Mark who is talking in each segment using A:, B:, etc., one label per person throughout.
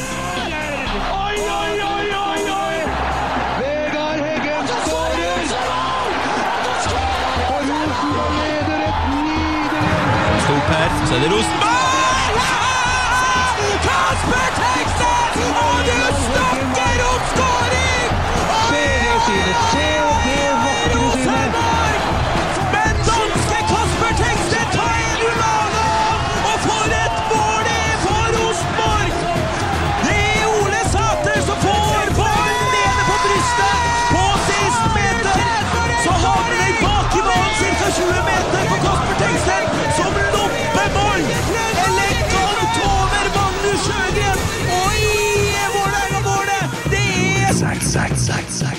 A: Oi, oi, oi, oi, oi! Vegard Heggen skårer! Og Rosenborg leder et nydelig
B: Opp her, så er det Rosenborg! Kasper Teksten! Og du snakker om skåring!
A: Se det synet! Se det vakre synet!
B: Rosenborg! Men danske Kasper Teksten tar en ulana! Og for et mål det er for Rosenborg! Det er Ole Sæter som får ballen nede på brystet på sist meter. Så havner den bak i banen ca. 20 meter på Kasper Teksten, som loppemål! Elegant over Magnus Sjøgren! Og i Vålerenga-målet! Det er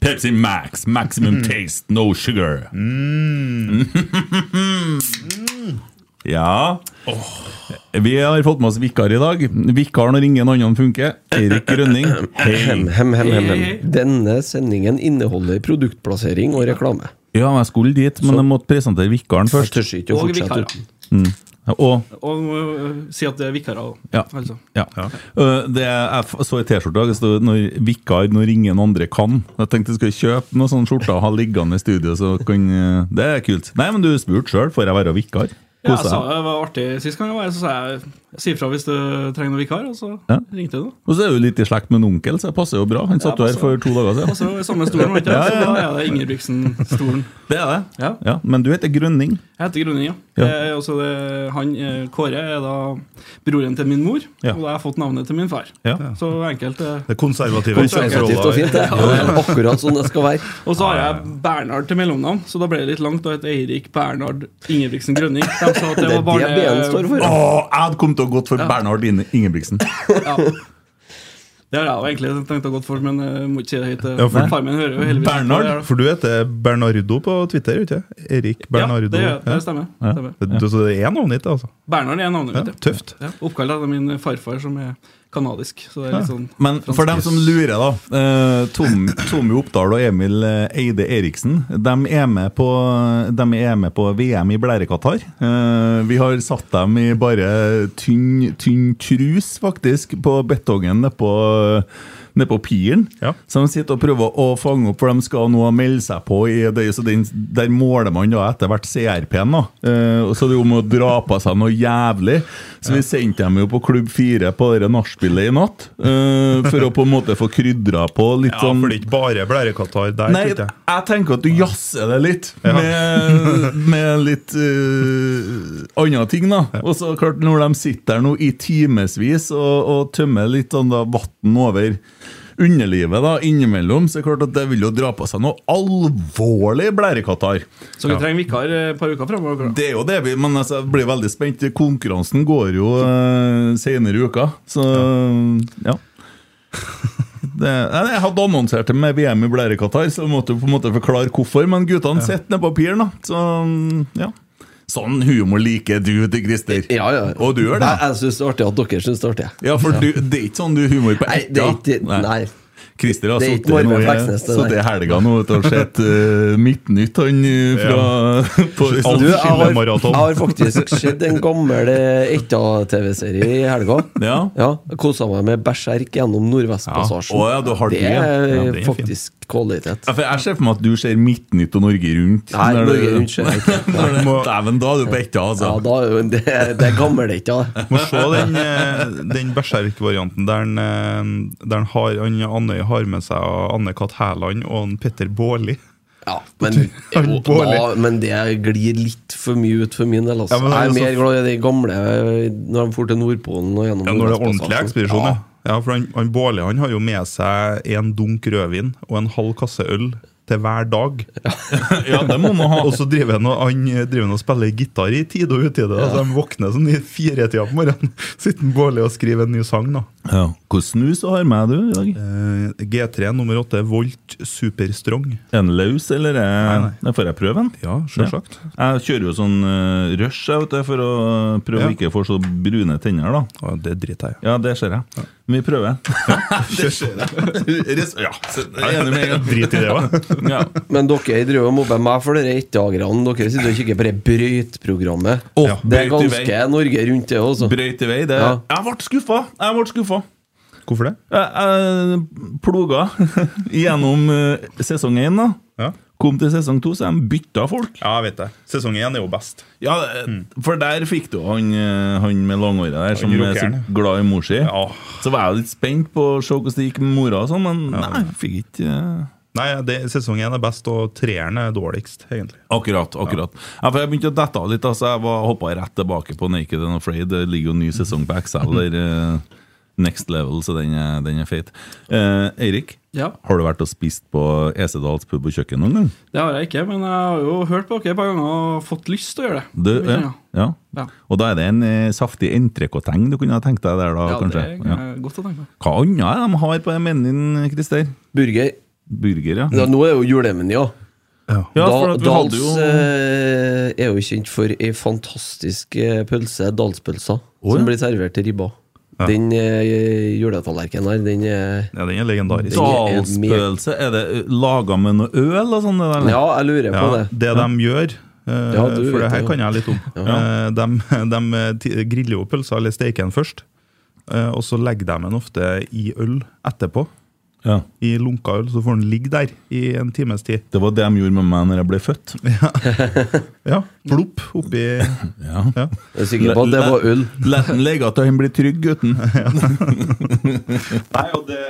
C: Pepsi Max, maximum taste, no sugar. Mm. ja Mm. Oh. Vi har fått med oss vikar i dag. Vikar når ingen annen funker. Eirik Grønning.
D: Hem,
C: Hei.
D: hem, hem, hem,
E: Eh.
D: hem. Denne sendingen inneholder produktplassering og reklame.
C: Ja, jeg skulle dit, men jeg måtte presentere vikaren
D: Jeg
C: først.
D: tør ikke å
E: Og
D: fortsette
E: vikarer.
D: uten.
C: Og
E: Og øh, si at det er vikarer òg.
C: Ja.
E: Altså.
C: ja. Uh, Det jeg f- så i T-skjorta det stod når 'vikar når ingen andre kan'. Jeg tenkte jeg skulle kjøpe noen sånne skjorter og ha liggende i studio. Så kan, uh, det er kult. Nei, men du spurte sjøl, får jeg være vikar?
E: Ja, altså, jeg
C: Kose
E: sa
C: deg.
E: det var artig sist gang jeg var her, så sa jeg si ifra hvis du trenger noen vikar. Og så
C: Ja.
E: ringte jeg nå.
C: Og så er du litt i slekt med en onkel, så det passer jo bra. Han satt jo her
E: passer.
C: for to dager siden.
E: Og så i samme stolen, vet du.
C: Ja, ja, ja.
E: Så da er det Ingebrigtsen-stolen.
C: Det er det.
E: Ja.
C: Ja, men du heter Grønning.
E: Jeg heter Grunning, ja.
C: Ja.
E: Eh, og så det- han, eh, Kåre er da broren til min mor,
C: Ja.
E: og da har jeg fått navnet til min far.
C: Ja.
E: Så enkelt. eh.
F: Det konservative
D: Konservativt og fint, det. Ja, Akkurat sånn det skal være.
E: Og så har jeg Bernhard til mellomnavn, så da ble det litt langt. Da het Eirik Bernhard Ingebrigtsen Grønning. De sa at
D: Det
E: det
D: er
E: var
D: det BN står
E: barne...
D: for.
C: Å, jeg hadde kommet til å gått for Bernhard Ine- Ingebrigtsen.
E: Ja. Det har jeg jo egentlig tenkt å gå for, men jeg må ikke si det høyt. eh.
F: Ja, for-
E: Faren min hører jo heldigvis ikke på det her, da.
F: Bernard, for du heter Bernardo på Twitter, ikke sant? Erik
E: Ja,
F: Bernardo.
E: det, gjør jeg. det
F: Ja.
E: stemmer. stemmer.
F: Det- du- Så det er navnet ditt, altså?
E: Bernhard er navnet
F: Ja,
E: mitt. ja.
F: tøft.
E: Ja. Oppkalt etter min farfar, som er kanadisk. Så det er litt sånn
C: Men for dem som lurer, da. eh, Tom, Tommy Oppdal og Emil eh, Eide Eriksen de er med på, de er med på VM i blærekatar. Eh, Vi har satt dem i bare tynn, tynn trus, faktisk, på betongen nede på, ned på piren.
F: Ja.
C: Så de sitter og prøver å fange opp, for de skal nå melde seg på. I det, så den, der måler man da etter hvert CRP-en. da. Eh, og så det er jo om å dra på seg noe jævlig. Så vi sendte dem jo på Klubb 4 på det nachspielet i natt. eh, for å på en måte få krydra på litt
F: Ja,
C: sånn
F: for det er ikke bare blærekatar der.
C: Nei,
F: tror jeg.
C: jeg tenker at du jazzer det litt,
F: Ja.
C: med, med litt uh, andre ting, da. Og så klart, når de sitter der nå i timevis og, og tømmer litt sånn da vann over underlivet da, innimellom, så er det klart at det vil jo dra på seg noe alvorlig blærekatar.
E: Så vi trenger vikar eh, et par uker framover.
C: Det er jo det vi Men altså, jeg blir veldig spent. Konkurransen går jo eh, senere i uka, så ja. Det, nei, jeg hadde annonsert det med VM i blærekatar, så jeg måtte jo på en måte forklare hvorfor. Men guttene sitter nede på piren, da. Så ja. Sånn humor liker du til Christer.
D: Ja, ja.
C: Og du gjør det?
D: Nei, Jeg syns det er artig at dere syns det er artig.
C: Ja, for du, det er ikke sånn du humor på
D: Nei, det er ikke
C: Nei.
D: Nei.
C: Christer har
D: Det er
C: sittet
D: ikke
C: nå
D: Marve
C: i
D: Fleksnes, det
C: så det er helga nå vet du, og sett eh, Midtnytt, han eh, fra på,
D: Du, jeg har,
F: Skillemaraton.
D: jeg har faktisk sett en gammel eh, Etta-TV-serie i helga.
C: Ja.
D: Ja, Kosa meg med Berserk gjennom Nordvestpassasjen.
C: Ja. Å ja, du har
D: det
C: det, ja.
D: er
C: Ja,
F: det er
D: faktisk kvalitet.
C: Ja, for Jeg ser for meg at du ser Midtnytt og Norge Rundt.
D: Nei,
C: Når Sånn
D: Norge
C: det-
D: Rundt ser jeg ikke.
C: Når det- Dæven, da er du på etta,
D: Ja,
C: altså.
D: da er jo det, det er gammel ikke da.
F: Må se den, eh, den berserk-varianten der, han, eh, der han har, han Andøy har med seg Anne-Kat. Hærland og en Petter Baarli.
D: Ja, men,
F: er
D: jo,
F: dårlig.
D: da, men det glir litt for mye ut for min del. Altså.
F: Ja, men det er
D: jeg er
F: jo
D: mer
F: så-
D: glad i de gamle eh, når de for til Nordpolen og gjennom altså.
F: Ja, når det er ordentlig
D: Nordvestpassasjen.
F: ekspedisjon, ja. ja for han, han Baarli han har jo med seg en dunk rødvin og en halv kasse øl til hver dag.
C: Ja, det må man ha.
F: Og så driver han og, han driver han og spiller gitar i tide og utide. da, Så de våkner sånn i firetida på morgenen. Sitter han Baarli og skriver en ny sang, da.
C: Ja. Hvilken snus har med du i dag?
F: Eh, G3 nummer 8, Volt Superstrong.
C: En løs, eller?
F: Nei, nei.
C: er- Nei, Får jeg prøve en?
F: Ja, selvsagt.
C: Jeg kjører jo sånn eh, rush jeg, vet du, for å prøve
F: Ja.
C: å ikke få så brune tenner, da.
F: Ja, det driter jeg i.
C: Ja, det ser jeg. Men vi prøver.
F: Kjør.
C: Res- Ja, så jeg er enig med en gang.
F: Drit i det, hva?
C: Ja.
D: Men dere driver og mobber meg for dere ettdagerne. Dere sitter og kikker på det brøytprogrammet.
C: Å,
D: det
C: brøyt
D: er
C: i
D: ganske Norge rundt, det også. altså.
C: Brøyt i vei. Det.
D: Ja.
C: Jeg ble skuffa! Jeg ble skuffa.
F: Hvorfor det?
C: Jeg, jeg ploga gjennom eh, sesong én, da.
F: Ja.
C: Kom til sesong to, så de bytta folk.
F: ja, jeg vet det. Sesong én er jo best.
C: Ja, eh, For der fikk du han, eh, han med langhåret der som er så
F: rockeren, ja.
C: glad i mor si.
F: Ja.
C: Så var jeg litt spent på å se hvordan det gikk med mora, og sånn, men nei, jeg fikk ikke eh,
F: Nei, det, sesong én er best, og treeren er dårligst, egentlig.
C: Akkurat. akkurat ja, for Jeg begynte å dette av litt. Altså, jeg hoppa rett tilbake på Naked and Afraid. Det ligger jo en ny sesong på Excel der. eh, Next level, så den er, den er feit. Eh, Eirik,
E: Ja,
C: har du vært og spist på Esedals pub og kjøkken noen gang?
E: Det har jeg ikke, men jeg har jo hørt på dere et par ganger og fått lyst til å gjøre det.
C: Du,
E: Mye
C: ja,
E: ganger.
C: ja.
E: Ja.
C: Og da er det en eh, saftig entrecôteng du kunne ha tenkt deg der, da,
E: Ja, det
C: kanskje?
E: er
C: Ja.
E: eh, godt å tenke på.
C: Hva annet er det de har på den menyen, Christer?
D: Burger.
C: Burger, ja.
D: Ja, nå er jo julemenyen, ja.
C: ja
D: Da,
C: for at vi
D: Dals
C: hadde jo
D: eh, er jo kjent for ei fantastisk eh, pølse, Dalspølsa,
C: Å, ja.
D: som blir servert til ribba. Den eh, juletallerkenen her, den eh, er
F: Ja, Den er legendarisk.
C: Dalspølse. Er det laga med noe øl og sånn? det der?
D: Ja, jeg lurer på
F: Ja,
D: det.
F: det de gjør eh,
D: Ja, du
F: For
D: vet
F: det her
D: det, ja.
F: kan jeg litt om. Eh, de, de ti- griller jo pølser, eller steker den først. eh, og så legger de den ofte i øl etterpå.
C: Ja.
F: I lunka øl. Så får den ligge der i en times tid.
C: Det var det de gjorde med meg når jeg ble født.
F: Ja, Plopp oppi
C: Ja.
F: ja.
D: Jeg er sikker på at det var øl.
C: La den ligge til han blir trygg, gutten.
F: Nei, og det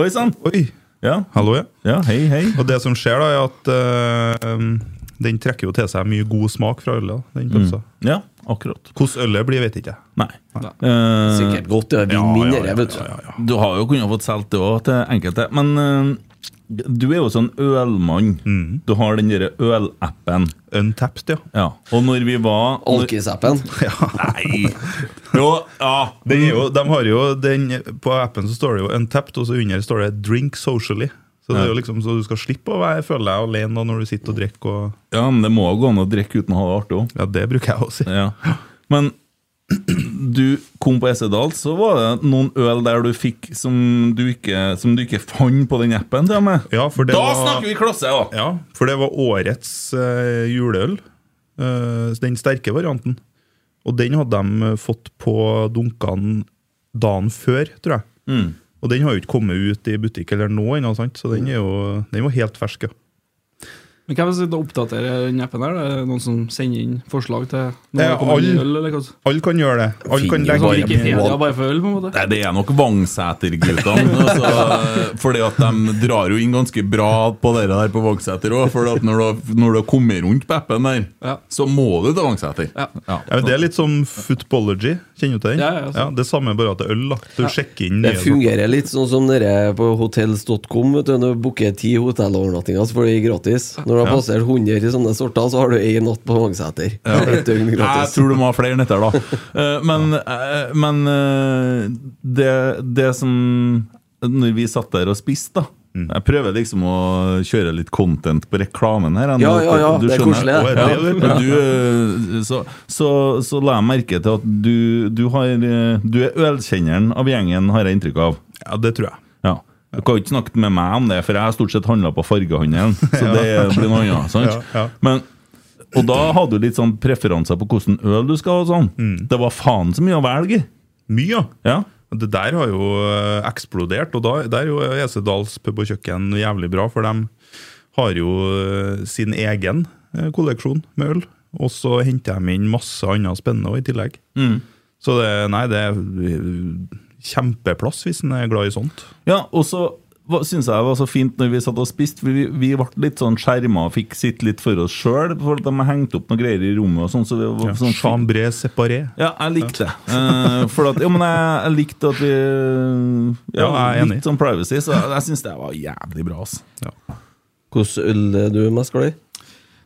C: Oi sann!
F: Oi!
C: Ja.
F: Hallo, ja.
C: ja, Sånn. hei, hei.
F: Og det som skjer, da, er at eh, um, den trekker jo til seg mye god smak fra ølet. da, Den pølsa.
C: Ja, akkurat.
F: Hvordan ølet blir, vet ikke jeg.
C: Nei. Eh,
D: Sikkert godt. Det er vinn
F: Ja, ja,
D: mindre,
F: ja,
D: vet du.
C: du har jo kunnet fått solgt det òg til enkelte, men eh, du er jo sånn ølmann. Du har den derre ølappen.
F: Untapped, ja.
C: Ja. Og når vi var når,
D: Alkis-appen.
C: Nei! Jo, ja.
F: Den er jo, de har jo den, på appen så står det jo 'untapped', og så under står det 'drink socially'. Så det er jo liksom så du skal slippe å være, føle deg alene da, når du sitter og drikker. Og,
C: ja, men det må jo gå an å drikke uten å ha det artig òg.
F: ja, det bruker jeg å si.
C: Ja. Men du kom på Essedal, så var det noen øl der du fikk som du ikke, som du ikke fant på den appen. til og med.
F: Ja, for det
C: Da
F: var,
C: snakker vi klasse, da!
F: Ja, for det var årets eh, juleøl. Eh, den sterke varianten. Og den hadde de eh, fått på dunkene dagen før, tror jeg.
D: Mm.
F: Og den har jo ikke kommet ut i butikk eller nå ennå, sant? så den, er jo, den var helt fersk. Ja.
E: Men hvem sitter og oppdaterer den appen her? Er det noen som sender inn forslag til når
F: Eh,
E: det kommer
F: alle.
E: ny øl, eller hva?
F: Alle kan gjøre det.
D: Fin,
F: Alle kan
E: Sånn
F: legge
D: Bare
E: Wikipedia
D: mål.
E: bare for øl, på en måte?
C: Nei, Det er nok Vangseter-guttene. Altså, fordi at de drar jo inn ganske bra på det der på Vangseter òg. For at når du, har- når du har kommet rundt på appen der,
E: Ja.
C: så må du til Vangseter.
E: Ja.
F: ja, men Det er litt som footballogy. Kjenner du til den?
E: Ja, altså. ja, ja, sant.
F: det er samme, bare at det er øl. da. Du sjekker inn
D: Det
F: nye-
D: fungerer litt sånn som dere på hotels.com. vet du, Når du booker ti hotellovernattinger, så får du ei gratis. Når du har passert 100 i sånne sorter, så har du ei natt på Vangseter. Et døgn
C: Jeg
D: gratis.
C: tror du må ha flere netter, da. Eh, Men, eh, men eh, det, det som Når vi satt der og spiste, da
D: Mm.
C: Jeg prøver liksom å kjøre litt content på reklamen her. jeg,
D: Ja,
C: nå,
D: ja, ja,
C: du
D: det er
C: skjønner.
D: koselig, det.
C: Ja, og du, eh, så, så, så la jeg merke til at du, du, har, eh, du er ølkjenneren av gjengen, har jeg inntrykk av.
F: Ja, det tror jeg.
C: Ja. Du kan jo ikke snakke med meg om det, for jeg har stort sett handla på fargehandelen. Så det blir noe annet. sant?
F: Ja, ja.
C: Men, og da hadde du litt sånn preferanser på hvilken øl du skal ha. og sånn.
F: Mm.
C: Det var faen så mye å velge i.
F: Mye, ja.
C: Ja.
F: Det der har jo eh, eksplodert, og da, der er jo Esedals pub og kjøkken jævlig bra, for de har jo eh, sin egen eh, kolleksjon med øl. Og så henter de inn masse annet spennende også i tillegg.
C: Mm.
F: Så det, nei, det er eh, kjempeplass hvis en er glad i sånt.
C: Ja, og så syns jeg det var så fint når vi satt og spiste, for vi, vi ble litt sånn skjerma og fikk sitte litt for oss sjøl. For at de hengte opp noen greier i rommet og sånn. så vi var sånn
F: Chambré separé.
C: Ja, jeg likte det. Eh, for at, jo, men jeg, jeg likte at vi Ja,
F: Ja, jeg er enig.
C: litt sånn privacy, så jeg, jeg syns det var jævlig bra. ass.
D: Hvilken øl er du mest glad i?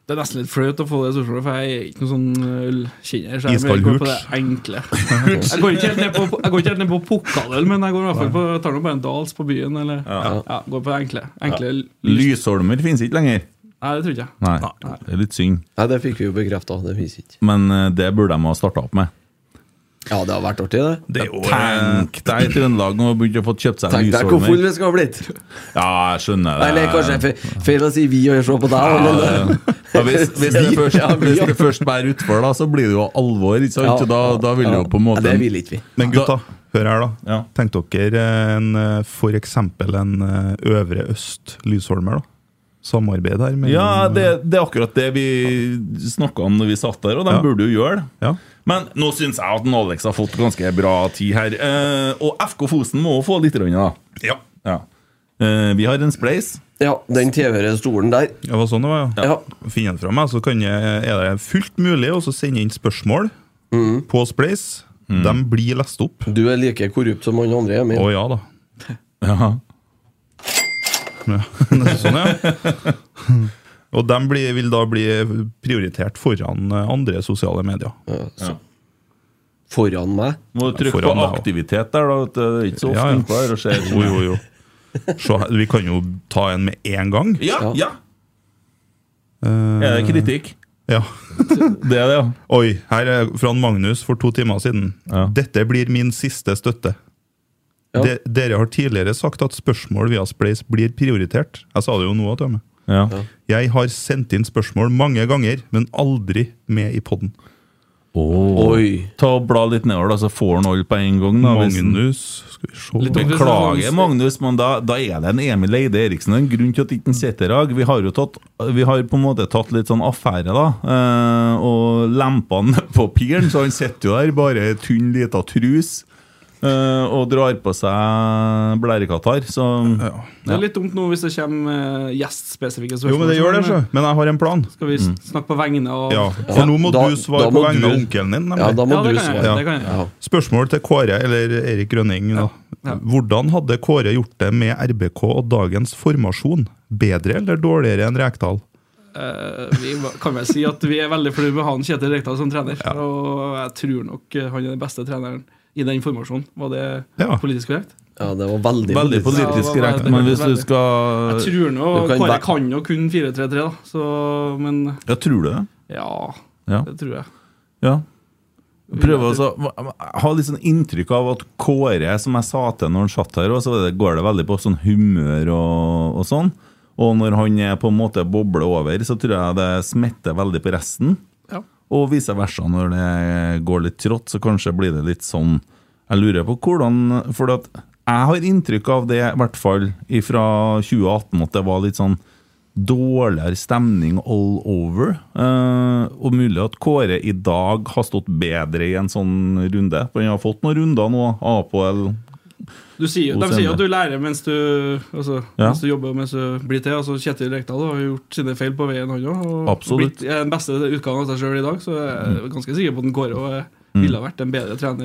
E: Det er nesten litt flaut å få det spørsmålet, for jeg er ikke noen sånn ølkjenner. Så jeg
F: Iskald
E: går på det
F: hurts.
E: enkle. Jeg går ikke helt ned på, jeg går ikke helt ned på pokaløl, men jeg går i hvert fall på, tar nå bare en dals på byen, eller ja. går på det enkle. enkle lys.
C: Lysholmer finnes ikke lenger.
E: Nei, det tror ikke jeg.
C: Nei, det er litt synd.
D: Nei, det fikk vi jo bekrefta. Det fins ikke.
C: Men eh, det burde de ha starta opp med.
D: Ja, det har vært artig, det.
F: Det er jo eh,
C: Tenk deg Trøndelag nå har begynt å få kjøpt seg
D: Tenk deg hvor full
C: lysholmer.
D: vi skal ha blitt!
C: Ja, jeg skjønner det.
D: Eller kanskje fe- feil å si vi og se på deg.
C: Ja,
D: men-
C: ja, hvis, hvis, det
D: Vi-
C: først,
D: ja, vi-
C: hvis det først bærer utfor, da, så blir det jo alvor. Ikke sant?
D: Ja,
C: Så da, da vil det jo på en måte
D: Ja, det vil ikke vi.
F: Men gutta, hør her, da.
C: Ja.
F: Tenk dere en, eh, for eksempel en eh, Øvre Øst-Lysholmer, da. Samarbeid her. eh, mellom-
C: Ja, det, det er akkurat det vi snakka om når vi satt der, og de
F: Ja.
C: burde jo gjøre det.
F: Ja.
C: Men nå syns jeg at en Alex har fått ganske bra tid her. Eh, og FK Fosen må jo få litt, rann, da.
F: ja.
C: Ja. Eh, vi har en spleis.
D: Ja, den TV-ere stolen der.
F: Det var sånn det var, ja.
D: Ja.
F: Finn den fra meg, så kan jeg, er det fullt mulig å så sende inn spørsmål på Splace. De blir lest opp.
D: Du er like korrupt som han andre er,
F: Mm. Å
D: men
F: ja, da.
C: Ja.
F: Ja, sånn, ja. Og de blir, vil da bli prioritert foran eh, andre sosiale medier.
D: foran meg
C: Må du trykke på
F: Foran deg også.
C: aktivitet der, da. vet du. Det er ikke så ofte
F: Ja, ja.
C: innpå her og skjer.
F: Jo, jo, jo. Så her- vi kan jo ta en med en gang.
C: Ja, ja.
F: Eh,
C: Er det kritikk?
F: ja.
C: Det er det, ja.
F: Oi, her er fra en Magnus for to timer siden.
C: Ja.
F: Dette blir min siste støtte.
D: Ja.
F: De, dere har tidligere sagt at spørsmål via Splace blir prioritert. Jeg sa det jo nå. at jeg,
C: ja.
F: jeg har sendt inn spørsmål mange ganger, men aldri med i podden.
D: Oi!
C: Ta og bla litt nedover, da, så får han alle på en gang. Da, hvis han-
F: Magnus Skal vi se
E: Litt interessant.
C: Beklager, Magnus, men da, da er det en Emil Eide Eriksen. Det er en grunn til at ikke han sitter her. Vi har jo tatt, vi har på en måte tatt litt sånn affære, da. eh, Og lempa han på piren, så han sitter jo der bare i tynn lita trus. eh, Og drar på seg blærekatter. Så
E: Det er litt dumt nå hvis det kommer eh, gjestspesifikke spørsmål. sånn,
F: Jo, men det gjør det, sjø. Men jeg har en plan.
E: Skal vi s- snakke på vegne av
F: Ja,
D: Ja,
F: For nå må
D: da-
F: du svare
D: da
F: på
D: må du-
F: vegne av onkelen din. nemlig.
D: Ja, da må
E: Ja, det
D: du
E: kan jeg.
D: svare.
E: Det kan jeg.
D: Ja.
F: Spørsmål til Kåre eller Erik Grønning. Da.
E: Ja.
F: Hvordan hadde Kåre gjort det med RBK og dagens formasjon? Bedre eller dårligere enn Rekdal?
E: Eh, vi må- kan vel si at vi er veldig fornøyd med han Kjetil Rekdal som trener. Og jeg tror nok eh, han er den beste treneren i den formasjonen. Var det
F: Ja.
E: politisk korrekt?
D: Ja, det var veldig
C: veldig
E: politisk
C: politisk rett,
E: veldig,
C: men hvis du
E: veldig.
C: skal
E: Jeg tror nå
D: du kan
E: Kåre
D: væ-
E: kan jo kun 4-3-3, da. Så, men
C: Ja, tror du det?
E: ja,
C: Ja.
E: det tror jeg.
C: Ja. Prøve å så- ha litt sånn inntrykk av at Kåre, som jeg sa til når han satt her, også, så det- går det veldig på sånn humør og, og sånn. Og når han er på en måte bobler over, så tror jeg det smitter veldig på resten.
E: Ja.
C: Og vice versa, når det går litt trått, så kanskje blir det litt sånn Jeg lurer på hvordan For at jeg har inntrykk av det, i hvert fall fra 2018, at det var litt sånn dårligere stemning all over. Eh, og mulig at Kåre i dag har stått bedre i en sånn runde. For han har fått noen runder nå. Apl
E: Du sier, de
C: Hos
E: sier
C: henne.
E: at du lærer mens du, altså,
C: Ja.
E: mens du jobber og mens du blir til. Altså, Kjetil Rekdal har jo gjort sine feil på veien, han òg. Og
C: Absolutt. Mm.
E: blitt eh, den beste utgaven av seg sjøl i dag, så jeg er ganske sikker på at den Kåre også er- ville ha vært en bedre trener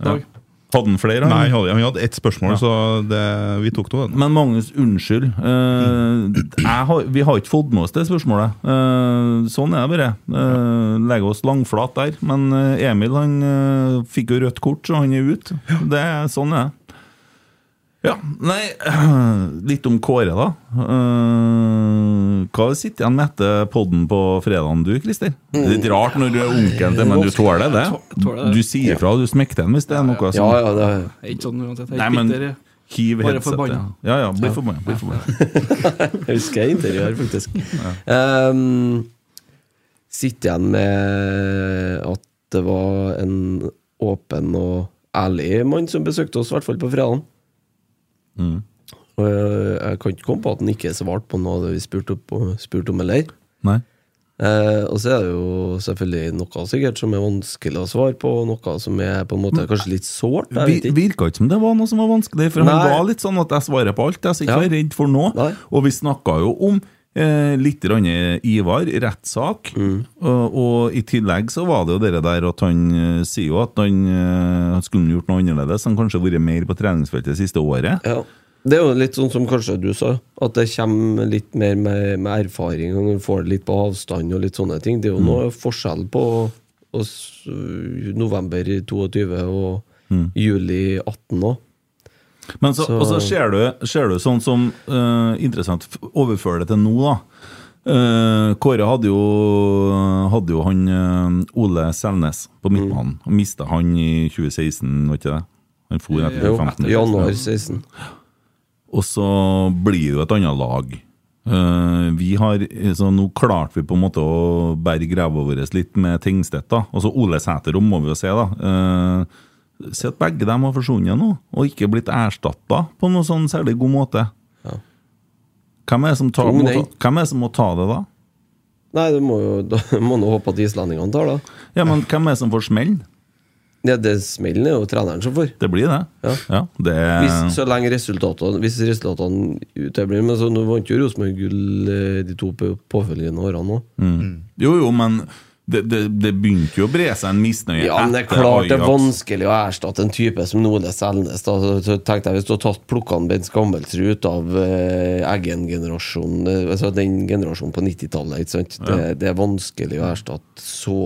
E: i dag.
C: Hadde han flere?
F: Nei,
C: han?
F: han hadde, han hadde ett spørsmål,
C: Ja.
F: så det, vi tok to. den.
C: Men Magnus, unnskyld. Eh, jeg har, vi har ikke fått med oss det spørsmålet. Eh, sånn er det bare. Uh, legger oss langflat der. Men eh, Emil han eh, fikk jo rødt kort, så han er ute. Det er sånn er det. Ja, nei Litt om Kåre, da. Eh, hva sitter han med etter podden på fredagen, du, Christer? Det er litt rart når du er onkelen til, men du tåler det?
E: Tåler det.
C: Du sier fra, du smekter den hvis det er noe
D: Ja,
C: sånn.
D: ja, det
E: Jeg er ikke sånn uansett. Jeg
C: Nei,
E: er
C: men-
E: bitter. jeg.
C: Hiv
E: Bare
C: headsetet.
E: forbanna.
C: Ja, ja, bli forbanna. Bli forbanna.
D: jeg husker jeg intervjuet her, faktisk. Ehm, sitter igjen med at det var en åpen og ærlig mann som besøkte oss, i hvert fall på fredagen. Og jeg, jeg kan ikke komme på at han ikke svarte på noe av det vi spurte opp- spurte om, eller?
C: Nei.
D: Eh, og så er det jo selvfølgelig noe sikkert som er vanskelig å svare på, og noe som er på en måte kanskje litt sårt. Jeg vet
C: Vi,
D: ikke.
C: virka ikke som det var noe som var vanskelig, for
D: Nei.
C: han var litt sånn at jeg svarer på alt. Jeg er ikke
D: Ja.
C: redd for noe.
D: Nei.
C: Og vi snakka jo om eh, litt grann Ivar, rettssak,
D: Mm.
C: og, og i tillegg så var det jo det der at han eh, sier jo at han eh, skulle gjort noe annerledes. Han kanskje vært mer på treningsfeltet det siste året.
D: Ja. Det er jo litt sånn som kanskje du sa, at det kommer litt mer med, med erfaring. Og du får det litt på avstand og litt sånne ting. Det er jo noe forskjell på oss, øh, november i 22 og juli i 18 òg.
C: Men så, og så ser du, ser du sånn som eh, Interessant, f- overfør det til nå, da. Eh, Kåre hadde jo, hadde jo han eh, Ole Selnes på midtbanen. Og mista han i 2016, var ikke det? Han for etter
D: Jo,
C: 2015.
D: januar 16.
C: Og så blir det jo et annet lag. Eh, vi har, så Nå klarte vi på en måte å berge ræva vår litt med Tingstedt. da. Altså Ole Sæterom må vi jo se, da. Eh, se at begge dem har forsvunnet nå, og ikke blitt erstatta på noe sånn særlig god måte.
D: Ja.
C: Hvem er det som, tar,
D: Tung
C: må,
D: den.
C: ta, hvem er det som må ta det, da?
D: Nei, du må jo da, må nå håpe at islendingene tar det.
C: Ja, men Hvem er det som får smell?
D: Ja, det smellen er jo treneren som får.
C: Det blir det.
D: Ja.
C: det
D: Hvis, så lenge resultatene Hvis resultatene uteblir. Men så nå vant jo Rosenborg gull eh, de to på- påfølgende årene òg.
C: Jo, jo, men det, det, det begynte jo å bre seg en misnøye
D: Ja, men det er
C: etter
D: klart det er
C: Ajax.
D: vanskelig å erstatte en type som Ole Selnes. Da Så- så tenkte jeg hvis du hadde tatt plukka han Bent Skammelsrud ut av eh, Eggen-generasjonen, eh, altså den generasjonen på 90-tallet, ikke sant. Det, det er vanskelig å erstatte så,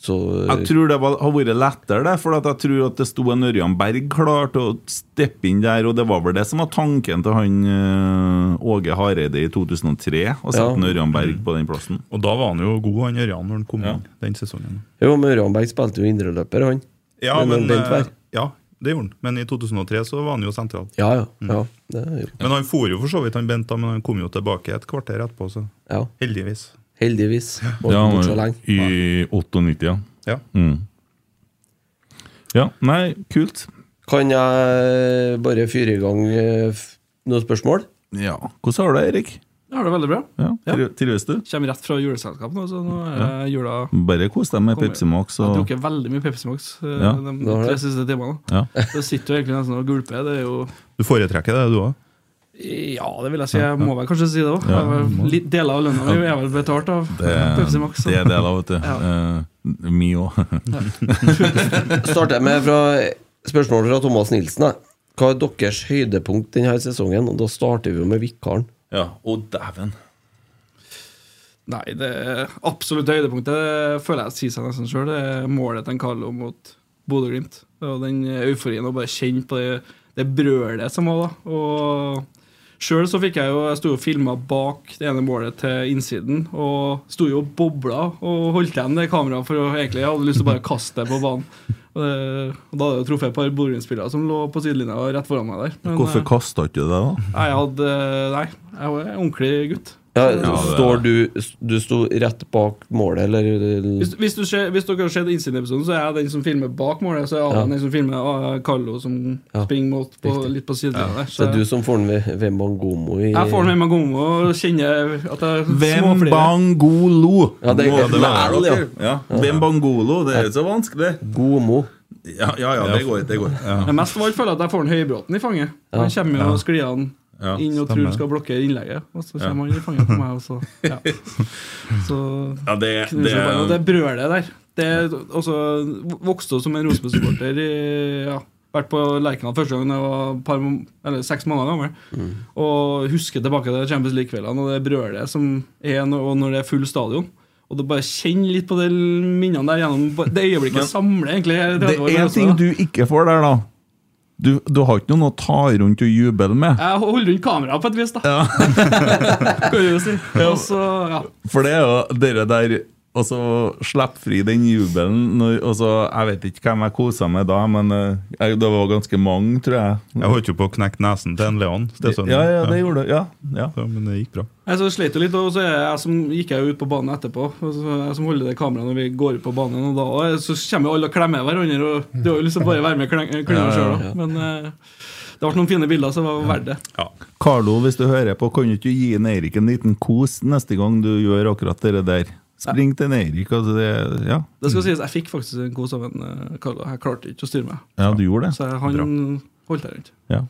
D: så
C: Jeg tror det var, har vært lettere, det, for at jeg tror at det sto en Ørjan Berg klar til å steppe inn der, og det var vel det som var tanken til han eh, Åge Hareide i 2003, å sette
D: Ja.
C: en Ørjan Berg på den plassen.
F: Og da var han jo god, han Ørjan, når han kom inn den sesongen.
D: Jo, men Ørjanberg spilte jo indreløper, han.
F: Ja,
D: Men
F: men,
D: Bent Berg?
F: eh, ja, det gjorde han. Men i 2003 så var han jo sentral.
D: Ja, ja. Mm. ja, det er jo.
F: Men han for jo for så vidt, han Bent, da, men han kom jo tilbake et kvarter etterpå, så
D: ja.
F: heldigvis.
D: Heldigvis. Var ikke borte så lenge.
C: i 98, ja. Mm.
F: Ja.
C: Ja, nei, kult.
D: Kan jeg bare fyre i gang eh, f- noen spørsmål?
C: Ja. Hvordan har du det, Erik?
E: Jeg har det veldig bra.
C: Ja,
E: Ja.
C: tri- Trives du?
E: Kommer rett fra juleselskap nå, så nå er det jula
C: Bare kos deg med
E: Kommer.
C: Pepsi Max.
E: Jeg har
C: Og...
E: drukket veldig mye Pepsi Max eh,
C: Ja.
E: de
D: Da har
E: tre
D: det.
E: siste timene.
C: Ja.
E: Så sitter jo egentlig nesten og gulper. Det er jo
F: Du foretrekker det, du òg?
E: Ja, det vil jeg si. Jeg må vel kanskje si det òg. Deler av lønna mi er vel betalt av
C: Det,
E: Pepsi Max.
C: det er det, da, vet du. Ja.
E: Ja.
C: Mi òg.
D: Starter jeg med fra spørsmål fra Thomas Nilsen. da. Hva er deres høydepunkt denne sesongen? Og da starter vi jo med vikaren.
C: Ja. Å, dæven.
E: Nei, det absolutte høydepunktet det føler jeg sier seg nesten sjøl. Det er målet til en Carlo mot Bodø-Glimt. Og den euforien å bare kjenne på det, det brølet som var da. Og sjøl så fikk jeg jo Jeg sto jo og filma bak det ene målet til innsiden. Og sto jo og bobla og holdt igjen det kameraet, for å- egentlig jeg hadde lyst til å bare kaste det på banen. Og, det, og da hadde jeg jo truffet et par Bodø-Glimt-spillere som lå på sidelinja og rett foran meg der. Men,
C: Hvorfor
E: eh,
C: kasta ikke du det, da?
E: Nei, jeg hadde eh, Nei, jeg var en ordentlig gutt.
D: Ja,
C: det-
D: står du, du sto rett bak målet, eller
E: Hvis, hvis, du ser, hvis dere har sett Innsiden-episoden, så er jeg den som filmer bak målet. Så er jeg
D: Ja.
E: den som filmer ah, Carlo som
D: Ja,
E: springer mot på,
D: riktig.
E: litt på sidelinja der.
D: Så
E: Så
D: det er du som får den ved, ved Mangomo i
E: jeg får den med meg gomme og kjenner at jeg
C: Hvem
E: småflirer.
C: Bangolo?
D: Ja, det er
C: Må
D: godt
C: være
D: lære,
C: dere. ja. Hvem Bangolo? Det er ikke så vanskelig.
D: Gomo.
C: Ja, ja, ja det går. Det går.
E: Men mest av alt føler jeg at jeg får den Høybråten i fanget. Han kommer jo og sklir han
C: Ja,
E: inn og tror han skal blokkere innlegget, og så kommer han i fanget på meg, og så ja. Så
C: Ja, det, det,
E: knuser jeg bare, og det brølet der. Det er også vokste opp som en Rosenborg-supporter i ja, Vært på Lerkendal første gang da jeg var et par, må- eller seks måneder gammel.
C: Mm.
E: Og husker tilbake til Champions League-kveldene og det brølet som er når, og når det er full stadion. Og det bare kjenn litt på de minnene der gjennom ba- Det øyeblikket samler egentlig hele
C: det
E: 30 år
C: er én
E: også,
C: ting
E: da.
C: du ikke får der, da. Du, du har ikke noen å ta rundt og juble med.
E: Jeg holder rundt kameraet på et vis, da. kan du jo si. Og så, ja.
C: For det er jo dere der Og så slipp fri den jubelen. Når, og så, jeg vet ikke hvem jeg kosa med da, men eh, jeg, det var ganske mange, tror jeg.
F: Jeg holdt jo på å knekke nesen til en Leon. Stesønnen.
C: Ja, ja, det gjorde du. Ja, ja.
F: Ja, men det gikk bra.
E: Jeg så slet jo litt, og så er jeg som, gikk jeg jo ut på banen etterpå. Og så er jeg som holder det kameraet når vi går ut på banen, og da og så kommer jo alle og klemmer hverandre. Og du har jo lyst til å bare være med og kleng- klemme sjøl, da. Men eh, det ble noen fine bilder, så det var verdt det.
F: Ja.
C: Carlo, hvis du hører på, kan du ikke gi en Eirik en liten kos neste gang du gjør akkurat det der? Spring til en Eirik. Altså det, ja.
E: Det skal sies, jeg fikk faktisk en kos av en eh, Carlo. Jeg klarte ikke å styre meg,
C: ja, du gjorde det.
E: så jeg, han holdt jeg rundt.
C: Ja.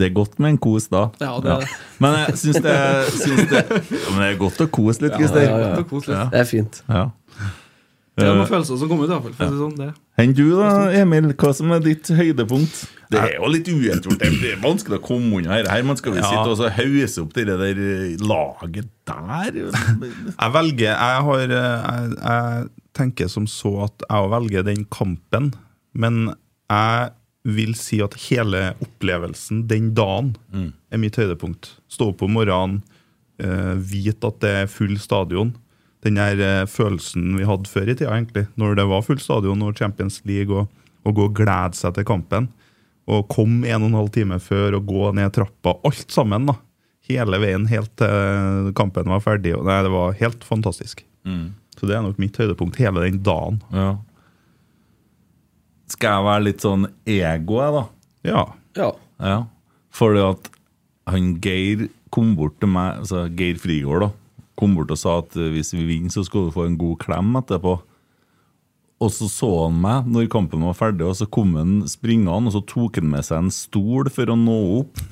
C: Det er godt med en kos da.
E: Ja, det er det.
C: Men jeg syns det, syns det ja, Men det er godt å kose litt, Christer.
D: ja,
E: Det
D: ja.
E: var koselig.
C: Ja.
D: Det er fint.
C: Ja.
E: Det er noen følelser som kom ut, iallfall. For å si det sånn, det.
C: Enn du da, Emil? Hva som er ditt høydepunkt? Det er jo litt uetgjort. Det er vanskelig å komme unna dette. her. Man skal jo
F: Ja.
C: sitte og så hause opp det der eh, laget der.
F: Jeg velger jeg, har, eh, jeg, jeg tenker som så at jeg også velger den kampen, men jeg vil si at hele opplevelsen den dagen er mitt høydepunkt. Stå opp om morgenen, eh, vite at det er full stadion. Den her eh, følelsen vi hadde før i tida, egentlig, når det var full stadion og Champions League, og, og gå og glede seg til kampen. Og kom en og en halv time før og gå ned trappa. Alt sammen. da. Hele veien helt til kampen var ferdig. og Nei, Det var helt fantastisk. Så det er nok mitt høydepunkt hele den dagen.
C: Ja. Skal jeg være litt sånn ego, jeg, da?
F: Ja.
D: Ja.
C: Ja. Fordi at han Geir kom bort til meg, altså Geir Frigård, da, kom bort og sa at eh, hvis vi vinner, så skal du få en god klem etterpå. Og så så han meg når kampen var ferdig, og så kom han springende, og så tok han med seg en stol for å nå opp.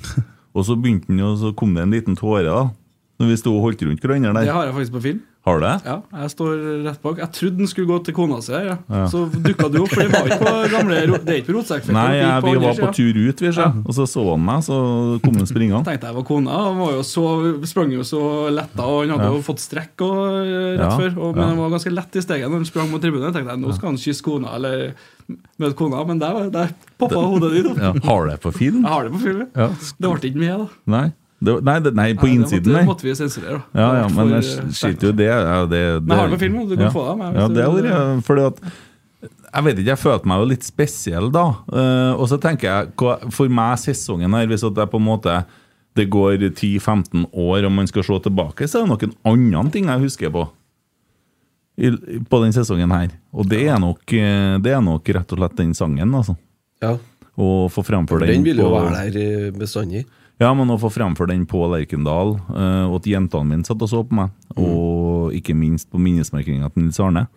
C: Og så begynte han, jo- så kom det en liten tåre, da. Når vi sto og holdt rundt hverandre
E: Det
C: der.
E: har jeg faktisk på film.
C: Har du det?
E: Ja, Jeg står rett bak. Jeg trodde den skulle gå til kona si, her, ja. så dukka du opp. For det var ikke på gamle ro- Det er ikke på rotsekkfeltet.
C: Nei,
E: det
C: jeg,
E: gikk
C: vi
E: andre
C: var på
E: siden.
C: tur ut, vi, ser. og så så han meg, så kom han springende.
E: tenkte jeg var kona. Han var jo så, sprang jo så letta, og han hadde jo fått strekk og, eh, rett
C: Ja,
E: før. Og, men
C: ja.
E: han var ganske lett i steget når han sprang mot tribunen. Jeg tenkte jeg, nå skal han kysse kona eller møte kona, men der, var- der poppa hodet ditt opp.
C: Ja. Har du det på film?
E: Jeg har det på film. jeg.
C: Ja.
E: Det ble ikke med, da.
C: Nei, det, var- nei, det, nei på
E: Nei, det
C: innsiden,
E: måtte,
C: nei.
E: måtte vi sensurere. da.
C: Ja, ja,
E: Det var
C: men
E: for,
C: jeg
E: eh,
C: sk-
E: sterkt.
C: skiter jo i det. Ja, det, det
E: Men jeg har det på film, og du kan
C: ja.
E: få det av meg hvis
C: Ja,
E: du
C: det
E: vil.
C: har vært Fordi at Jeg vet ikke, jeg følte meg jo litt spesiell da. Eh, og så tenker jeg, hva- for meg sesongen her, hvis at jeg på en måte det går 10-15 år og man skal se tilbake, så er det noen annen ting jeg husker på. I, på den sesongen her. Og det er, nok, eh, det er nok rett og slett den sangen, altså.
D: ja.
C: Å få fremfor den
D: Den vil jo
C: på-
D: være der eh, bestandig.
C: ja, men å få fremfor den på Lerkendal, eh, og at jentene mine satt og så på meg, og ikke minst på minnesmerkinga til Nils Arne,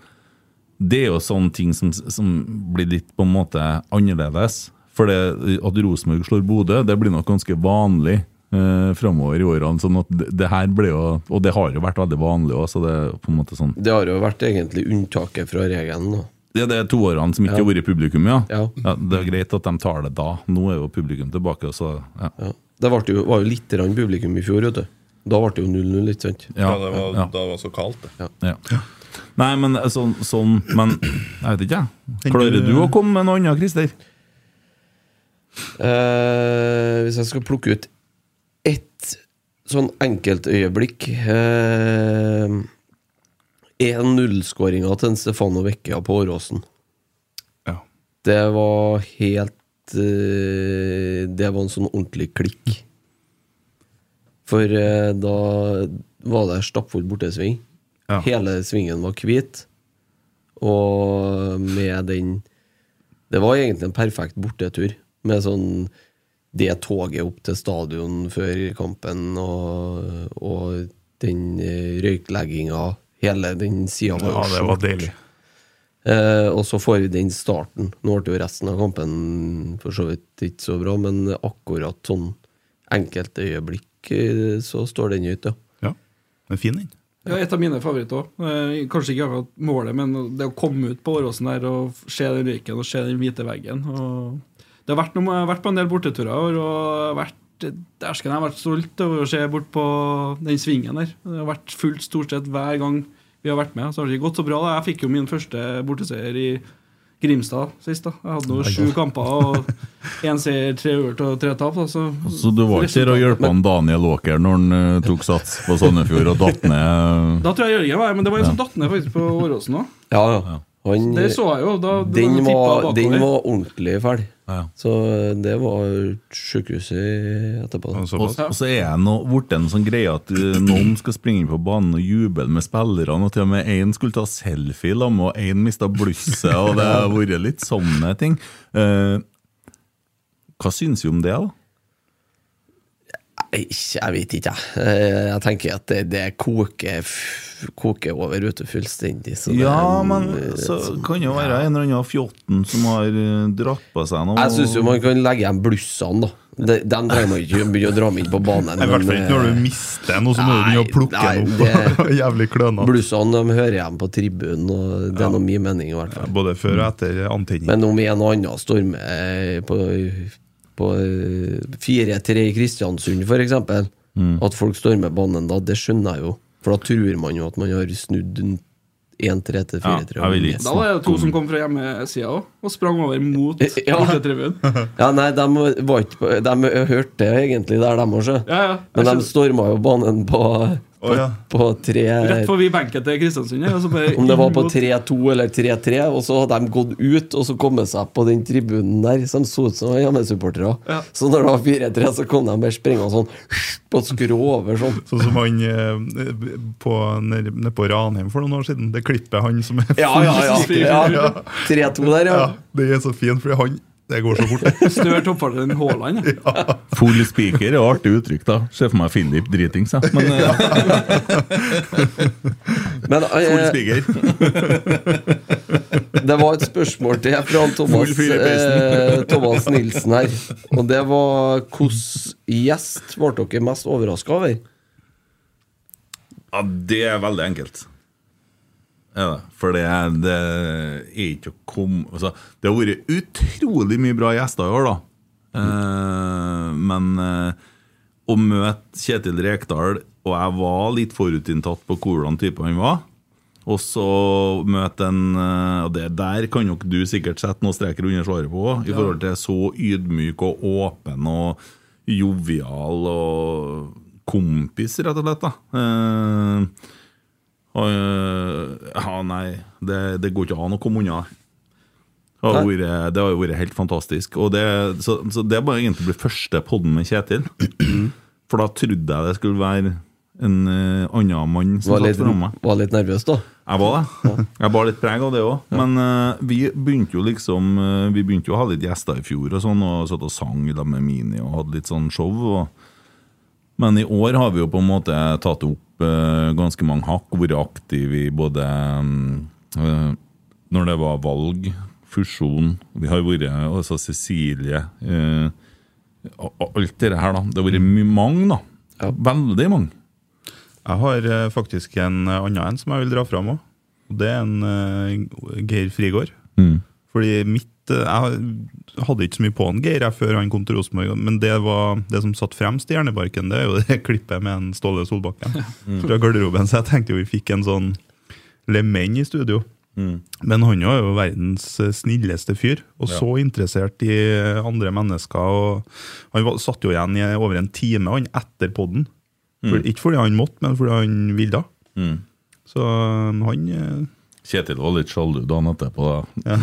C: det er jo sånne ting som, som blir litt på en måte annerledes. For det, at Rosenborg slår Bodø, det blir nok ganske vanlig eh, framover i årene. sånn at det, det her ble jo, Og det har jo vært veldig vanlig òg, så det er på en måte sånn
D: Det har jo vært egentlig unntaket fra regelen. Da.
C: Det, det er to årene som ikke har vært publikum, ja.
D: Ja.
C: Det er greit at de tar det da. Nå er jo publikum tilbake, og så ja.
D: Ja. Det ble jo, var jo litt grann publikum i fjor, vet du. Da ble det jo 0-0, ikke sant?
C: Ja,
F: det var,
C: ja.
F: Da det var så kaldt, det.
C: Ja. Nei, men sånn, sånn Men jeg vet ikke, jeg.
F: Tenker
C: Klarer
F: du-
C: du å komme med noe annet, Christer?
D: Eh, hvis jeg skal plukke ut ett sånn enkeltøyeblikk eh, 1-0-skåringa til Stefano Vecchia på Åråsen.
F: Ja.
D: Det var helt eh, Det var en sånn ordentlig klikk. For eh, da var det stappfull bortesving.
F: Ja.
D: Hele svingen var hvit. Og med den Det var egentlig en perfekt bortetur. Med sånn det toget opp til stadion før kampen og, og den eh, røyklegginga. Hele den sida var
F: Ja,
D: jo
F: det var deilig.
D: Eh, og så får vi den starten. Nå ble jo resten av kampen for så vidt ikke så bra, men akkurat sånn enkelte øyeblikk eh, så står den ut, ja.
F: Ja. Men fin den.
E: Ja, et av mine favoritter òg. Eh, kanskje ikke akkurat målet, men det å komme ut på Åråsen der og se den røyken og se den hvite veggen. Og det har vært noe, jeg har vært på en del borteturer i år, og vært Dæsken, jeg har vært stolt over å se bort på den svingen der. Det har vært fullt stort sett hver gang vi har vært med. Så har det ikke gått så bra. da Jeg fikk jo min første borteseier i Grimstad sist. da Jeg hadde nå sju kamper og én seier, tre øvert og tre tap. da, Så,
C: Så du var ikke der og hjelpe han Daniel Åker når han eh, tok sats på Sandefjord og datt ned?
E: Da tror jeg Jørgen var her, men det var en som datt ned faktisk på Åråsen òg.
D: Ja, ja. Han,
E: Det så jeg jo. Da, da
D: den,
E: tippa
D: var,
E: bakover.
D: den var ordentlig fæl.
C: Ja.
D: Så eh, det var sjukehuset etterpå.
F: Og
D: da.
C: Og,
F: såpass.
C: og så er det noe- blitt en sånn greie at eh, noen skal springe inn på banen og juble med spillerne, og til og med én skulle ta selfie sammen, og én mista blusset, og det har vært litt sånne ting. Eh, hva syns vi om det, da?
D: Nei, jeg vet ikke, jeg. Eh, Jeg tenker at det, det koker, f- koker over ute fullstendig. Så det, eh,
C: Ja, men eh, så kan jo være en eller annen fjotten som har eh, dratt på seg noe.
D: Jeg syns jo man kan legge igjen blussene, da. De, dem trenger man ikke begynne å dra med inn på banen.
F: I hvert fall ikke
D: eh,
F: når du mister noe, så må du begynne å
D: Nei,
F: plukke
D: nei,
F: den
D: det-
F: opp. Jævlig klønete.
D: Blussene de hører hjemme på tribunen, og det er nå min mening. i hvert fall
F: Både før og etter antenning.
D: Men om en og annen stormer eh, på, på eh, 4-3 i Kristiansund, f.eks.,
F: Mm.
D: at folk stormer banen da, det skjønner jeg jo. For da tror man jo at man har snudd en 1-3 til
F: Ja,
D: 4-3.
F: jeg vil ikke
E: Da var det to som kom fra hjemmesida òg, og sprang over mot
D: Ja. Eh,
E: bortetribunen.
D: Ja, nei, de, var ikke, på- de hørte det egentlig der, de òg, sjø.
E: Ja, ja. Jeg
D: Men de
E: skjønner.
D: storma jo banen på, på,
F: Å, ja.
D: på tre
E: Rett forbi benken til Kristiansund. ja, og så bare
D: Om det var på
E: imot.
D: 3-2 eller 3-3, og så hadde de gått ut og så kommet seg på den tribunen der, så de så ut som hjemmesupportere.
E: Ja.
D: Så når det var 4-3, så kom de bare springende sånn på skrå over sånn.
F: Sånn som han eh, på, nede nede på Ranheim for noen år siden. Det klippet han som er
D: Ja, ja, ja. ja. 3-2 der, ja.
F: ja, Det er så fint, fordi han Det går så fort.
E: Snør toppfarten enn Haaland. ja.
C: Full speaker er et artig uttrykk, da. Ser for meg Philip dritings, jeg. Men eh,
D: Men
C: full
D: eh,
C: speaker.
D: det var et spørsmål til fra han Thomas,
C: Full fyr i
D: eh, Thomas Nilsen her. Og det var hvilken gjest ble dere mest overraska over?
C: Ja, det er veldig enkelt. Ja, da. for det, er- det er ikke å komme altså, Det har vært utrolig mye bra gjester i år, da. Eh, men eh, å møte Kjetil Rekdal, og jeg var litt forutinntatt på hvordan type han var og så møte en eh, Og det der kan nok du sikkert sette noen streker under svaret på også, i forhold til så ydmyk og åpen og jovial og kompis, rett og slett. da Eh, og, eh, Ja, nei, det, det går ikke an å komme unna. Det har
D: Nei.
C: vært- det har jo vært helt fantastisk. Og det, så, så det må egentlig bli første podden med Kjetil.
D: Mm.
C: For da trodde jeg det skulle være en eh, annen mann som
D: Var
C: satt
D: litt,
C: foran meg.
D: var litt nervøs, da.
C: Jeg var det. Jeg bar litt preg av det òg. Men eh, vi begynte jo liksom eh, Vi begynte jo å ha litt gjester i fjor og sånn, og satt og sang i lag med Mini og hadde litt sånn show. Og... Men i år har vi jo på en måte tatt opp eh, ganske mange hakk, og vært aktive i både eh, eh, Når det var valg, fusjon Vi har vært altså Cecilie eh, og- og Alt det her, da. Det har vært mye mange, da. Veldig mange.
F: Jeg har eh, faktisk en eh, annen en som jeg vil dra fram òg. Og det er en eh, Geir Frigård. Fordi mitt eh, Jeg hadde ikke så mye på han Geir jeg, før han kom til Rosenborg, men det, var, det som satt fremst i Hjernebarken, det er jo det klippet med en Ståle Solbakken fra garderoben. Så jeg tenkte jo vi fikk en sånn lemenn i studio. Men han var jo verdens eh, snilleste fyr, og så interessert i eh, andre mennesker. Og han var, satt jo igjen i over en time han etter podden. For,
C: Mm.
F: Ikke fordi han måtte, men fordi han ville. Så um, han eh,
C: Kjetil var litt sjalu dagen etterpå. Da.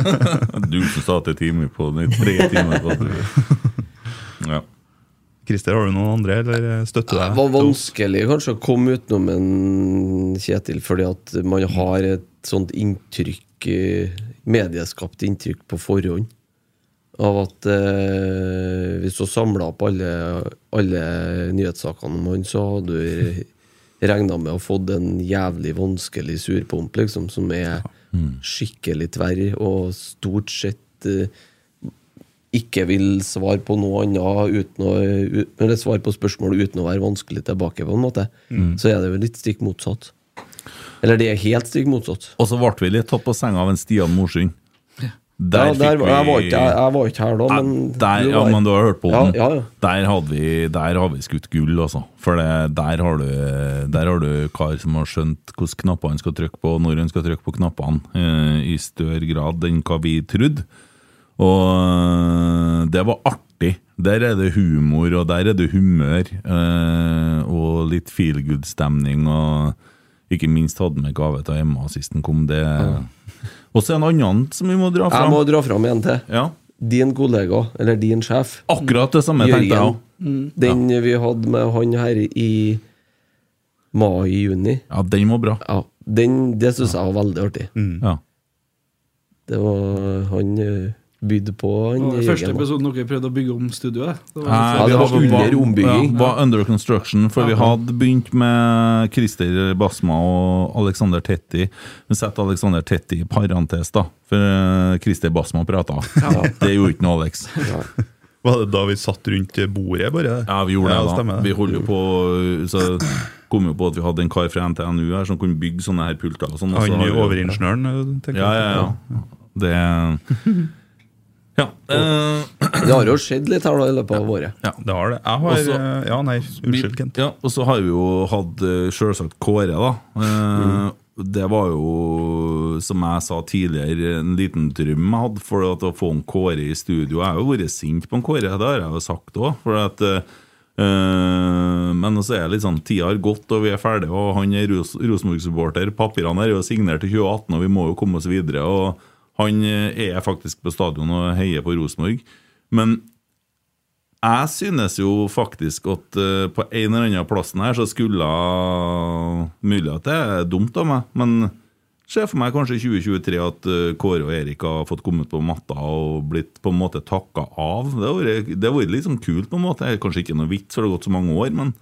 C: du som satt i time på den i tre timer. På. Ja.
F: Christer, har du noen andre, eller eh, støtter
D: Det
F: deg?
D: var vanskelig kanskje å komme utenom en Kjetil, fordi at man har et sånt inntrykk eh, Medieskapt inntrykk på forhånd av at eh, hvis du samla opp alle, alle nyhetssakene om han, så hadde du regna med å fått en jævlig vanskelig surpomp, liksom, som er
F: Mm.
D: skikkelig tverr og stort sett eh, ikke vil svare på noe annet uten å, ut- eller svare på spørsmål uten å være vanskelig tilbake, på en måte,
C: Mm.
D: så er det jo litt stikk motsatt. Eller det er helt stikk motsatt.
C: Og så ble vi litt tatt på senga av en Stian Morsund. Der
D: ja, der, var- jeg, var ikke, jeg, jeg var ikke her da,
C: Ja,
D: men
C: der, ja, men du har hørt på
D: Ja,
C: den.
D: ja, ja.
C: Der, hadde vi, der har vi skutt gull, altså. For det, der, har du, der har du kar som har skjønt hvilke knapper han skal trykke på, og når han skal trykke på knappene, eh, i større grad enn hva vi trodde. Og eh, det var artig. Der er det humor, og der er det humør. Eh, og litt feel good-stemning, og ikke minst hadde med gave til Emma sist den kom. Det. Og så er det en annen som vi må dra
D: jeg
C: fram.
D: må dra fram en til.
C: Ja.
D: Din kollega, eller din sjef,
C: Akkurat det samme tenkte jeg
D: Jørgen.
C: òg.
E: Mm.
D: Den vi hadde med han her i mai-juni,
C: Ja, den var bra.
D: ja, den, det syns jeg var veldig artig.
C: Ja.
D: Det var Han eh, bydde på han
E: Det var den første
D: Jørgen, da.
E: episoden dere prøvde å bygge om studioet. Det var
C: Eh,
D: Ah, det
C: vi
D: var
C: hadde-
D: under ombygging.
C: Ja, var under construction, for vi hadde begynt med Christer Basma og Alexander Tetti. Vi setter Alexander Tetti i parentes, da, for eh, Christer Basma prata. Det gjorde ikke noe Alex.
F: Var det da vi satt rundt bordet, bare?
C: Ja, vi gjorde det, da.
F: stemmer
C: Vi
F: det.
C: holder jo på Så kom jo på at vi hadde en kar fra NTNU her som kunne bygge sånne her pulter og sånn. og så
F: Han
C: har vi-
F: overingeniøren, eh, tenker
C: Ja,
F: jeg.
C: ja, ja. Det Ja. eh,
D: Det har jo skjedd litt her da i løpet av året.
F: Det har det. Jeg har
C: Også-
F: eh, Ja, nei,
C: Vi-
F: unnskyld, Kent.
C: Ja, og så har vi jo hatt eh, selvsagt Kåre, da. Eh, det var jo, som jeg sa tidligere, en liten drøm jeg hadde for at å få en Kåre i studio. Jeg har jo vært sint på en Kåre, det har jeg jo sagt òg. eh, men så er det litt sånn tida har gått, og vi er ferdige, og han er Ros Rosenborg-supporter. Papirene er jo signert til 2018, og vi må jo komme oss videre. Og han eh, er faktisk på stadion og heier på Rosenborg. Men jeg synes jo faktisk at eh, på en eller annen plassen her så skulle Mulig at det er dumt av meg, men ser for meg kanskje i 2023 at eh, Kåre og Erik har fått kommet på matta og blitt på en måte takka av. Det har vært- det har vært litt sånn kult, på en måte. Det er Kanskje ikke noe vits, for det har gått så mange år, men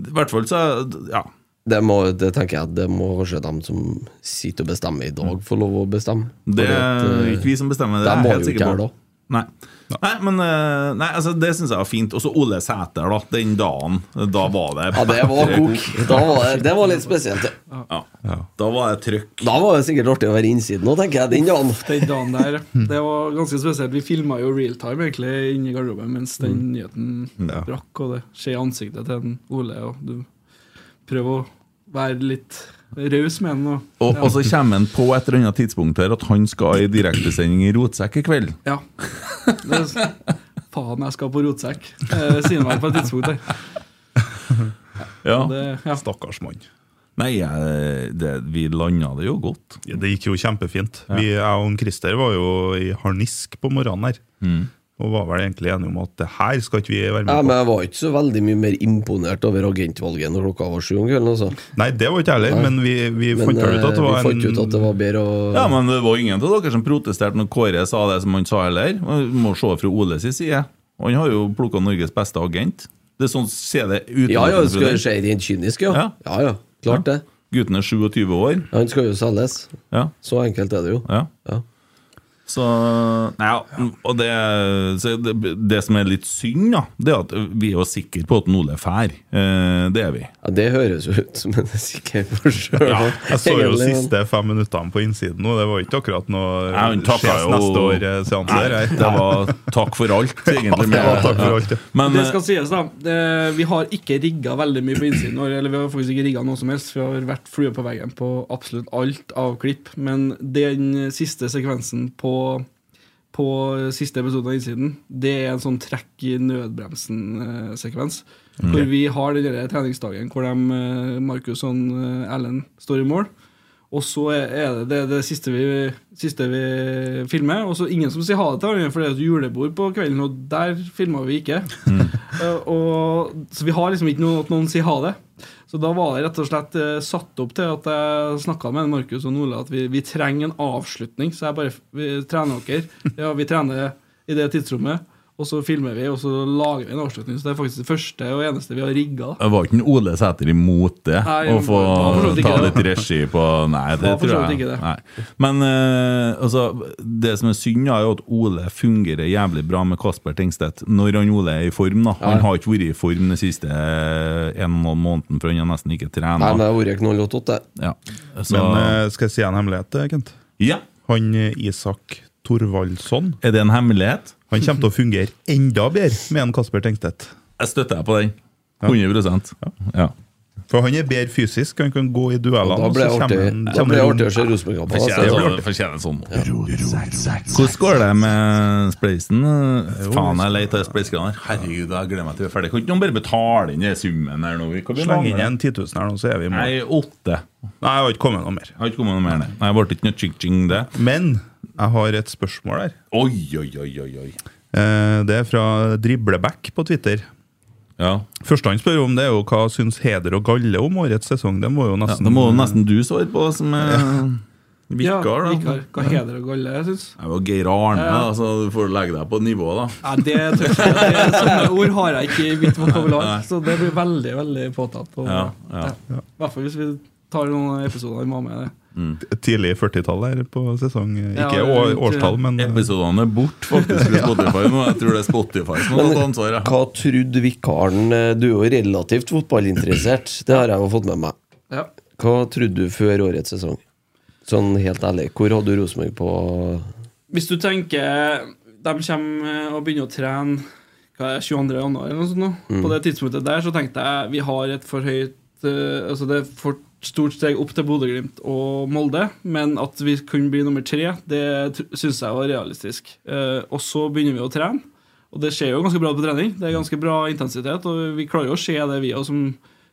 C: i hvert fall så er- Ja.
D: Det, må, det tenker jeg at det må kanskje de som sitter og bestemmer i dag, få lov å bestemme.
C: Det
D: Fordi at,
C: er
D: eh,
C: ikke vi som bestemmer det.
D: de
C: er jeg
D: må
C: helt
D: jo
C: sikker
D: ikke
C: på.
D: her da.
C: Nei. Nei, men eh, nei, altså, det syns jeg var fint. Og så Ole Sæter, da. Den dagen. Da var det
D: Ja, det var kok. Da var det, det var litt spesielt. det.
C: Ja. Da var det trykk.
D: Da var det sikkert artig å være innsiden òg, tenker jeg. Den dagen.
E: Den dagen der,
D: Hmm.
E: det var ganske spesielt. Vi filma jo realtime egentlig inni garderoben mens den
D: Hmm.
E: nyheten
F: Ja.
E: brakk, og det skjer i ansiktet til en Ole, og du prøver å være litt raus med den. Og,
C: Og, og så kommer han på et eller annet tidspunkt her at han skal i direktesending i Rotsekk i kveld.
E: ja. Det, faen, jeg skal på rotsekk, eh, sier han meg på et tidspunkt der.
C: Ja.
E: Det, ja.
F: Stakkars mann.
C: Nei, jeg- det, vi landa det jo godt.
F: Ja, det gikk jo kjempefint. Vi, jeg og han Christer var jo i harnisk på morgenen her.
C: Mm.
F: Og var vel egentlig enige om at det her skal ikke vi være
D: Ja,
F: med
D: men
F: på.
D: jeg var ikke så veldig mye mer imponert over agentvalget når klokka var sju om kvelden, altså.
F: Nei, det var ikke jeg heller, men vi, vi
D: Men
F: fant vel ut at
D: eh,
F: det
D: vi
F: var
D: fant ut at det
F: en
D: var bedre å
C: Ja, Men det var ingen av dere som protesterte når Kåre sa det som han sa heller. Vi må se fra Ole sin side. Han har jo plukka Norges beste agent. Det er sånn ser det ut.
D: Ja ja, det skal jo skje rent kynisk, ja.
C: Ja.
D: Ja ja, klart det.
C: Gutten er 27 år.
D: Han skal jo selges.
C: Ja,
D: Så enkelt er det jo.
C: ja.
D: Ja.
C: Så, nei, ja. Og det, så det, det som er litt synd, da, det er at vi er jo sikre på at Ole fær. Eh, det er vi.
D: Ja, Det høres jo ut som en sikker for sjøl.
F: ja, Jeg så jo siste fem minuttene på innsiden, og det var ikke akkurat noe
C: Ja, hun takket
F: skjes
C: jo-
F: neste eh, år-seanse
C: Nei,
F: der.
C: det var takk for alt, egentlig.
F: det var takk for alt, ja.
C: Men, eh,
E: Det skal sies, da. Det, vi har ikke rigga veldig mye på innsiden. vår, Eller vi har faktisk ikke rigga noe som helst. Vi har vært flue på veggen på absolutt alt av klipp. Men den siste sekvensen på, på siste episode av Innsiden, det er en sånn trekk i nødbremsen-sekvens. Hvor vi har den der treningsdagen hvor de, eh, Markus og eh, Erlend står i mål. Og så er er det det, det siste, vi, siste vi filmer. Og så ingen som sier ha det til hverandre, for det er et julebord på kvelden, og der filma vi ikke. Eh, og, så vi har liksom ikke noe at noen sier ha det. Så da var det rett og slett eh, satt opp til at jeg snakka med Markus og Ole at vi, vi trenger en avslutning. Så jeg bare vi trener dere. Ja, vi trener i det tidsrommet, og så filmer vi, og så lager vi en avslutning. Så det er faktisk det første og eneste vi har rigga.
C: det eh, var ikke en Ole Sæter imot det?
E: Nei,
C: å få
E: han var for så vidt
C: ta
E: ikke det.
C: litt regi på Nei, det
E: Han var for
C: tror
E: så vidt
C: jeg
E: ikke det.
C: Nei. Men eh, altså, det som er synd, da, er jo at Ole fungerer jævlig bra med Kasper Tengstedt når han Ole er i form. da Han har ikke vært i form de siste eh, en og en halv måneden, for han har nesten ikke trent.
D: Nei, men det har vært knallhått, det.
C: Ja. Så,
F: Men eh, skal jeg si en hemmelighet, eh, Kent?
C: ja.
F: Han eh, Isak Thorvaldsson
C: Er det en hemmelighet?
F: Han kommer til å fungere enda bedre med en Kasper Tengstedt.
C: Jeg støtter deg på den. 100 ja.
F: For han er bedre fysisk, han kan gå i duellene.
D: Da ble det
F: og så
D: artig,
F: kommer han-
D: da ble det
F: kommer
D: artig å
F: han-
D: se Rosenborg-kampen.
C: Fortjener
D: Altså.
C: sånn- Fortjener sånn. Hvordan går det med spleisen? Faen, jeg leter etter spleisekraner. Herregud, jeg gleder meg til vi er ferdig. Kan ikke noen bare betale inn den summen her nå? Vi kan
F: Sleng inn
C: bemanne
F: en 10 000 her nå, så er vi i mål. Nei,
C: Nei, åtte.
F: jeg har ikke kommet noe mer.
C: Jeg har ikke kommet noe mer ned. Nei, jeg ble ikke noe ching-ching det.
F: Men jeg har et spørsmål der.
C: Oi, oi, oi, oi, oi.
F: Eh, Det er fra Dribleback på Twitter.
C: Ja.
F: Første han spør om, det er jo hva syns Heder og Galle om årets sesong. Det må jo
C: ja
F: nesten
C: det må jo nesten du svare på, som er vikar, da.
E: Vikar. Hva heder og galle, jeg syns.
C: Det var Geir Arne,
E: Ja.
C: da, så du får legge deg på nivå, da.
E: Nei, det tør jeg ikke. Det- Sånne ord har jeg ikke i mitt vokabular, så det blir veldig veldig påtatt. Og,
C: Ja, ja.
E: I hvert fall hvis vi tar noen episoder vi må ha med det.
F: tidlig 40-tallet her på sesong.
E: Ja, det
F: Ikke
E: er
F: år,
E: rundt,
F: årstall, men
C: Episodene er borte, faktisk, i Spotify nå. Jeg tror det er Spotify som har tatt ansvaret.
D: altså, Hva trodde vikaren eh, Du er jo relativt fotballinteressert, det har jeg jo fått med meg.
E: Ja.
D: Hva trodde du før årets sesong? Sånn helt ærlig, hvor hadde du Rosenborg på
E: Hvis du tenker de kommer eh, og begynner å trene hva er det, 22. januar eller noe sånt nå, på det tidspunktet der, så tenkte jeg vi har et for høyt eh, Altså det er for stort steg opp til Bodø-Glimt og Molde, men at vi kunne bli nummer tre, det tr- syns jeg var realistisk. Eh, og så begynner vi å trene, og det skjer jo ganske bra på trening. Det er ganske bra intensitet, og vi klarer jo å se det, vi òg, som,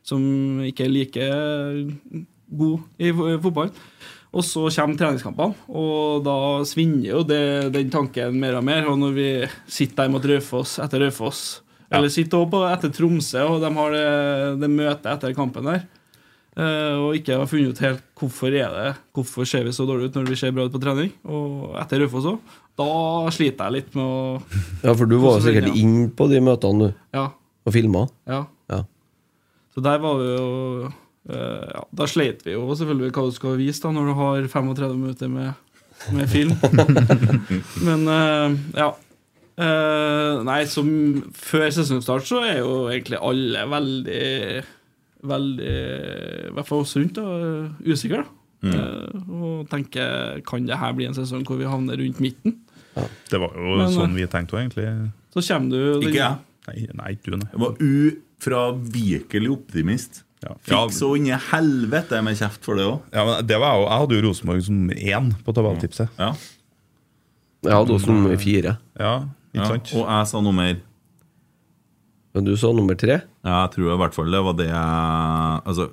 E: som ikke er like eh, god i fo- i fotball. Og så kommer treningskampene, og da svinner jo det, den tanken mer og mer. Og når vi sitter der mot Raufoss etter Raufoss, eller sitter også på etter Tromsø, og de har det, det møtet etter kampen der, eh, og ikke har funnet ut helt hvorfor er det Hvorfor ser vi så dårlig ut når vi ser bra ut på trening, og etter Raufoss òg, da sliter jeg litt med å
D: Ja, for du var jo
E: Hvordan vil
D: sikkert
E: jeg?
D: inn på de møtene, du,
E: Ja.
D: og filma.
E: ja.
D: Ja.
E: Så der var vi jo eh, ja, Da sleit vi jo selvfølgelig hva du skal vise da når du har 35 minutter med, med film. Men eh, ja. Eh, nei, som før sesongstart så er jo egentlig alle veldig Veldig I hvert fall oss rundt da, usikre. da. Eh, og tenker kan det her bli en sesong hvor vi havner rundt midten?
F: Det var jo
E: Men,
C: eh,
F: sånn vi tenkte òg, egentlig.
E: Så kommer du den-
C: Ikke jeg.
F: Nei, nei, du, nei.
C: Jeg var ufravikelig optimist.
F: Ja.
C: Fikk så inn i helvete med kjeft for det òg.
F: Ja, men det var jo, Jeg hadde jo Rosenborg som én på tabelltipset.
C: Ja.
D: Jeg hadde også nummer fire.
F: Ja,
C: Ja.
F: ikke sant?
C: Og jeg sa noe mer.
D: Men du sa nummer tre.
C: Ja, jeg tror i hvert fall det var det jeg altså,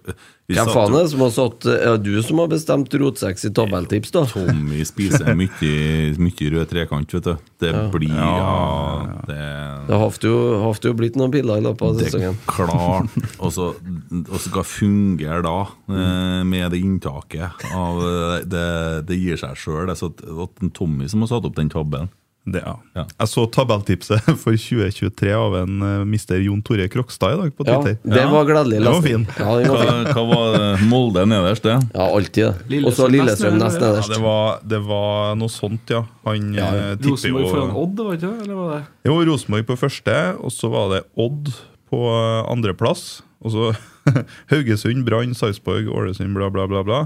C: vi
D: Hvem
C: satt
D: faen
C: jo-
D: er det som har satt Er det du som har bestemt rotsekk i tabelltips, da?
C: Tommy spiser mye, mye rød trekant, vet du. Det blir ja, det,
D: Det har jo, har jo blitt noen piller i løpet av
C: det er
D: sesongen.
C: klart. Og så og så skal fungere da, eh, med det inntaket av eh, Det, det gir seg sjøl. Det er så at- at en Tommy som har satt opp den tabben.
F: Det, ja.
C: Ja.
F: Jeg så tabelltipset for 2023 av en eh, mister Jon Tore Krokstad i dag på
D: Ja,
F: Twitter.
D: det var gledelig.
F: Den var
D: lesning.
F: fin.
D: Ja, den var fin.
C: Hva, hva var det? Molde nederst, det?
D: Ja, alltid det. Og så
E: Lillestrøm
D: Lillestrøm
E: nesten,
D: nest
E: eller?
F: Ja,
D: nederst.
F: det var, det var noe sånt, ja. Han eh, tipper
E: Rosenborg foran
F: jo
E: Odd, var det ikke det? Eller var det?
F: Det var Rosenborg på første, og så var det Odd på eh, andreplass. Og så Haugesund, Brann, Sarpsborg, Ålesund, bla, bla, bla. bla.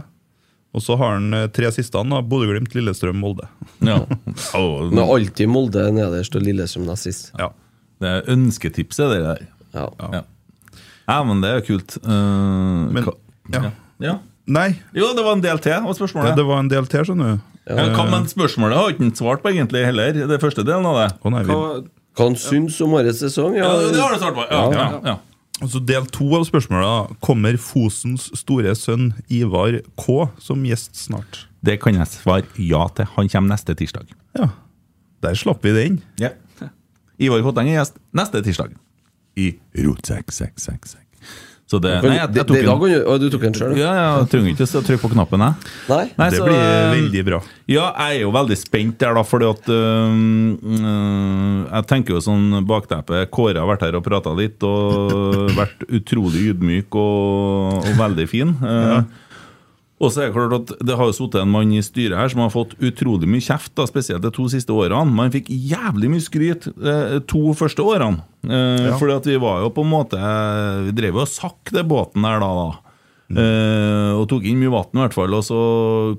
F: Og så har han eh, tre siste, han, da. Bodø-Glimt, Lillestrøm, Molde.
C: Ja.
D: Men
C: Å,
D: alltid Molde nederst og Lillestrøm nest sist.
F: Ja.
C: Det er ønsketipset, det der.
D: Ja.
C: Ja, ja men det er jo kult. Eh,
F: Men,
C: hva-
F: ja.
C: ja.
F: Nei,
C: Jo, det var en del til, var spørsmålet.
F: det, det var en del til, skjønner du.
C: Ja, hva, men spørsmålet har ikke han svart på egentlig heller, det første delen av det.
F: Å, nei, vi,
E: Hva,
D: Hva han syns om årets sesong? Ja,
C: du svart på. Ja, ja, ja.
F: altså del to av spørsmålet da. Kommer Fosens store sønn Ivar K som gjest snart?
C: Det kan jeg svare ja til. Han kommer neste tirsdag.
F: Ja, der slapp vi det inn.
C: Ja. Ivar Kotteng er gjest neste tirsdag. I Rotsekk, sekk, sekk, sekk. Så det Nei, jeg, jeg
D: det, det, da
C: tok
D: kan du, å, du tok en
C: en
D: sjøl?
C: ja, ja, jeg trenger ikke å trykke på knappen, jeg.
D: Nei?
C: Nei,
F: Det
C: så,
F: blir
C: eh,
F: veldig bra.
C: Ja, jeg er jo veldig spent der, da, fordi at øhm, øh, Jeg tenker jo sånn bakteppe Kåre har vært her og prata litt, og vært utrolig ydmyk og, og veldig fin. Eh, Og så er det klart at det har jo sittet en mann i styret her som har fått utrolig mye kjeft, da, spesielt de to siste årene. Man fikk jævlig mye skryt eh, to første årene. Eh, Fordi at vi var jo på en måte eh, Vi drev jo og sakk det båten der da. da. Eh, og tok inn mye vann, i hvert fall. Og så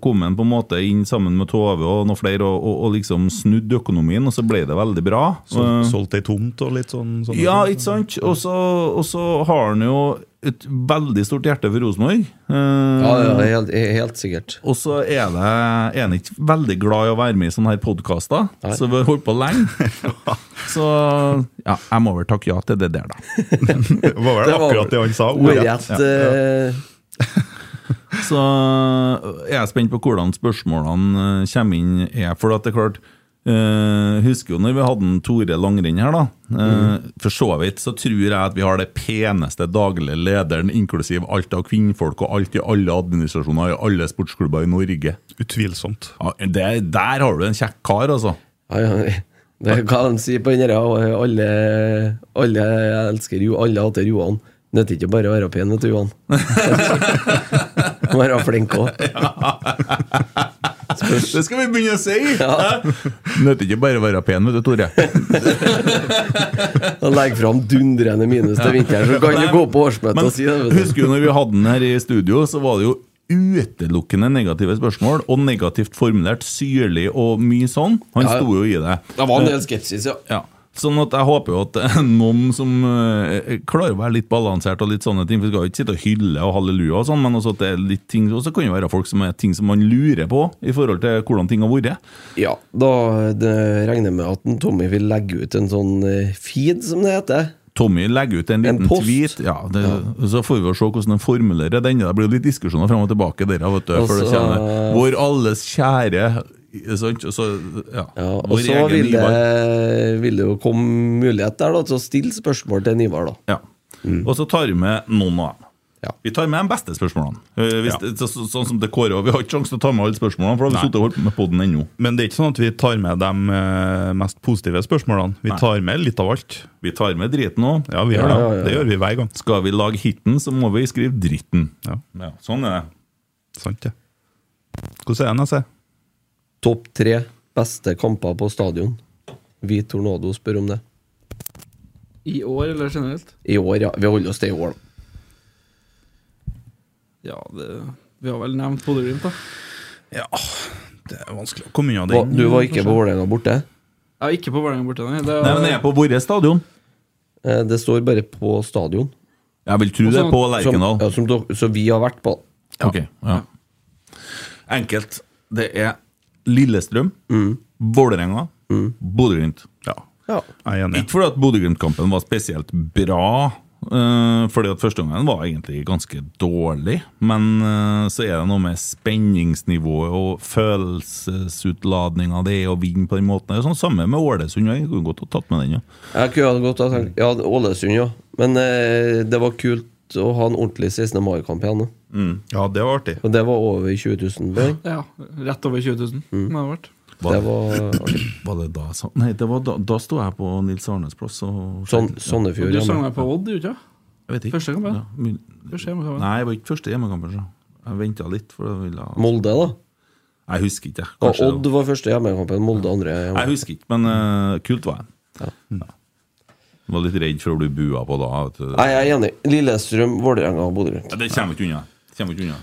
C: kom han på en måte inn sammen med Tove og noen flere og, og, og liksom snudde økonomien, og så ble det veldig bra.
F: Sol,
C: Eh,
F: solgt ei tomt og litt sånn. sånn
C: ja, ikke sant? Og så, og så har han jo et veldig stort hjerte for Rosenborg. Eh,
D: Ja, ja, helt, helt sikkert.
C: og så er det- er han ikke veldig glad i å være med i sånne her podkaster, så vi har holdt på lenge. Så ja, jeg må vel takke ja til det der, da.
F: Det var vel
D: Det var-
F: akkurat det han sa.
D: Ordrett. eh,
C: Så jeg er spent på hvordan spørsmålene eh, kommer inn. Er, for at det er klart eh, Husker jo når vi hadde en Tore Langrenn her, da. Eh, For så vidt så tror jeg at vi har det peneste daglige lederen, inklusiv alt av kvinnfolk og alt i alle administrasjoner i alle sportsklubber i Norge.
F: Utvilsomt.
C: Ja, det, der har du en kjekk kar, altså.
D: Ja, ja. Det er hva de sier på den der ja, alle, alle elsker jo, alle hater Johan. Nytter ikke bare å være pen, vet du, Johan. Må være flink òg.
C: Det skal vi begynne å si!
D: Ja.
C: Nødt ikke bare å være pen, vet du, Tore.
D: Legg fram dundrende minus til vinteren, så kan du gå på årsmøtet
C: Men
D: og si det. Vet du.
C: husker du når vi hadde den her i studio, så var det jo utelukkende negative spørsmål, og negativt formulert, syrlig og mye sånn. Han
D: Ja, ja.
C: sto jo i det.
D: Det var en del skepsis, ja.
C: Ja. Sånn at jeg håper jo at det er noen som eh, klarer å være litt balansert og litt sånne ting. For vi skal jo ikke sitte og hylle og halleluja og sånn, men også at det er litt ting Og så kan det jo være folk som er ting som man lurer på i forhold til hvordan ting har vært.
D: Ja, da det regner jeg med at en Tommy vil legge ut en sånn eh, feed, som det heter.
C: Tommy legger ut en
D: En
C: liten
D: post.
C: tweet. Ja, det, Så får vi jo se hvordan han formulerer den. Det blir jo litt diskusjoner frem og tilbake der. Vet du, for
D: Altså-
C: det kjenner Vår alles kjære sant? Så, ja,
D: Ja, og
C: vår
D: så
C: egen
D: vil det,
C: Ivar.
D: vil det jo komme mulighet der da, til å stille spørsmål til en Ivar, da.
C: Ja.
F: Mm.
C: Og så tar vi med noen av dem.
D: Ja.
C: Vi tar med de beste spørsmålene. Eh, hvis, det- så, så, sånn som det Kåre, og Vi har ikke sjanse til å ta med alle spørsmålene, for da har vi
F: Nei.
C: sittet og holdt på med podden ennå.
F: Men det er ikke sånn at vi tar med de eh, mest positive spørsmålene. Vi tar med litt av alt.
C: Vi tar med driten òg.
F: Ja, vi gjør det.
D: Ja, ja, ja.
F: Det gjør vi hver gang.
C: Skal vi lage hiten, så må vi skrive dritten.
F: Ja,
C: Ja, sånn er det.
F: sant det. Hvordan er den, jeg ser?
D: Topp tre beste kamper på stadion. Vi Tornado spør om det.
E: I år, eller generelt?
D: I år, ja. Vi holder oss til i år, da.
E: Ja, det, vi har vel nevnt Bodø-Glimt, da.
F: Ja, det er vanskelig å komme unna
D: Hva,
F: den.
D: du var ikke på Vålerenga borte?
E: Jeg er ikke på Vålerenga borte, nei. Det
C: Nei, men det er på vårt stadion.
D: Eh, Det står bare på stadion.
C: Jeg vil tro det er på
D: Som,
C: Lerkendal.
D: ja, som dere, så vi har vært på.
C: Ja. Ok, ja. Enkelt. Det er Lillestrøm, Vålerenga, Bodø-Glimt.
F: Ja,
D: Ja.
F: jeg er enig.
C: Ikke fordi at Bodø-Glimt-kampen var spesielt bra, eh, fordi at første gangen var egentlig ganske dårlig. Men eh, så er det noe med spenningsnivået og følelsesutladninga det er å vinne på den måten. Det er sånn Samme med Ålesund. Jeg kunne godt ha tatt med den. Ja.
D: Jeg kunne ha godt ha tenkt Ja, Ålesund, ja. Men eh, det var kult å ha en ordentlig 16. mai-kamp igjen. da.
F: Ja, det var artig.
D: Og det var over 20 000 poeng.
E: Ja, rett over 20 000. Det har vært.
C: Var-
D: Det var artig.
C: Var det da sånn? Nei, det var da, da sto jeg på Nils Arnes plass. Og
D: Sånn,
E: Og
D: Sandefjord.
E: du
D: ja,
E: sang
D: men-
E: deg på Odd, gjorde du ikke?
C: Jeg vet ikke.
E: Første kamp, ja.
C: Ja, mul-
E: Første hjemmekamp, ja.
C: Nei, det var ikke første hjemmekampen. så. Jeg venta litt, for da ville jeg
D: Molde, da.
C: Jeg husker ikke. jeg.
D: Og
C: Kanskje det
D: Odd var første hjemmekampen, Molde andre.
C: var-
D: hjemme.
C: Jeg husker ikke, men eh, kult var jeg. Ja. Jeg Var litt redd for å bli bua på da. Vet du.
D: Nei, jeg er enig. Lillestrøm, Vålerenga og Bodø-Glimt.
C: Ja, Det kommer ikke unna. Kommer ikke unna.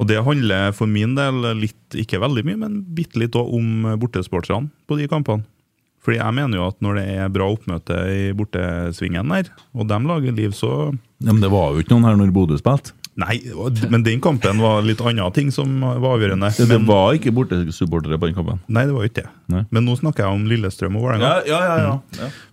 F: Og det handler for min del litt, ikke veldig mye, men bitte litt òg om bortesporterne på de kampene. Fordi jeg mener jo at når det er bra oppmøte i bortesvingen der, og de lager liv, så
C: Ja, men det var jo ikke noen her når Bodø spilte.
F: Nei, og- men den kampen var litt andre ting som var avgjørende.
C: Det, det
F: Men,
C: var ikke bortesupportere på den kampen.
F: nei, det var jo ikke det.
C: Nei.
F: Men nå snakker jeg om Lillestrøm og Vålerenga.
C: ja, ja,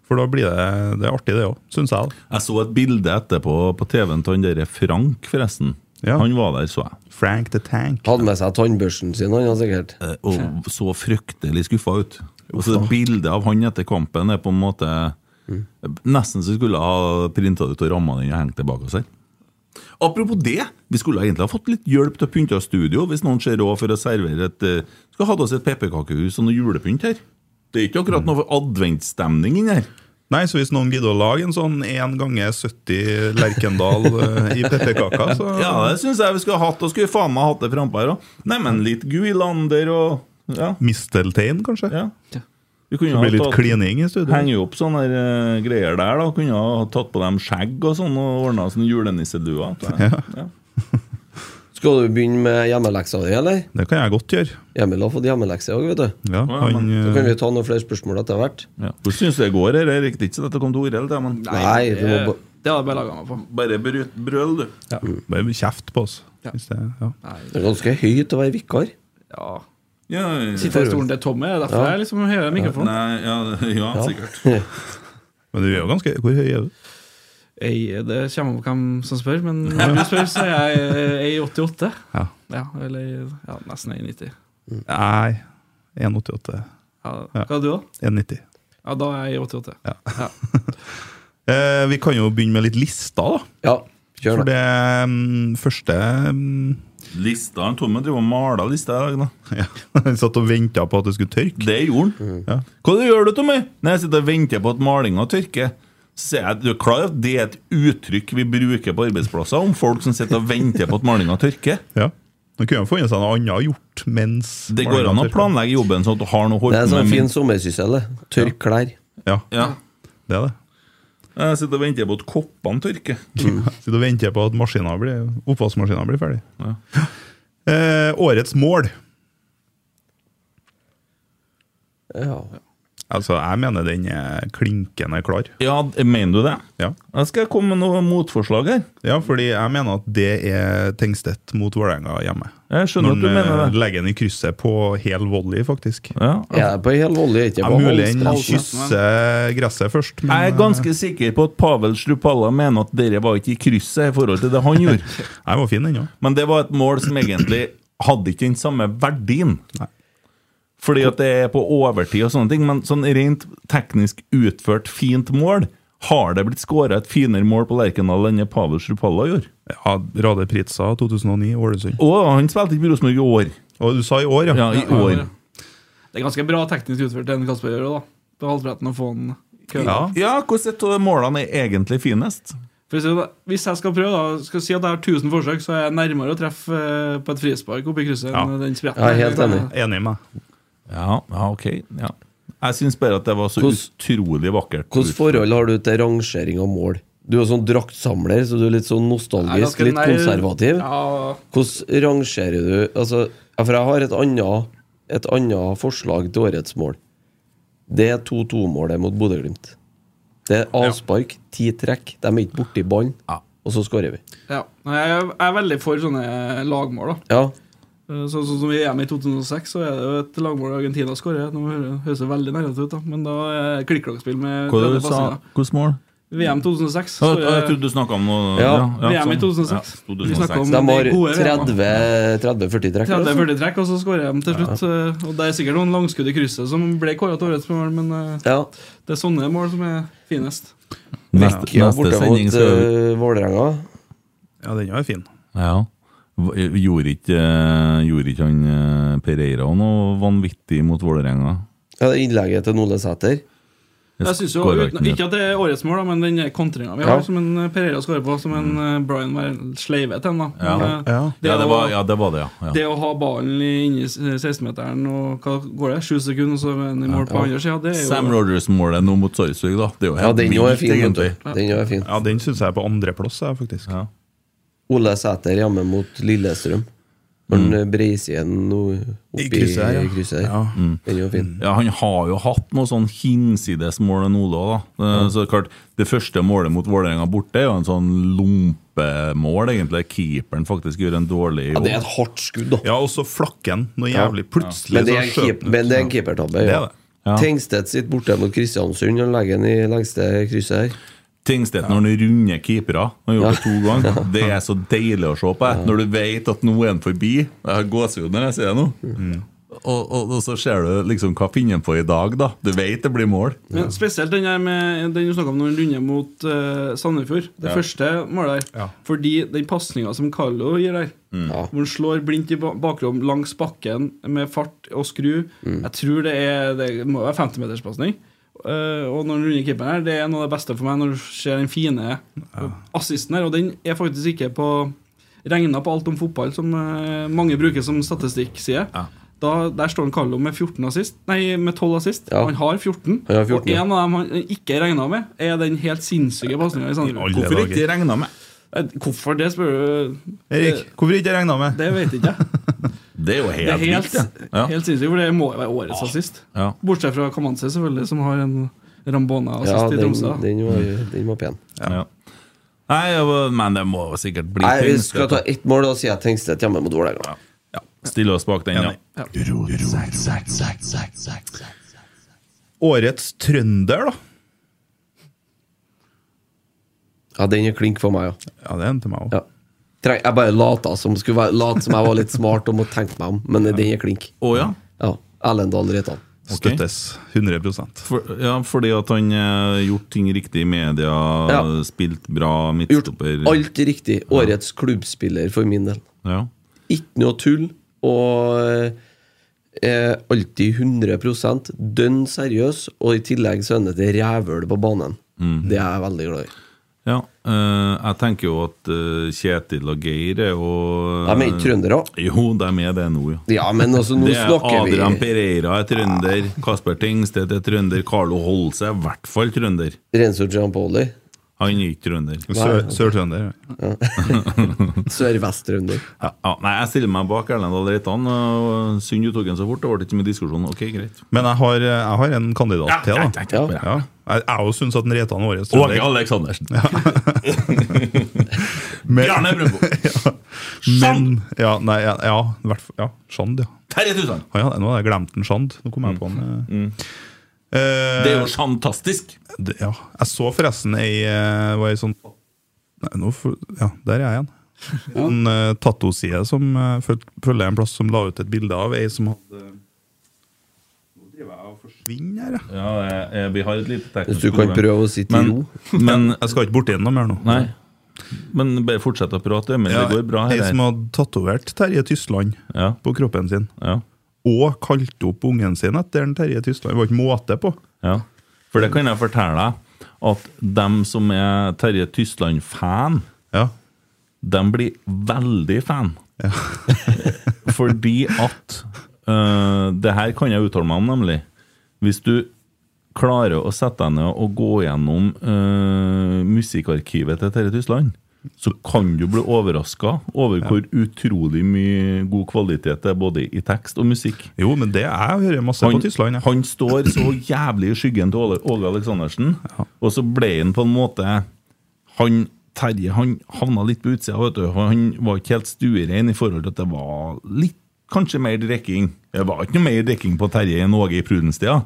F: For da blir det, det er artig, det òg, syns jeg. da.
C: Mm. Jeg så et bilde etterpå på TV-en til han derre Frank, forresten.
F: Ja.
C: Han var der, så jeg.
F: Frank the Tank.
D: Hadde med seg tannbørsten sin, han ja, sikkert.
C: Eh, og så fryktelig skuffa ut. Og så Bildet av han etter kampen er på en måte Mm. Nesten så skulle jeg ha printa det ut og ramma den og hengt det bak oss her. Apropos det, vi skulle egentlig ha fått litt hjelp til å pynte av studio hvis noen ser råd for å servere et eh, Skal ha oss et pepperkakehus og noe julepynt her. Det er ikke akkurat noe adventsstemning inni her.
F: Nei, så hvis noen gidder å lage en sånn 1 ganger 70 Lerkendal eh, i pepperkaker, så
C: Ja, det syns jeg vi skulle ha hatt, og skulle faen meg hatt det frampå her òg. Neimen, litt Guilander og Ja.
F: Misteltein, kanskje?
C: ja. Vi kunne
F: Det
C: ha
F: blir litt
C: tatt-
F: klining i studio.
C: Henger jo opp sånne her, eh, greier der. da Kunne ha tatt på dem skjegg og sånn og ordna sånne julenisseduer. Ja.
D: Skal du begynne med hjemmeleksa di, eller?
F: Det kan jeg godt gjøre.
D: Emil har fått hjemmelekse i dag, vet du.
F: Ja,
C: Ja,
F: han,
D: Så kan
F: eh,
D: vi ta noen flere spørsmål etter hvert.
C: Ja. Hvordan syns du det går her? Jeg riktig ikke at dette kom til Orell, det, men
D: Nei, du må
E: Det,
D: bare
E: det hadde jeg bare laga meg på.
C: bare bryt, brøl, du.
F: bare kjeft på oss.
E: Ja.
F: Hvis det, ja.
D: Det er ganske høyt å være vikar.
E: Ja.
C: Ja, ja, ja.
E: Sitter i stolen til Tommy, det er derfor jeg liksom hører mikrofonen.
C: Nei, ja, ja, sikkert.
F: Men du er jo ganske Hvor høy er du?
E: Jeg, det kommer an på hvem som spør, men når du spør, så er jeg 1,88.
F: Ja.
E: Ja, eller ja, nesten 1,90.
F: Nei, 1,88.
E: Ja. Hva er du, da?
F: 1,90.
E: Ja, da er jeg 88. Ja.
F: Eh, vi kan jo begynne med litt lister, da.
D: Ja, kjør
F: For
D: da.
F: det mm, første mm,
C: Lista han Tommy driver og maler lista i dag, da.
F: ja, Jeg satt og venta på at det skulle
D: Mm.
F: tørke.
C: Det gjorde han.
F: Ja.
C: Hva du gjør du, Tommy? Nei, jeg sitter og venter på at malinga tørker. Så sier jeg, du er klar over at det er et uttrykk vi bruker på arbeidsplasser om folk som sitter og venter på at malinga tørker?
F: Ja. Nå kunne han funnet seg noe annet gjort mens
C: Det går an å planlegge jobben sånn at du har noe å
D: Det
C: holde
D: er
C: på
D: sånn
C: med.
D: fin
C: mens-
D: sommersyssel, det. Tørk klær.
F: Ja,
C: Ja.
F: det er det.
C: Jeg Eh, sitter og venter på at koppene tørker.
F: Så da venter jeg på at maskinen blir, oppvaskmaskinen blir ferdig. Eh, årets mål.
D: Ja.
F: Altså, jeg mener den er klinkende klar.
C: Ja, mener du det?
F: Ja.
C: Jeg skal komme med noe motforslag her.
F: ja, fordi jeg mener at det er Tengstedt mot Vålerenga hjemme.
C: Jeg skjønner at du
F: Når
C: mener
F: han eh,
C: det.
F: legger den i krysset på hel volley, faktisk.
C: Ja.
D: Er det på hel volley? Er det
F: Ja,
D: ikke på
F: mulig han
D: halvstrand?
F: kysser gresset først, men
C: Jeg er ganske sikker på at Pavel Strupalla mener at dere var ikke i krysset i forhold til det han gjorde.
F: eh, jeg var fin ennå.
C: Men det var et mål som egentlig hadde ikke den samme verdien.
F: Nei.
C: Fordi at det er på overtid og sånne ting, men sånn rent teknisk utført fint mål har det blitt skåra et finere mål på Lerkendal enn det Pavel Strupalla gjorde.
F: Ja, Rade Pritza 2009, Ålesund.
C: Og han spilte ikke i Rosenborg i år.
F: Og du sa i år,
C: Ja, i år.
E: Det er ganske bra teknisk utført, den Kasper gjør òg, da. Det er halvretten å få han kølla.
F: Ja.
C: Ja, hvordan av målene er egentlig finest?
E: For å si det, Hvis jeg skal prøve, da Skal si at jeg har 1000 forsøk, så er jeg nærmere å treffe eh, på et frispark oppe i krysset
F: Ja.
E: enn den spretten.
D: Jeg er helt enig.
F: Enig med meg.
C: Ja, ja ok. Ja. Jeg syns bare at det var så
D: Hvordan-
C: utrolig vakkert.
D: Hvilket forhold har du til rangering av mål? Du er sånn draktsamler, så du er litt
E: Jeg
D: sånn
E: er
D: nostalgisk,
E: ganske
D: litt
E: nær-
D: konservativ.
E: Ja,
D: Hvordan rangerer du altså, ja, For jeg har et annet, et annet forslag til årets mål. Det er 2-2-målet mot Bodø-Glimt. Det er avspark, ti trekk. De er ikke borti ballen, og så skårer vi.
E: ja. Nei, Jeg er- jeg er veldig for sånne lagmål. da
D: Ja,
E: Eh, Sånn sånn som i EM i 2006, så er det jo et lagmål Argentina skårer. Nå hø- høres det veldig nærmest ut, da men da er det klikk-klakk-spill med
C: Hva var
E: 30
C: det du sa
E: pasninger.
C: Hvilket mål?
E: VM 2006.
C: Ja,
E: så eh,
C: Jeg jeg
E: er-
C: trodde du snakka om noe
D: Ja,
E: VM i
C: sånn.
E: 2006.
C: Ja,
E: Vi snakket om-
C: 2006.
D: de
E: Men det
D: har
E: er gode regler.
D: 30-40 trekk. eller noe sånt.
E: 30-40 trekk, og så skårer de til slutt. eh, Og Det er sikkert noen langskudd i krysset som ble kåret til årets mål, men eh,
D: Ja.
E: det er sånne mål som er finest.
C: Neste,
D: Ja,
C: neste
D: borte
C: sending
D: mot
C: så
E: eh,
C: gjør vi-
D: uh, Vålerenga.
F: Ja, den var fin.
C: Ja. Hva- Gjorde ikke, eh, gjorde ikke han eh, Pereira noe vanvittig mot Vålerenga?
D: Ja, det er innlegget til Nole Sæter.
E: Jeg synes jo,
C: Skårer
E: uten,
C: ikke
E: Ikke at det er årets mål, da, men den kontringa vi
D: Ja.
E: har, som en eh, Pereira skårer på, som en eh, Brian var sleive til. den, da. Men, eh,
F: Ja.
E: Det,
C: Mm. Ja, det
E: å-
C: var, ja, det var det, ja. ja.
E: det å ha ballen i- inni s- 16-meteren, og hva går det, sju sekunder, og så er den i mål på andre sida, det er jo
C: Sam Rogers-målet nå mot Sarpsborg, da. Det er jo
D: Ja,
C: helt
D: den jo er
C: vilt,
D: fin. vet du.
C: egentlig.
D: Den jo er fin.
F: Ja, den syns jeg er på andreplass, jeg, faktisk.
C: Ja.
D: Ole Sæter hjemme mot Lillestrøm. Når han breiser igjen nå oppi
F: I krysset her, ja. Mm.
D: krysset her.
F: Ja.
D: Den er jo fin.
C: Ja, Han har jo hatt noe sånn hinsidesmål enn Ole òg, da. Eh, Så det er klart, det første målet mot Vålerenga borte er jo en sånn lompemål, egentlig. Keeperen faktisk gjør en dårlig
D: Ja,
C: jobb.
D: det er et hardt skudd, da.
F: Ja, og så flakken noe jævlig. Plutselig
D: Men det er,
F: så skjøt
D: keep, men det er en keepertabbe.
F: Det
D: Ja.
F: er det.
C: Ja.
D: Tengstedt sitter borte mot Kristiansund og legger den i lengste krysset her.
C: Tingstedt når han runder keepere, han gjør det to ganger, det er så deilig å se på. jeg. Når du vet at nå er han forbi Jeg har gåsehud når jeg ser det nå. Og, og, og så ser du liksom hva finner han på i dag, da. Du vet det blir mål.
E: Men spesielt den, her med, den du snakka om når han runder mot eh, Sandefjord. Det første målet der.
F: Ja.
E: Fordi den pasninga som Carlo gir der,
D: Ja.
E: hvor han slår blindt i ba- bakrom langs bakken med fart og skru
D: Mm.
E: Jeg tror det er Det må være 50-meterspasning. Uh, og når han runder keeperen her, det er noe av det beste for meg når du ser den fine assisten her. Og den er faktisk ikke på regna på alt om fotball, som eh, mange bruker som statistikkside. Da, der står han Carlo med 14 assist Nei, med 12 assist.
D: Ja.
E: Han har 14.
D: Han har 14,
E: Og
D: ja.
E: en av dem han ikke regna med, er den helt sinnssyke pasninga i Sandefjord.
F: Alle
C: Hvorfor
F: dager.
C: ikke de regna med?
E: Eh, Hvorfor det, spør du?
F: Erik, hvorfor ikke jeg regna med?
E: Det vet ikke jeg.
C: Det er jo
E: Det er
C: helt
E: helt,
C: vilt, ja. Ah. Ja.
E: helt sinnssykt, for det må jo være årets assist.
C: Ja.
E: Bortsett fra Kamanzi, selvfølgelig, som har en
D: Ja,
E: Rambona-assist i
D: den,
E: Tromsø. da.
D: den, var,
F: Mm.
D: den var pen.
C: Ja. Nei, jeg var- men det må jo sikkert bli
D: Nei, vi
C: Tingstedt,
D: skal
C: da.
D: ta ett mål, da sier jeg Tengstedt hjemme mot Vålerenga.
C: Stille oss bak den, ja.
F: Enig. Årets trønder, da.
D: Ja, den er klink for meg, ja.
F: Ja, det er en til meg òg.
D: ja. Treng, jeg bare lata som, skulle være, lat som jeg var litt smart og måtte tenke meg om, men den er klink.
C: Å ja?
D: Ja. Erlendal Reitan.
C: Ok.
F: Støttes 100
C: For, ja, fordi at han eh, gjort ting riktig i media,
D: Ja.
C: spilt bra
D: Gjort
C: midtstopper
D: alt riktig. Årets klubbspiller for min del.
C: Ja.
D: Ikke noe tull. Og eh, er alltid 100 dønn seriøs, og i tillegg så er han et rævhøl på banen.
C: Mhm.
D: Det er jeg veldig glad i.
C: ja. eh, jeg tenker jo at eh, Kjetil og Geir er jo eh,
D: De er ikke trøndere.
C: Jo, de er med det nå, ja.
D: Ja, men altså, nå
C: Det er
D: snakker vi
C: Adrian Pereira er trønder, Kasper Tingstedt er trønder, Carlo Holse er i hvert fall trønder.
D: Renzo Giampoli.
C: Han er ikke trønder.
F: Sør- Sør-Trønder. ja.
D: Sør-vest-runder.
C: Ja, ja, nei, jeg stiller meg bak Erlend Dahl Reitan. og Synd du tok den så fort. Det ble ikke mye diskusjon. Ok, greit.
F: Men jeg har, eh, jeg har en kandidat til, da.
D: Ja.
F: Ja. Jeg jeg også syns at den Reitan er årets
C: Åge
F: trønder.
C: Aleksandersen.
F: Men-
C: Bjarne Brøndbo.
F: Men, ja, nei, ja, ja, i hvert fall- ja, Sjand, ja.
C: Terje Tusland.
F: Ah, ja. Nå hadde jeg glemt en Sjand. Nå kom jeg på en eh. Eh,
C: Det er jo fantastisk.
F: det- ja. Jeg så forresten ei eh, var ei sånn Nei, nå f- Ja, der er jeg igjen. En uh, tattoside som eh, føl- følger jeg en plass som la ut et bilde av ei som hadde Nå driver jeg og forsvinner her, jeg.
C: Ja, jeg- jeg- vi har et lite teknisk
D: Hvis du kan
C: problem.
D: prøve å sitte i ro.
C: Men, men altså,
F: Jeg skal ikke borti den noe mer nå.
C: Nei. Men bare fortsett å prate, men
F: Ja,
C: det går bra her.
F: Ei som hadde tatovert Terje Tysland
C: Ja,
F: på kroppen sin.
C: ja,
F: og kalte opp ungen sin etter en Terje Tysland. Det var ikke måte på.
C: ja. For det kan jeg fortelle deg, at dem som er Terje Tysland-fan,
F: Ja.
C: de blir veldig fan. Fordi at øh, Det her kan jeg uttale meg om, nemlig. Hvis du klarer å sette deg ned og gå gjennom øh, musikkarkivet til Terje Tysland, så kan du bli overraska over hvor utrolig mye god kvalitet det er både i tekst og musikk.
F: Jo, men det jeg hører masse
C: Han,
F: på Tysland. jeg.
C: han står så jævlig i skyggen til Åle- Åge Aleksandersen, og så ble han på en måte Han Terje han havna litt på utsida, vet du. for Han var ikke helt stuerein i forhold til at det var litt Kanskje mer drikking. Det var ikke noe mer drikking på Terje enn Åge i Prudenstida,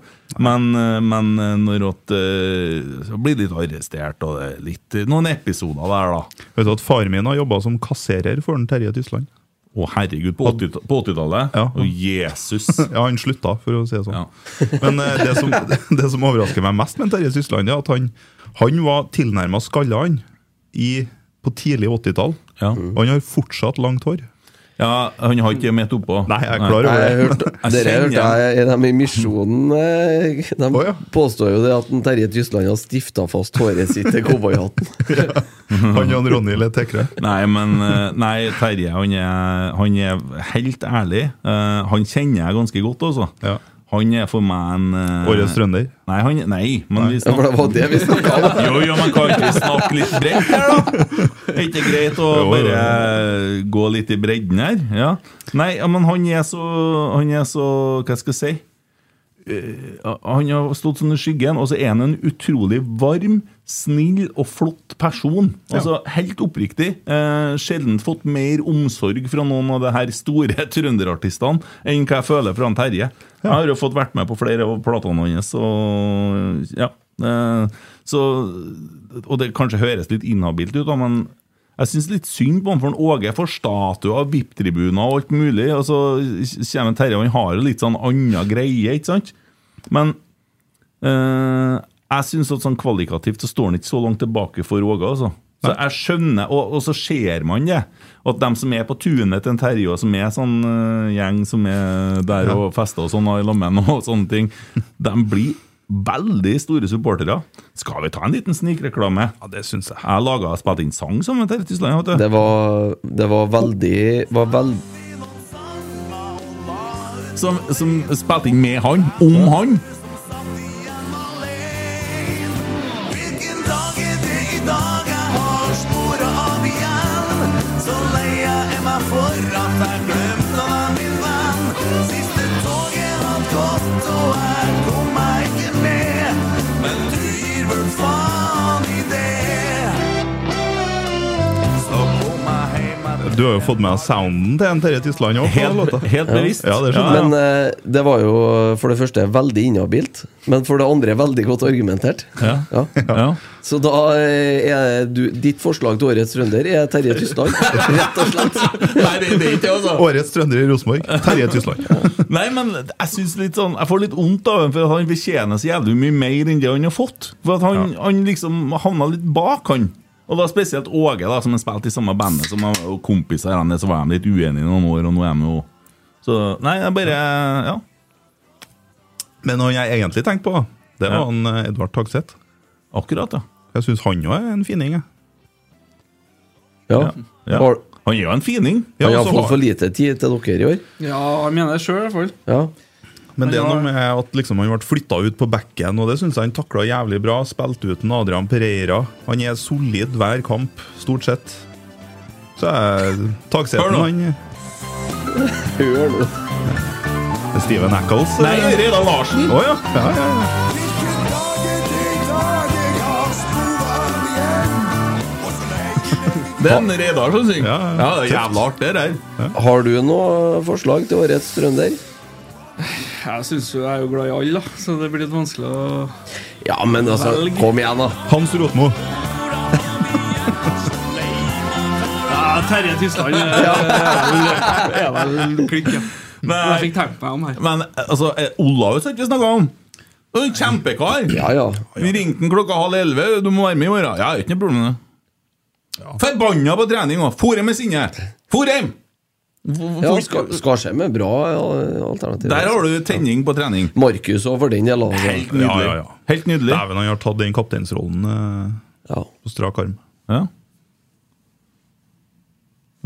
C: men, eh, men eh, når at eh, Så blir det litt arrestert, og det er litt eh, Noen episoder der, da.
F: Vet du at Far min har jobba som kasserer for en Terje Tysland.
C: Å, herregud, på 80-ta- på 80-tallet?
F: Ja.
C: Å, Jesus!
F: Ja, han slutta, for å si det sånn.
C: Ja.
F: Men eh, det, som, det som overrasker meg mest med Terje Tysland, er at han, han var tilnærma skalla, han, i- på tidlig 80-tall.
C: Ja.
F: Og han har fortsatt langt hår.
C: ja, han har ikke mitt oppå.
F: Nei, jeg er
D: Jeg
F: klar over det.
D: hørte,
C: Jeg
D: dere
C: kjenner
D: hørte jeg, er de i Misjonen eh, De
F: Å, ja.
D: påstår jo det at en Terje Tysland har stifta fast håret sitt til cowboyhatten.
F: Han og en Ronny Lett Tekre.
C: Nei, men eh, Nei, Terje han er, han er helt ærlig. Eh, han kjenner jeg ganske godt, altså.
F: Ja.
C: Han er for meg en eh,
F: Årets trønder.
C: Nei, han, nei men vi
D: Ja, for
C: snakker
D: det var det vi snakka om.
C: Jo, jo, men kan ikke vi snakke litt bredt her, da? Er ikke det greit å
F: Jo, jo, jo.
C: bare gå litt i bredden her? Ja. Nei, ja, men han er så Han er så Hva skal jeg si? Eh, han har stått sånn i skyggen, og så er han en utrolig varm, snill og flott person. Altså, Helt oppriktig. Eh, sjelden fått mer omsorg fra noen av de her store trønderartistene enn hva jeg føler fra han Terje. Jeg har jo fått vært med på flere av platene hans, og ja. Eh, så, og det kanskje høres litt inhabilt ut, da, men jeg syns litt synd på han, for han Åge får statuer, VIP-tribuner og alt mulig. Og så kommer Terje, og han har jo litt sånn annen greie, ikke sant? Men eh, jeg syns at sånn kvalitativt så står han ikke så langt tilbake for Åge, altså. Så jeg skjønner, og, og så ser man det, at de som er på tunet til en Terje, og som er sånn eh, gjeng som er der og fester og sånn og i lammen og sånne ting, de blir veldig store supportere. Skal vi ta en liten snikreklame?
F: Ja, det syns jeg.
C: Jeg laga og spilte inn sang som en Terje Tysland, vet du.
D: Det var, det var veldig var veld,
C: Som, som spilte inn med han, om han.
G: Hvilken dag er det i dag jeg har spora av igjen? Så lei jeg er meg for at jeg glemte å være min venn. Siste toget hadde gått, og jeg kom meg ikke med. Men du gir vel faen i det. Så kom meg hjem jeg
F: Du har jo fått med deg sounden til en Terje Tysland òg.
C: Helt, helt bevisst.
F: Ja, det skjønner
D: Men eh, det var jo for det første veldig inhabilt, men for det andre veldig godt argumentert.
C: Ja.
D: Ja.
C: Ja.
D: Så da eh, er du, ditt forslag til årets trønder er Terje Tysland, rett og slett.
C: Nei, det, det er ikke det, altså.
F: Årets trønder i Rosenborg. Terje Tysland.
C: Nei, men jeg synes litt sånn Jeg får litt vondt av ham, for at han fortjener så jævlig mye mer enn det han har fått. For at han, han liksom havna litt bak, han. Og da spesielt Åge, da som har spilt i samme bandet som han- og kompiser. Han, er, så var de litt uenige i noen år, og nå er de jo Så nei, jeg bare Ja.
F: Men han jeg egentlig tenkte på, det var
C: Ja.
F: han eh, Edvard Tagseth.
C: Akkurat, ja.
F: Jeg syns han òg er en fining. jeg.
D: Ja.
C: ja.
D: Har,
C: Han er jo en fining.
F: Ja,
D: har
F: altså, og så
D: jeg fått
F: har-
D: for lite tid til dere i år?
E: Ja, jeg mener det sjøl, i hvert fall.
D: Ja.
F: Men det er
E: Han
F: noe
E: var-
F: med at liksom han ble flytta ut på bekken, og det syns jeg han takla jævlig bra. Spilte uten Adrian Pereira. Han er solid hver kamp, stort sett. Så er
C: Hør
F: takseten
C: nå.
F: han
D: Hør nå.
F: Steven Ackles?
C: Nei, Reidar Larsen!
F: Å ja. ja, ja, ja.
C: Det er en Reidar som synger.
F: Ja, ja.
C: Ja, det er jævla artig, det der.
D: Har du noe forslag til årets trønder?
E: Jeg synes jo jeg er jo glad i alle, da, så det blir litt vanskelig å
D: Ja, men altså,
E: Velg.
D: kom igjen, da.
F: Hans Rotmo.
E: Ja, Terje Tysland eh, er vel, er vel klikk, ja. Men jeg
C: Nei,
E: fikk tenkt meg om her.
C: men altså, eh, Olaus har ikke snakka om. Det er en kjempekar.
D: Ja, ja.
C: Vi ringte den klokka halv elleve. Du må være med i morgen. Ja, ikke noe problem. med det. Forbanna på trening òg. Forem er sinne. Forem!
D: ja
C: Hvor skal-
D: Sk- Skarsheim er bra eh, ja, alternativ.
C: Der har du tenning på trening.
D: Markus òg, for den del. altså.
C: Helt nydelig.
F: Ja, ja, ja.
C: Helt nydelig.
F: Dæven, han har tatt den kapteinsrollen eh,
D: Ja.
F: på strak arm.
C: Ja.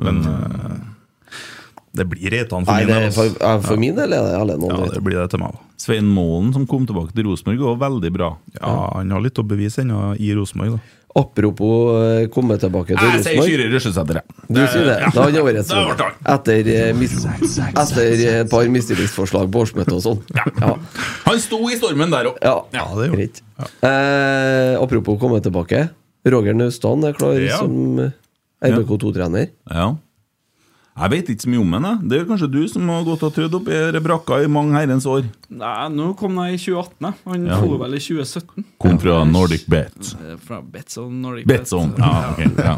C: Mm.
F: Men eh, det blir Reitan for
D: Nei,
F: min
D: det
F: del.
D: er
F: altså.
D: for, ja, for min del er det Erlend
F: Ja,
D: Holmvik.
F: det blir det til meg òg.
C: Svein Målen, som kom tilbake til Rosenborg, var veldig bra.
F: Ja, han har litt å bevise ennå i Rosenborg, da.
D: Apropos eh, komme tilbake til
C: Jeg sier
D: Rosenborg.
C: Kyrre Røsjesæter. jeg.
D: Du sier det. Da er han årets
C: Da ble
D: vinner.
C: han.
D: Etter, eh, mis, etter et par mistillitsforslag på årsmøtet og sånn. Ja.
C: Han sto i stormen der òg.
D: Ja,
F: Ja, det gjorde han.
D: greit. Eh, apropos komme tilbake. Roger Naustdal er klar
F: Ja.
D: som eh, RBK2-trener.
C: Ja. Jeg vet ikke så mye om henne. Det er kanskje du som har gått og trødd opp i denne brakka i mange herrens år.
E: Nei, nå kom jeg i 2018, jeg. Han
C: Ja.
E: dro vel i 2017.
C: Kom fra Nordic Bet.
E: Eh, Fra Betson Nordic.
C: Betson. Ja, ok. Ja.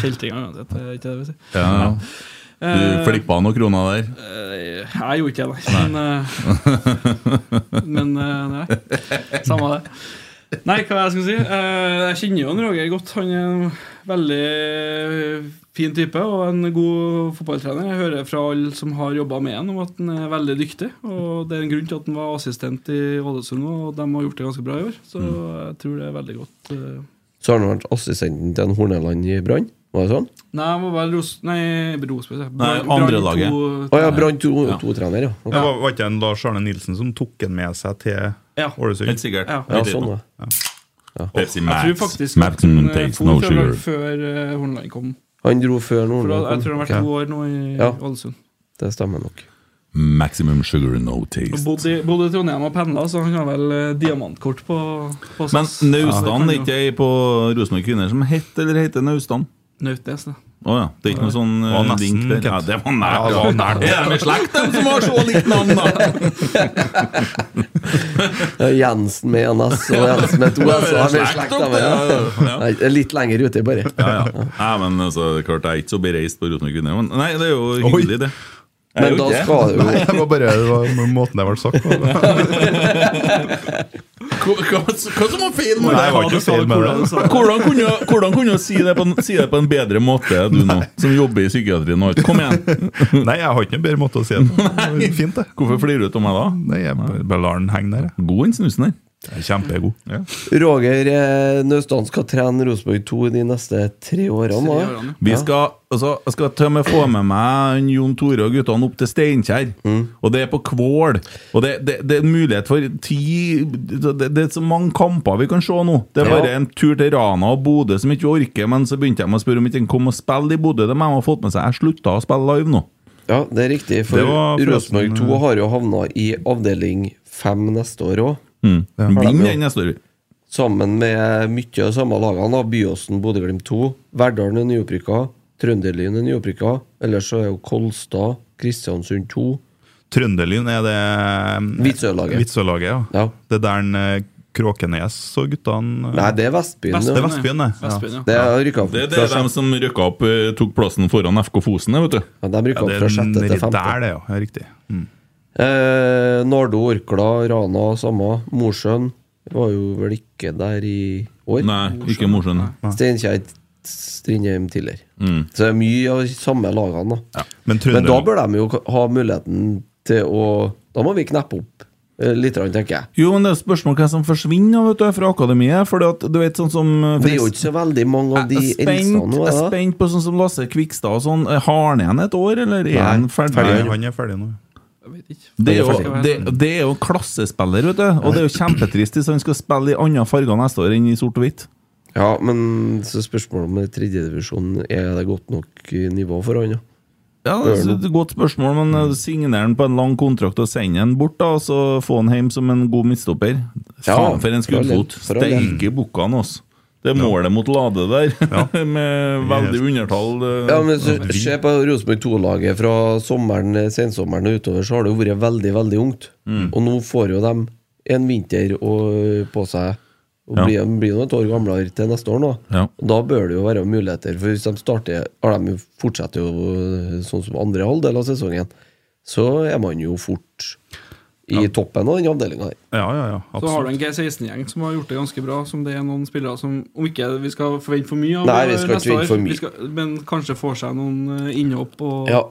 E: Kjeltringa uansett, altså. det er ikke det vi sier.
C: Ja, ja. Du flippa noen kroner der.
E: Eh, Jeg gjorde ikke det, Eh, nei. Men, eh, men eh, nei. Samme det. Nei, hva jeg skal si? Eh, Jeg kjenner jo en Roger godt. Han er en veldig fin type og en god fotballtrener. Jeg hører fra alle som har jobba med han om at han er veldig dyktig. Og Det er en grunn til at han var assistent i Ålesund, og de har gjort det ganske bra i år. Så
C: Mm.
E: jeg tror det er veldig godt. eh.
D: Så har han vært assistenten til en Horneland i Brann. Var det sånn?
E: Nei, jeg må være Ros... Nei, Rosberg. sier jeg.
C: Nei,
E: Brann-
C: andre
E: Brann
C: laget.
E: to-
D: Å ja, Brann 2-trener, ja.
F: Det var, var ikke en Lars Arne Nilsen som tok han med seg til
E: Ja.
C: Helt
F: Ålesund?
C: sikkert.
E: Ja.
D: ja. sånn, ja.
C: Pepsi
E: Jeg
C: Max.
E: tror faktisk
C: Max
E: at han, eh,
C: takes
E: for
C: no
E: fra
C: sugar.
E: før eh, Horneland kom.
D: Han dro før
E: For da,
D: Nordland
E: jeg tror han
D: kom.
E: har vært
D: Ok,
E: to år nå i
D: Ja.
E: Ålesund.
D: Det stemmer nok.
C: Maximum sugar, no
E: Og
C: taste.
E: Bodde, i- bodde i Trondheim og pendla, så han har vel eh, diamantkort på, på
C: Men
E: SAS.
C: Naustdal det er ikke ei på Rosenborg Kvinner som het eller heter Naustdal?
E: Nautnes, da.
C: Å ja. Det er ikke noe sånn eh,
F: var nesten,
C: link der?
F: Kent.
C: Ja, det var
F: Ja,
C: nært.
F: det
C: Ja,
F: var nært.
C: Det er de i slekt, de som har så likt navn, da!
D: Ja, Jensen med en S og Jensen med to S. og han er i slekt, da, men-
C: Ja.
D: Nei, Litt lenger uti, bare.
C: Ja, ja. Nei, men altså, det er klart, jeg er ikke så bereist på Rosenborg Kvinner. Men nei, det er jo hyggelig, det. Jeg er
D: Men
C: jo
D: da
C: ikke det.
D: skal jo
F: Det var bare det var måten det ble sagt på. Nei,
C: Hva, hva, hva som var feil med
F: det
C: det?
F: var ikke feil med det.
C: Hvordan kunne, jeg- hvordan kunne jeg si det, på en, si det på en bedre måte, du nå, som jobber i psykiatrien? og alt? Kom igjen!
F: Nei, jeg har ikke noen bedre måte å si det på. Det var Fint, det.
C: Hvorfor flirer du av meg da?
F: Nei, jeg bare bare lar den henge der. jeg.
C: God den snusen der.
F: Jeg er kjempegod.
D: Roger eh, Naustdal skal trene Rosenborg 2 de neste tre årene.
E: Tre
D: da.
E: årene.
C: Vi skal, altså, jeg skal til og med få med meg en Jon Tore og guttene opp til Steinkjer.
D: Mm.
C: Og det er på Kvål. Og det, det, det er en mulighet for ti det, det er så mange kamper vi kan se nå. Det er bare en tur til Rana og Bodø som ikke orker, men så begynte de å spørre om ikke de kom og spille i Bodø. De har fått med seg Jeg slutta å spille live nå.
D: Ja, det er riktig. For
F: Det var forresten,
D: Rosenborg 2 har jo havna i avdeling 5 neste år òg.
C: Mm. Vinn
D: jo.
C: den neste år. vi.
D: Sammen med mye av samme lagene. da. Byåsen, Bodø-Glimt 2. Verdalen er nyopprykka. Trønderlyn er nyopprykka. Ellers så er jo Kolstad, Kristiansund 2
F: Trønderlyn er det eh,
D: Hvitsølaget.
F: Hvitsølaget, ja.
D: Ja.
F: Det er der en, eh, Kråkenes og guttene eh,
D: Nei, det er Vestbyen.
E: Vestbyen,
D: ja.
F: Det er Vestbyen, det.
E: ja. Vestbyen, ja.
D: Det er rykka opp
C: Det, det
D: fra
C: er de
D: sjette-
C: som rykka opp, eh, tok plassen foran FK Fosen, det, vet du.
D: ja, de rykka
F: Ja,
D: opp
F: det er
D: fra sjette til
F: nedi
D: femte.
F: der, det, ja. ja. Riktig. Mm.
D: Eh, Nardo, Orkla, Rana, samme. Mosjøen var jo vel ikke der i år.
C: Nei, ikke Mosjøen.
D: Steinkjer, Strindheim tidligere.
C: Mm.
D: Så det er mye av de samme lagene. da Men
F: Men
D: da
F: Trønder,
D: bør de jo ha muligheten til å Da må vi kneppe opp eh, litt, grann, tenker jeg.
C: Jo, men det er jo spørsmål hvem som forsvinner vet du, fra akademiet. Fordi at, du vet, sånn som eh,
D: Det er jo ikke så veldig mange av de
C: Jeg er
D: eldste
C: spent,
D: nå.
C: jeg er
D: er det?
C: spent på Eh, sånn som Lasse Kvikstad og sånn. Har han igjen et år, eller er han ferdig?
F: Nei, han er ferdig nå.
E: vet ikke.
C: Det er,
E: Jeg
C: jo,
E: skal være
C: det,
E: sånn.
C: det er jo en klassespiller, vet du. Og det er jo kjempetrist hvis han skal spille i andre farger neste år enn i sort og hvitt.
D: Ja, men så spørsmålet om tredjedivisjon Er det godt nok eh, nivå for han, ja?
C: Ja, altså, det er et Godt spørsmål, men eh, signer han på en lang kontrakt og sender han bort, da, og så få han hjem som en god midtstopper
D: Ja,
C: Faen, for en
D: for all del,
C: skuddfot!
D: for all del.
C: Steike bukkene, altså. Det er målet mot Lade der, med veldig undertall. eh,
D: Ja, men så, Se på Rosenborg 2-laget fra sommeren, eh, sensommeren og utover, så har det jo vært veldig veldig ungt. Og nå får jo de en vinter og, på seg og
C: Ja.
D: blir, blir nå et år gamlere til neste år. nå
C: Ja.
D: Og Da bør det jo være muligheter, for hvis de starter har de jo- fortsetter jo eh, sånn som andre halvdel av sesongen, så er man jo fort i toppen av den avdelinga her.
F: Ja, ja, ja.
E: Så har du
F: Absolutt.
E: en G16-gjeng som har gjort det ganske bra, som det er noen spillere som Om ikke vi skal forvente for mye av
D: Nei, vi skal
E: neste
D: ikke forvente
E: år,
D: for mye.
E: vi skal- men kanskje får seg noen eh, innhopp, og
D: Ja.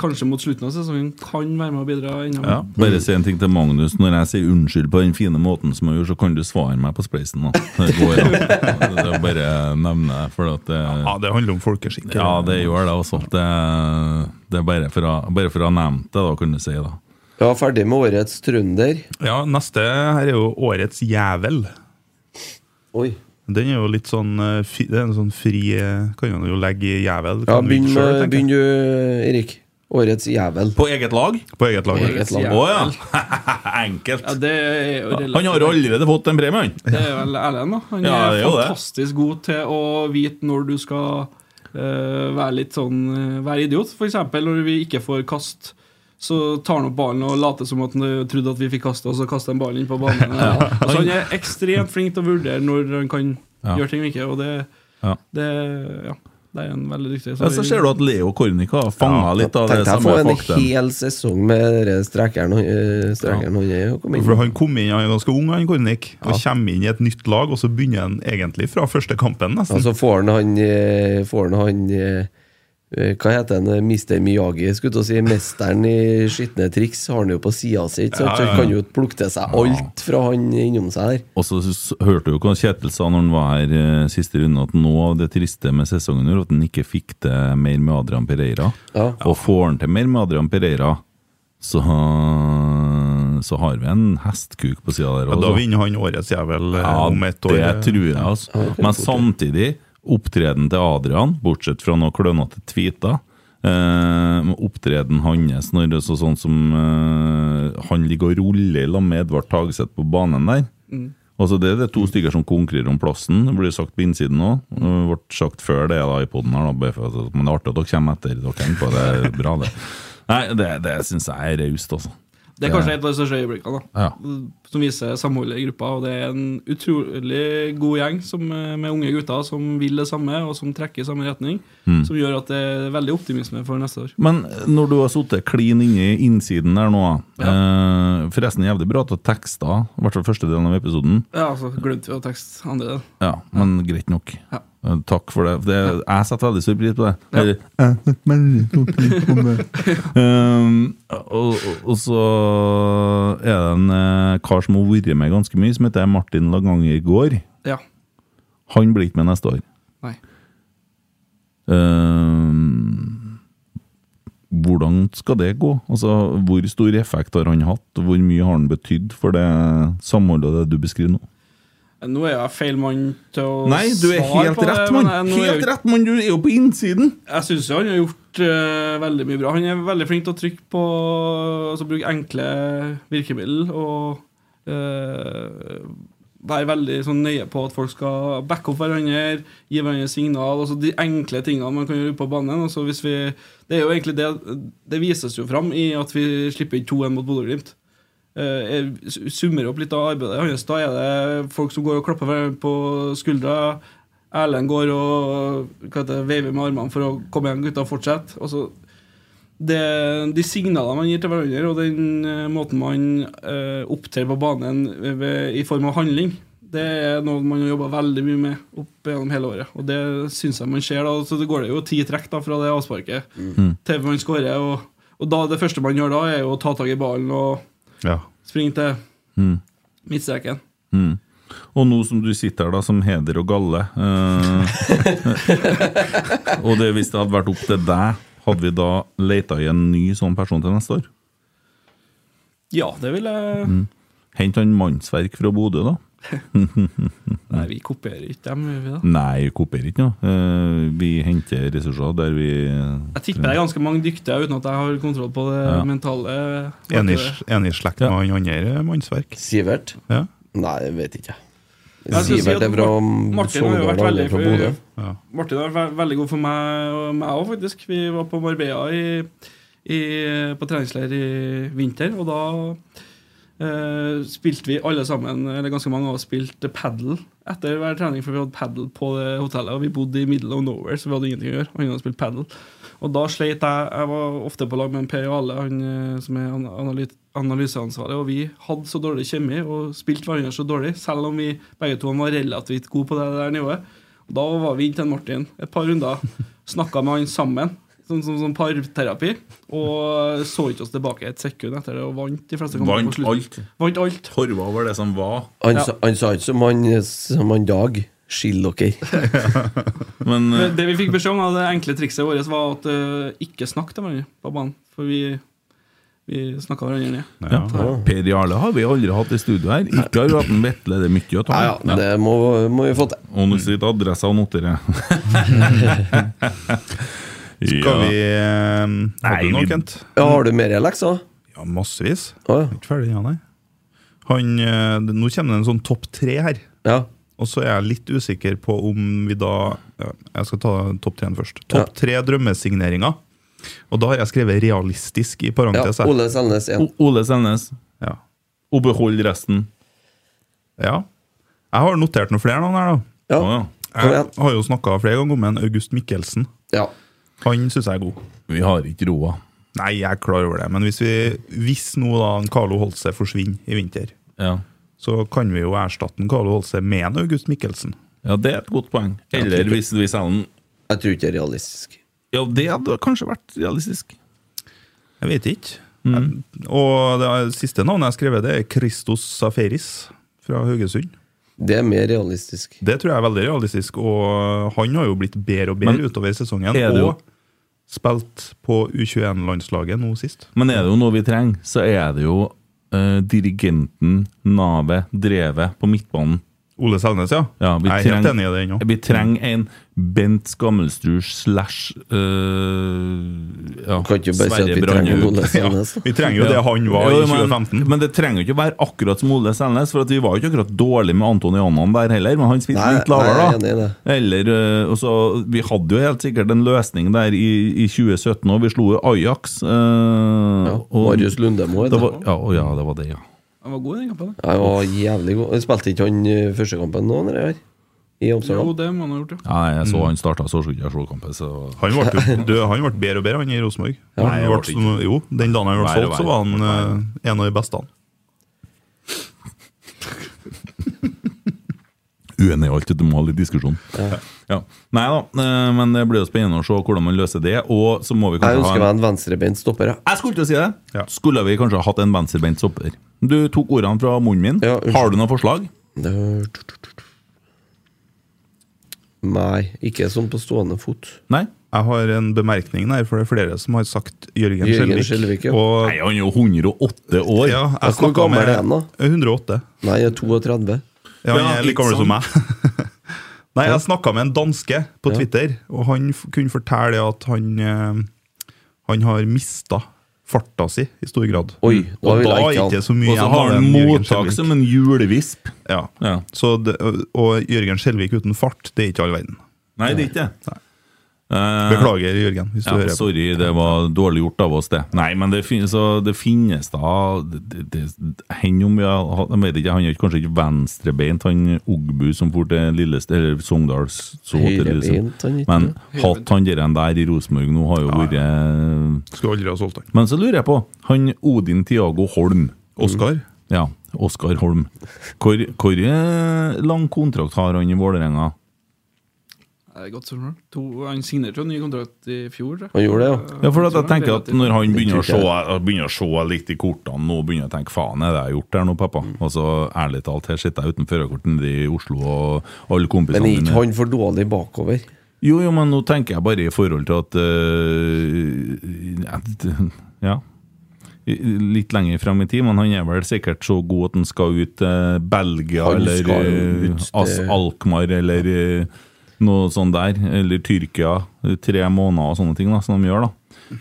E: kanskje mot slutten av sesongen kan være med å bidra ennå.
C: Ja, bare si en ting til Magnus. Når jeg sier unnskyld på den fine måten som jeg gjorde, så kan du svare meg på spleisen. da. Det går an. Altså, Det er bare å nevne det, for at det
F: Ja, det handler om folkeskikk.
C: Ja, det gjør det også. Det, det er bare for, å, bare for å ha nevnt det, da, kan du si. da.
D: ja, ferdig med årets trønder.
F: Ja, neste her er jo Årets jævel.
D: Oi.
F: Den er jo litt sånn eh, fi, Det er en sånn fri eh, Kan man jo legge i jævel.
D: Ja,
F: kan du ikke
D: begynn
F: selv, tenker
D: med-
F: jeg.
D: begynn du, Erik. Årets jævel.
C: På eget lag?
F: På eget lag.
D: Eget lag.
C: Å ja! Enkelt.
E: Ja, det er jo
C: Han har jo allerede fått en premie, han.
E: Det er vel Erlend, da. Han
C: Ja, det er
E: er
C: jo det.
E: fantastisk god til å vite når du skal eh, være litt sånn eh, Være idiot. For eksempel når vi ikke får kast. Så tar han opp ballen og later som at han eh, trodde at vi fikk kaste, og så kaster han ballen inn på banen. Altså, han er ekstremt flink til å vurdere når han kan
C: Ja.
E: gjøre ting og ikke, og det,
C: Ja.
E: det Ja, det er en veldig dyktig
C: Ja, så ser du at Leo Kornica har fanga litt av det
D: Tenkte jeg
C: samme
D: får en
C: faktum.
D: hel sesong med dere strekeren øh, strekeren han er. og kom inn.
F: For Han kom inn, han er ganske ung, han Kornik, og kommer inn i et nytt lag, og så begynner han egentlig fra første kampen,
D: Ja,
F: nesten.
D: så Altså, får han han, øh, får han, han øh, øh, Hva heter han? øh, Mr. Miyagi? Skulle til å si Mesteren i skitne triks har han jo på sida si, ikke sant? så han kan jo plukke til seg alt fra han innom seg der.
C: Og så s- hørte du hva Kjetil sa når han var her eh, siste runde, at noe av det triste med sesongen er at han ikke fikk det mer med Adrian Pereira.
D: Ja.
C: Og får han til mer med Adrian Pereira, så, så har vi en hestkuk på sida der.
F: Ja, da
C: altså.
F: vinner han Årets jævel eh,
C: Ja,
F: om et år.
C: Det tror jeg, altså. Men samtidig, opptreden til Adrian, bortsett fra noen klønete tweeter eh, men Opptreden hans når det er så sånn som eh, han ligger og ruller i lag med Edvard Tagseth på banen der Altså Det er det to stykker som konkurrerer om plassen. Det blir sagt på innsiden òg. Det ble sagt før det da i podden her, da, bare for at- men det er artig at dere kommer etter. Dere er inne på det. det er bra, det. Nei, det, det syns jeg er raust, altså.
E: Det er kanskje et av de største øyeblikkene. da
C: Ja.
E: Som viser samholdet i gruppa. Og det er en utrolig god gjeng som, eh, med unge gutter som vil det samme, og som trekker i samme retning.
C: Mm.
E: Som gjør at det er veldig optimisme for neste år.
C: Men når du har sittet klin inni innsiden der nå eh, Forresten jævlig bra til tekster, i hvert fall første delen av episoden.
E: Ja, altså, Glemte vi å tekste andre del.
C: Ja, Men greit nok.
E: Ja.
C: Eh, Takk for det. det Jeg setter veldig stor pris på det.
E: Ja.
C: Eller, jeg setter veldig stor pris på det. Um, og, og- og så er det en eh, kar som har vært med ganske mye, som heter Martin Laganger Gaard.
E: Ja.
C: Han blir ikke med neste år.
E: Nei.
C: Ehm, hvordan skal det gå? Altså, Hvor stor effekt har han hatt, og hvor mye har han betydd for det samholdet og det du beskriver nå?
E: Nå er jeg feil mann til å
C: Nei, du er
E: svare
C: helt
E: på det,
C: rett,
E: men jeg-
C: mann!
E: nå er
C: Helt
E: jeg-
C: rett, mann! Du er jo på innsiden!
E: Jeg syns han har gjort eh, veldig mye bra. Han er veldig flink til å trykke på Altså bruke enkle virkemidler og eh, være veldig sånn nøye på at folk skal backe opp hverandre, gi hverandre signal. Altså de enkle tingene man kan gjøre ute på banen. Altså hvis vi, det er jo egentlig det Det vises jo fram i at vi slipper inn 2-1 mot Bodø-Glimt. Eh, jeg summer opp litt av arbeidet hans. Da er det folk som går og klapper hverandre på skuldra. Erlend går og hva heter det, veiver med armene for å komme igjen, gutta, fortsett. Og så det, de signalene man gir til hverandre, og den eh, måten man eh, opptrer på banen ved, i form av handling, det er noe man har jobba veldig mye med opp gjennom hele året. Og det syns jeg man ser. da, så Det går det jo ti trekk da fra det avsparket til man skårer. Og, og da, det første man gjør da, er jo å ta tak i ballen og
F: Ja.
E: springe til
F: Mm.
E: midtstreken.
C: Og nå som du sitter her da som heder og galle eh, Og det hvis det hadde vært opp til deg, hadde vi da leita i en ny sånn person til neste år?
E: Ja, det vil jeg
F: Mm.
C: Hent han mannsverk fra Bodø, da.
E: Nei, vi kopierer ikke dem, gjør vi det?
C: Nei, vi kopierer ikke noe. Eh, Vi henter ressurser der vi
E: Jeg tipper det er ganske mange dyktige uten at jeg har kontroll på det mentale.
F: Enig i- enig i slekt med han andre eh, mannsverk.
D: Sivert?
F: Ja.
D: Nei, jeg vet ikke.
E: Jeg skulle si at
D: Sivert er fra
E: Mar- Martin har jo vært
D: Sogndal, alle
E: veldig
D: er fra
E: for-
D: Bodø.
F: Ja.
E: Martin har vært veldig god for meg og meg òg, faktisk. Vi var på Marbella i, i, på treningsleir i vinter, og da eh, spilte vi alle sammen, eller ganske mange av oss, spilte padel etter hver trening, for vi hadde padel på det hotellet, og vi bodde i middle of nowhere, så vi hadde ingenting å gjøre. Han hadde spilt padel. Og da sleit jeg. Jeg var ofte på lag med en Per Jale, han eh, som er an- analyt- analyseansvarlig, og vi hadde så dårlig kjemi og spilte hverandre så dårlig, selv om vi begge to var relativt gode på det der nivået. Og Da var vi inn til en Martin et par runder, snakka med han sammen, sånn som sånn, parterapi, og så ikke oss tilbake et sekund etter det, og vant de fleste kampene på
C: Vant
E: slutten.
C: alt.
E: Vant alt.
C: Torva over det som var.
D: Han sa- han sa ikke som han, som han Dag. Skill dere.
C: Men eh,
E: Men Det vi fikk beskjed om, da, det enkle trikset vårt, var at eh, ikke snakk til hverandre på banen, for vi, vi snakka hverandre ned.
C: ja. Per Jarle har vi aldri hatt i studio her. Ikke har vi hatt en Vetle, det er mye å ta.
D: Ja, ja, det må, må vi få til.
C: Og nå sitter adressa og noterer.
F: Skal vi
C: ja.
F: eh, Har
C: Nei,
F: du
C: vi-
F: noe, Kent?
D: Ja, har du mer lekser?
F: Ja, massevis.
D: Å ja.
F: Ikke ferdig ennå, nei. Han, eh, det- nå kommer det en sånn topp tre her.
D: ja.
F: Og så er jeg litt usikker på om vi da ja, Jeg skal ta topp tre først. Topp tre drømmesigneringer. Og da har jeg skrevet 'realistisk' i
D: ja.
F: parentes. her.
D: Ole Selnes 1.
C: O- Ole Selnes,
F: Ja.
C: og behold resten.
F: ja. Jeg har notert noen flere navn her, da.
D: Ja.
C: Å, ja.
D: Kom
F: Jeg
D: igjen.
F: har jo snakka flere ganger om en August Mikkelsen.
D: Ja.
F: Han syns jeg er god.
C: Vi har ikke roa.
F: Nei, jeg er klar over det, men hvis, vi, hvis nå da en Carlo Holse forsvinner i vinter,
C: Ja.
F: så kan vi jo erstatte en Carlo Holse med en August Mikkelsen.
C: ja, det er et godt poeng. Eller hvis vi selger den
D: Jeg tror ikke det er realistisk.
C: Ja, det hadde kanskje vært realistisk.
F: Jeg vet ikke.
C: Mm.
F: Jeg, og det er- siste navnet jeg har skrevet, det er Christos Saferis fra Haugesund.
D: Det er mer realistisk.
F: Det tror jeg er veldig realistisk, og han har jo blitt bedre og bedre
C: Men
F: utover sesongen.
C: er det jo-
F: Og spilt på U21-landslaget nå sist.
C: Men er det jo noe vi trenger, så er det jo eh, dirigenten, navet, drevet på midtbanen.
F: Ole Selnes, ja.
C: Ja, vi
F: jeg er helt
C: trenger-
F: enig i det ennå.
C: Vi trenger en Bent Skammelstrus slash eh, ja,
D: Kan ikke bare si at
C: Sverre
D: vi
C: Brandhaug.
D: trenger Ole Selnes.
F: Vi trenger jo
C: Ja.
F: det han var
C: Jo,
F: i
C: men-
F: 2015.
C: Men det trenger jo ikke å være akkurat som Ole Selnes, for at vi var jo ikke akkurat dårlig med Antoni Annan der heller, men han spilte
D: Nei,
C: litt lavere,
D: nei, jeg er
C: da.
D: enig i det.
C: Eller, eh, og så, vi hadde jo helt sikkert en løsning der i, i 2017, og vi slo jo Ajax. eh,
D: Ja.
C: og-
D: Marius Lundemo.
C: det var, ja, å ja, det var det, ja.
E: Han var god i den kampen. da.
D: Jeg var jævlig god. Jeg Spilte ikke han eh, første kampen nå? Når jeg var I
E: Jo,
D: Amsterdam?
E: det må han ha gjort, ja.
C: Nei, jeg så han starta, så skulle ikke jeg slå kampen, så
F: Han ble, jo- du, han ble bedre og bedre, han i Rosenborg. Han
C: Nei,
F: ble
C: jeg ble
F: som- Jo, den dagen han ble
C: Vær og
F: solgt,
C: vær.
F: så var han eh, en av de beste. han.
C: uenig i alt, det må ha litt diskusjon. Ja. Nei da, eh, men det blir jo spennende å se hvordan man løser det, og så må vi
D: Jeg
C: kanskje ha en
D: ønsker meg en venstrebeint stopper, jeg.
C: Jeg skulle til å si det.
F: Ja.
C: Skulle vi kanskje hatt en venstrebeint stopper? Du tok ordene fra munnen min.
D: Ja, unnskyld.
C: Har du noen forslag?
D: Det- Nei, ikke sånn på stående fot.
C: Nei?
F: Jeg har en bemerkning der, for det er flere som har sagt Jørgen,
D: Jørgen Skjelvik,
F: Skjelvik.
D: ja.
F: og,
C: Nei, han er jo 108 år.
F: ja,
D: Hvor
F: jeg snakka
D: gammel
F: med
D: er han da?
F: 108.
D: Nei, jeg er 32.
F: Ja, han
C: Ja,
F: er like
C: litt
F: gammel som meg. Nei,
D: Ja.
F: jeg snakka med en danske på
D: Ja.
F: Twitter, og han f kunne fortelle at han eh, Han har mista farta si i stor grad.
D: Oi, da
F: Mm. og
D: vil
F: da
D: jeg
F: er
D: ikke ha
F: ikke
D: han.
F: så
C: Og
F: mye
C: så har
F: igjen av
C: han
F: den Jørgen
C: mottak
F: Skjelvik.
C: som en julevisp.
F: Ja.
C: Ja.
F: Så det, og- og Jørgen Skjelvik uten fart, det er ikke all verden.
C: Nei, det er ikke det. Eh,
F: Beklager, Jørgen, hvis du
C: Ja,
F: hører på.
C: sorry, det var dårlig gjort av oss, det. Nei, men det finnes, så det finnes da det, det, det, hen om vi har, hatt- jeg vet ikke, Han er jo kanskje ikke venstrebeint, han Ogbu som for til Lillest, eller Sogndal så til Lillestrøm.
D: Høyrebeint, han ikke
C: Men
D: det?
C: hatt han der, der i Rosenborg nå, har jo vært eh,
F: Skulle aldri ha solgt han.
C: Men så lurer jeg på han Odin Tiago Holm.
F: Oskar?
C: Ja, Oskar Holm. Hvor, hvor eh, lang kontrakt har han i Vålerenga?
E: Det er godt spørsmål. To- Han signerte jo en ny kontrakt i fjor. tror jeg.
D: Han gjorde det,
C: Ja, for at jeg tenker at Når han
D: Det
C: begynner å
D: tror
C: se,
D: jeg.
C: begynner å se litt i kortene nå, begynner jeg å tenke faen, er det jeg har gjort der nå, pappa? Og så ærlig talt, her sitter jeg uten førerkort nede i Oslo, og alle
D: Men
C: kompisene
D: er
F: eh,
D: ikke han for dårlig bakover?
C: Jo, jo, men eh, nå tenker jeg bare i forhold til at øh, ja, d- Ja. litt lenger frem i tid, men han er vel sikkert så god at han skal ut til Belgia
D: Han
C: eller
D: skal
C: eh,
D: ut til-
C: As Alkmaar eller eh, noe sånt der. Eller Tyrkia. eh, Tre måneder og sånne ting da, som de gjør, da.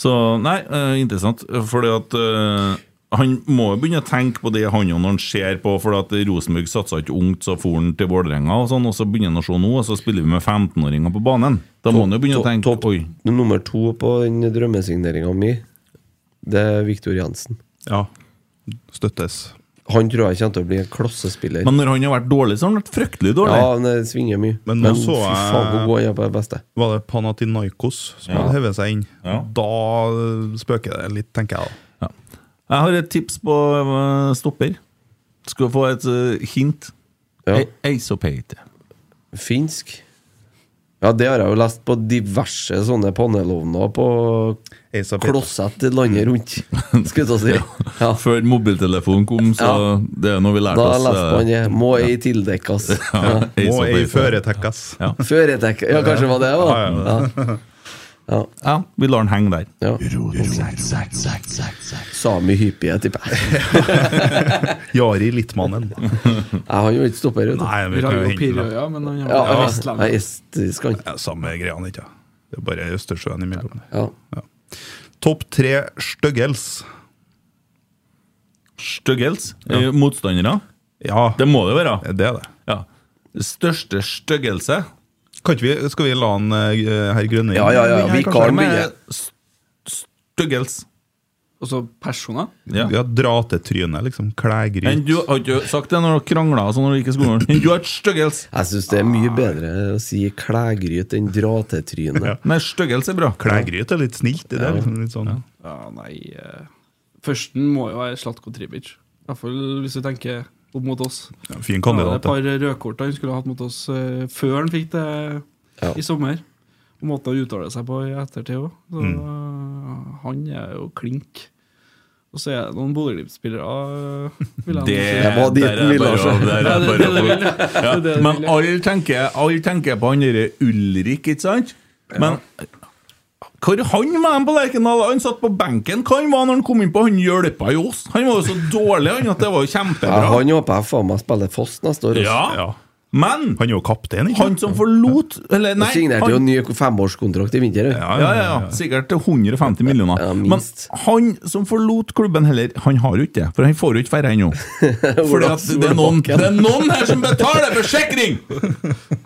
C: Så nei, eh, interessant. Fordi at eh, han må jo begynne å tenke på det han jo når han ser på, for at Rosenborg satsa ikke ungt, så for han til Vålerenga, og sånn, og så begynner han å se nå, og så spiller vi med 15-åringer på banen. Da må han jo begynne å
D: To-
C: tenke
D: topp-
C: Oi.
D: Nummer to på den drømmesigneringa mi, det er Viktor Jansen.
F: Ja. Støttes.
D: Han tror jeg kommer til å bli en klossespiller.
C: Men når han har vært dårlig, så har han vært fryktelig dårlig.
D: ja, han eh, svinger mye.
F: Men nå så
D: fy
F: jeg-
D: faen hvor god han er på det beste.
F: Var det Panathinaikos som hadde hevet seg inn? Da eh, spøker det litt, tenker jeg. da.
C: Jeg har et tips på øh, stopper. Skal få et øh, hint.
D: Ja.
C: E- Eisopeite.
D: Finsk. Ja, det har jeg jo lest på diverse sånne panelovner på
F: Asa Peter.
D: klossett landet rundt, skulle jeg til å si. Ja.
C: Før mobiltelefonen kom, så
D: Ja.
C: det er noe vi lærte
D: Da
C: oss. eh,
D: leste man det. Må ei tildekkes. Ja.
F: Må ei
C: Eisopeite.
F: føretekkes.
C: Ja.
D: Føretek Ja, kanskje det var det, da. Ja.
C: Ja, vi lar den henge der.
D: Ja. Sami hyppige, tipper jeg.
F: Jari Littmannen.
D: Jeg har jo ikke stopper, vet du.
F: Nei, vi
E: Vi har
F: kan jo
E: jo
F: hente den.
E: Pirøya, men han
D: Ja,
E: har
D: jeg
E: ja.
D: er vest- jeg er
E: Vestlandet.
D: estisk, han.
F: Ja, Samme greia, ikke sant? Det er bare Østersjøen imellom. der.
D: Ja.
F: Topp tre styggels.
C: Styggels. Eh, Motstandere.
F: Ja,
C: Det må det være.
F: det er det.
C: Ja. Største styggelse.
F: Kan ikke vi, skal vi la han eh, herr Grønning
D: Ja, ja, ja,
F: begynne her,
D: vi
F: kanskje?
D: kan- Barn
C: Hvem er
D: begynner.
C: s- Styggels.
E: Og så personer.
C: Ja.
F: Ja, Dra til trynet, liksom.
C: Men
F: Klægryt.
C: du har ikke sagt det når dere krangla og sånn når dere gikk i skolen. Men Du har et styggels.
D: Jeg syns det er mye bedre å si klægryt enn dra til trynet.
C: Nei, styggels er bra.
F: Klægryt er litt snilt i det. Liksom, litt sånn.
E: Ja, nei eh, Førsten må jo være Slatko Tribic. I hvert fall hvis du tenker opp mot oss.
F: Ja, fin
C: Sånn
E: Han hadde et
F: kandidat. da.
E: par rødkort han skulle ha hatt mot oss eh, før han fikk det
D: Ja.
E: i sommer. Og måten han uttaler seg på i ettertid òg.
C: Mm.
E: Han er jo klink. Og så er det noen Bodø-Glimt-spillere eh, vil jeg
C: Det,
E: nå si.
D: var dit
C: der er
D: den ville,
C: bare
D: altså.
C: å- der er
E: Ja, det-
C: bare
E: det er det
C: å-
E: jeg vil. Det er det jeg
C: Men
E: vil.
C: alle tenker, alle tenker på han derre Ulrik, ikke sant? Men hvor han var han på Lerkendal? Han satt på benken. Hva han var når han kom inn på? Han hjelpa jo oss. Han var jo så dårlig, han, at det var jo
D: Ja,
C: kjempebra.
D: han håper jeg faen meg spiller fast neste år.
C: Ja.
F: Ja.
C: Men
F: Han er jo kaptein, ikke
C: han som forlot Eller, nei.
D: Han signerte
C: han-
D: jo en ny femårskontrakt i vinter. han.
C: ja,
F: Ja,
C: ja, ja. Sikkert til 150 millioner.
D: Ja,
C: Men
D: minst.
C: han som forlot klubben heller, han har jo ikke det. For han får jo ikke færre ennå. Fordi at det er, noen, det er noen her som betaler forsikring!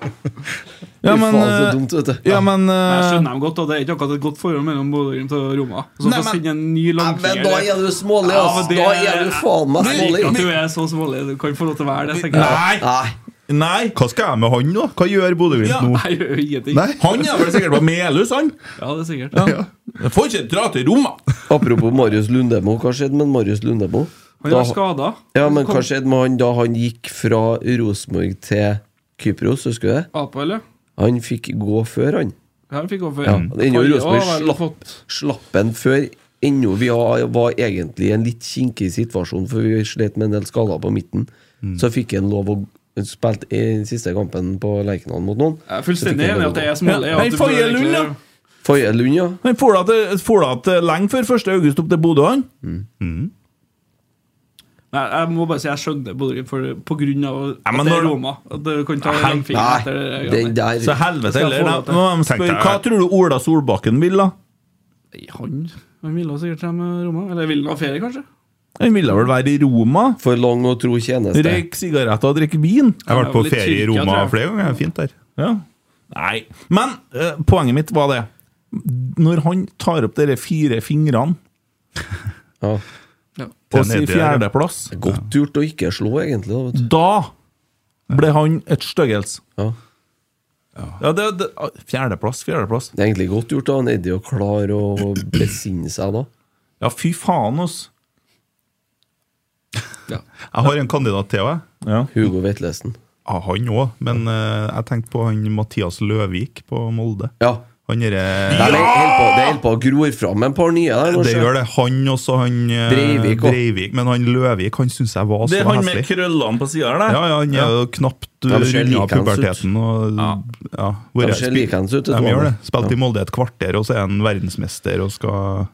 C: Ja,
D: Fy
C: men,
D: faen, så
C: eh,
D: dumt, vet du.
C: ja, men
E: Jeg
C: eh,
E: skjønner dem godt, og det er ikke akkurat et godt forhold mellom Bodø-Glimt og Roma. Så for
C: Nei,
E: å
C: men-
E: finne en ny
D: Ja, men
E: langfinger
D: da er du smålig,
E: Ja,
D: ass!
E: men det-
D: Da er du faen meg
E: Jeg liker at
D: smålig.
E: du er så smålig. Du kan få lov til å være det. tenker jeg.
C: Nei!
D: Nei.
C: nei
F: Hva skal jeg med han, da? Hva gjør Bodø-Glimt
C: Ja.
F: nå?
E: Nei, jeg gjør ingenting.
F: Nei.
C: Han er vel sikkert på Melhus, han!
E: Ja, det er sikkert.
C: Jeg får ikke dra til Roma!
D: Apropos Marius Lundemo, hva skjedde med Marius Lundemo?
E: Han
D: Da-
E: er skada.
D: Ja, men hva skjedde med han da han gikk fra Rosenborg til Kypros, husker du det?
E: Apa, eller?
D: Han fikk gå før, han.
E: Ja, han fikk gå for
D: Ja, det er jo
E: Forrige
D: Rosenborg
E: har vel
D: slapp.
E: fått-
D: Slapp han før ennå. Vi har- var egentlig i en litt kinkig situasjon, for vi slet med en del skader på midten.
F: Mm.
D: Så fikk han lov å spille i den siste kampen på Lerkendal mot noen.
E: Jeg er fullstendig enig i at det er smålig.
C: Ja,
E: og at
C: nei,
E: du
C: Faye
E: bør egentlig-
C: Lund, ja.
D: Forrige Lund, ja.
C: Han får da til- får da til lenge før 1. august opp til Bodø, han.
E: Nei, jeg må bare si jeg skjønner Bodø Glimt for- på grunn av
C: Ja, men
E: at det er
C: når-
E: Roma. At du kan ta
C: Nei,
E: en finger
D: Nei,
E: etter det.
D: den
E: greiene.
D: der
C: Så helvete
E: Skal jeg
C: heller.
E: få
C: Nei,
E: lov til-
C: Nå må de spørre,
F: Tenkte jeg-
C: Hva tror du Ola Solbakken vil, da?
E: Nei, Han, han ville jo sikkert hjem med Roma. Eller ville han ha ferie, kanskje?
C: Han ville vel være i Roma?
D: For lang og tro tjeneste.
C: Røyke sigaretter og drikke vin?
F: Jeg har vært på
E: Ja, litt
F: ferie i
E: Tyrkia,
F: Roma
E: tror jeg.
F: flere ganger. det er Fint der.
C: Ja. Nei. Men eh, poenget mitt var det. Når han tar opp de fire fingrene
D: Ja.
C: på
F: Den er
C: sin
F: det, ja.
C: fjerdeplass,
D: Godt gjort å ikke slå, egentlig. Da, vet du.
C: da ble han et styggels.
D: Ja.
C: Ja, det, det, fjerdeplass, fjerdeplass.
D: Det er egentlig godt gjort av Eddie å klare å besinne seg da.
C: Ja, fy faen, oss.
F: Jeg har en kandidat til, jeg.
C: Ja.
D: Hugo Vetlesen.
F: Ja, han òg, men eh, jeg tenkte på han Mathias Løvik på Molde.
D: Ja.
F: Han derre
D: Nei, men helt på, det holder på å gror fram en par nye der. nå,
F: Det
D: sjø.
F: gjør det. Han også, han eh,
D: Breivik også.
F: Breivik. Men han Løvik, han syns jeg var
C: Det
F: så
C: er han med
F: heslig.
C: krøllene på sida her,
F: Ja,
C: der.
F: ja, han er jo knapt Du
D: De ser
F: runder av
D: likeens ut.
F: puberteten og ja. vært-
D: De ser likeens ut, vet du
F: De
D: hva,
F: gjør det.
D: da.
F: Spilte i Molde et kvarter, og så er han verdensmester og skal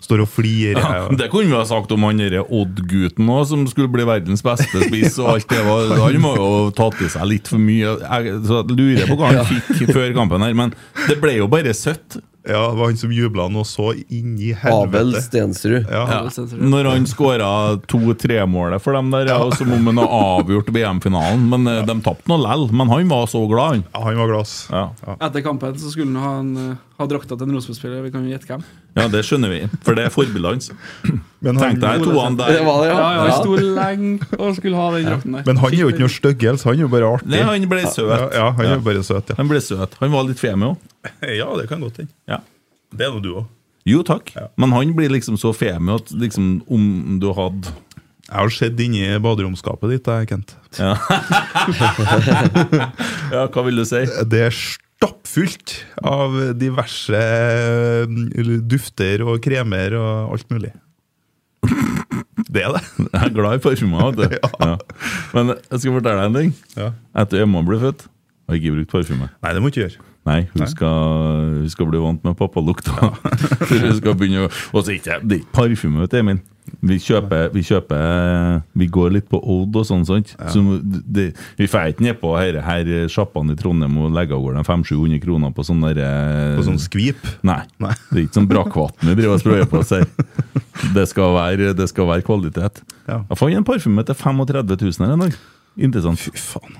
F: Står og flirer.
C: Ja,
F: og-
C: det kunne vi ha sagt om han derre Odd-gutten òg, som skulle bli verdens beste spiss. og alt det var. Han må jo ha tatt i seg litt for mye. Jeg så jeg lurer på hva han fikk før kampen her, men det ble jo bare søtt.
F: Ja, det var han som jubla nå så inn i
D: Abel
F: helvete.
D: Stensrud.
C: Ja.
F: Ja.
C: Når han skåra to-tre-målet for dem der, ja, som om han har avgjort VM-finalen. Men eh, de tapte nå lell. Men han var så glad, han.
F: Ja, han var glass.
C: Ja.
E: Etter kampen så skulle han ha, en, eh, ha drakta til en Rosenborg-spiller. Vi kan jo gjette hvem.
C: ja, det skjønner vi, for det er forbildet hans.
F: Men
C: Tenk
F: han,
C: deg toene
D: Det
C: der.
D: var det,
E: Ja, ja,
D: ja.
E: Han sto lenge og skulle ha den drakten der.
F: men han er jo ikke noe styggelse, han er jo bare artig.
C: Nei, han ble
F: ja,
C: søt.
F: ja, han er jo bare søt, ja.
C: Han ble søt. Han var litt femi òg.
F: Ja, det kan godt hende.
C: Ja.
F: Det er nå du òg.
C: Jo takk, men han blir liksom så femi at liksom, om du hadde
F: Jeg har sett inni baderomsskapet ditt, jeg, Kent.
C: Ja, hva vil du si?
F: Det er stappfullt av diverse eh, dufter og kremer og alt mulig. Det er det.
C: Jeg er glad i parfymer. vet du. Ja. Men jeg skal fortelle deg en ting.
F: Ja.
C: Etter Emma ble født, har jeg ikke brukt parfyme.
F: Nei, det må du ikke gjøre.
C: Nei, hun skal, hun skal bli vant med pappalukta. For hun skal begynne å Og så er ikke det er ikke parfyme, vet du, Emil. Vi kjøper, vi kjøper Vi går litt på Odd og sånn, sant. Så det, vi drar ikke nedpå her, her sjappene i Trondheim og legger av gårde 500-700 kroner på sånn derre
F: På sånn skvip.
C: Nei.
F: Nei.
C: Det er ikke sånn brakkvann vi driver og sprøyer på oss her. Det skal være, det skal være kvalitet.
F: Ja.
C: Jeg fant en parfyme til 35 000 her en dag. Interessant.
F: Fy faen.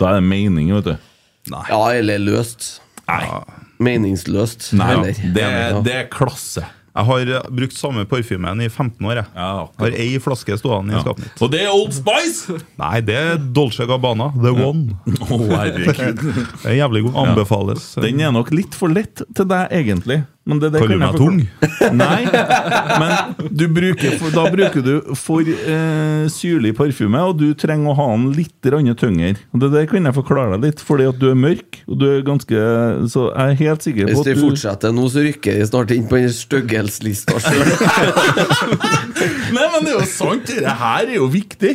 C: Da er det mening, vet du.
D: Ja, eller løst.
C: Nei,
D: Meningsløst.
C: Nei
D: eller.
C: det, er, det er klasse.
F: Jeg har eh, brukt samme parfymen i 15 år. jeg.
C: Ja, akkurat.
F: har ei flaske stående i skapet mitt.
C: Og det er Old Spice!
F: Nei, det er Dolce Gabbana. The One.
C: Å, herregud.
F: Det er jævlig god. Anbefales.
C: Den er nok litt for lett til deg, egentlig. Men det, det
F: Kaller
C: kan
F: du
C: jeg
F: meg
C: forklare.
F: tung?
C: Nei, men du bruker, for, da bruker du for eh, syrlig parfyme, og du trenger å ha den litt grann tyngre. Og Det der kan jeg forklare deg litt, fordi at du er mørk, og du er ganske Så jeg er helt sikker
D: Hvis
C: på
D: de
C: at du
D: fortsetter nå, så rykker de snart inn på den styggelslista sjøl.
C: Nei, men det er jo sant! Det her er jo viktig!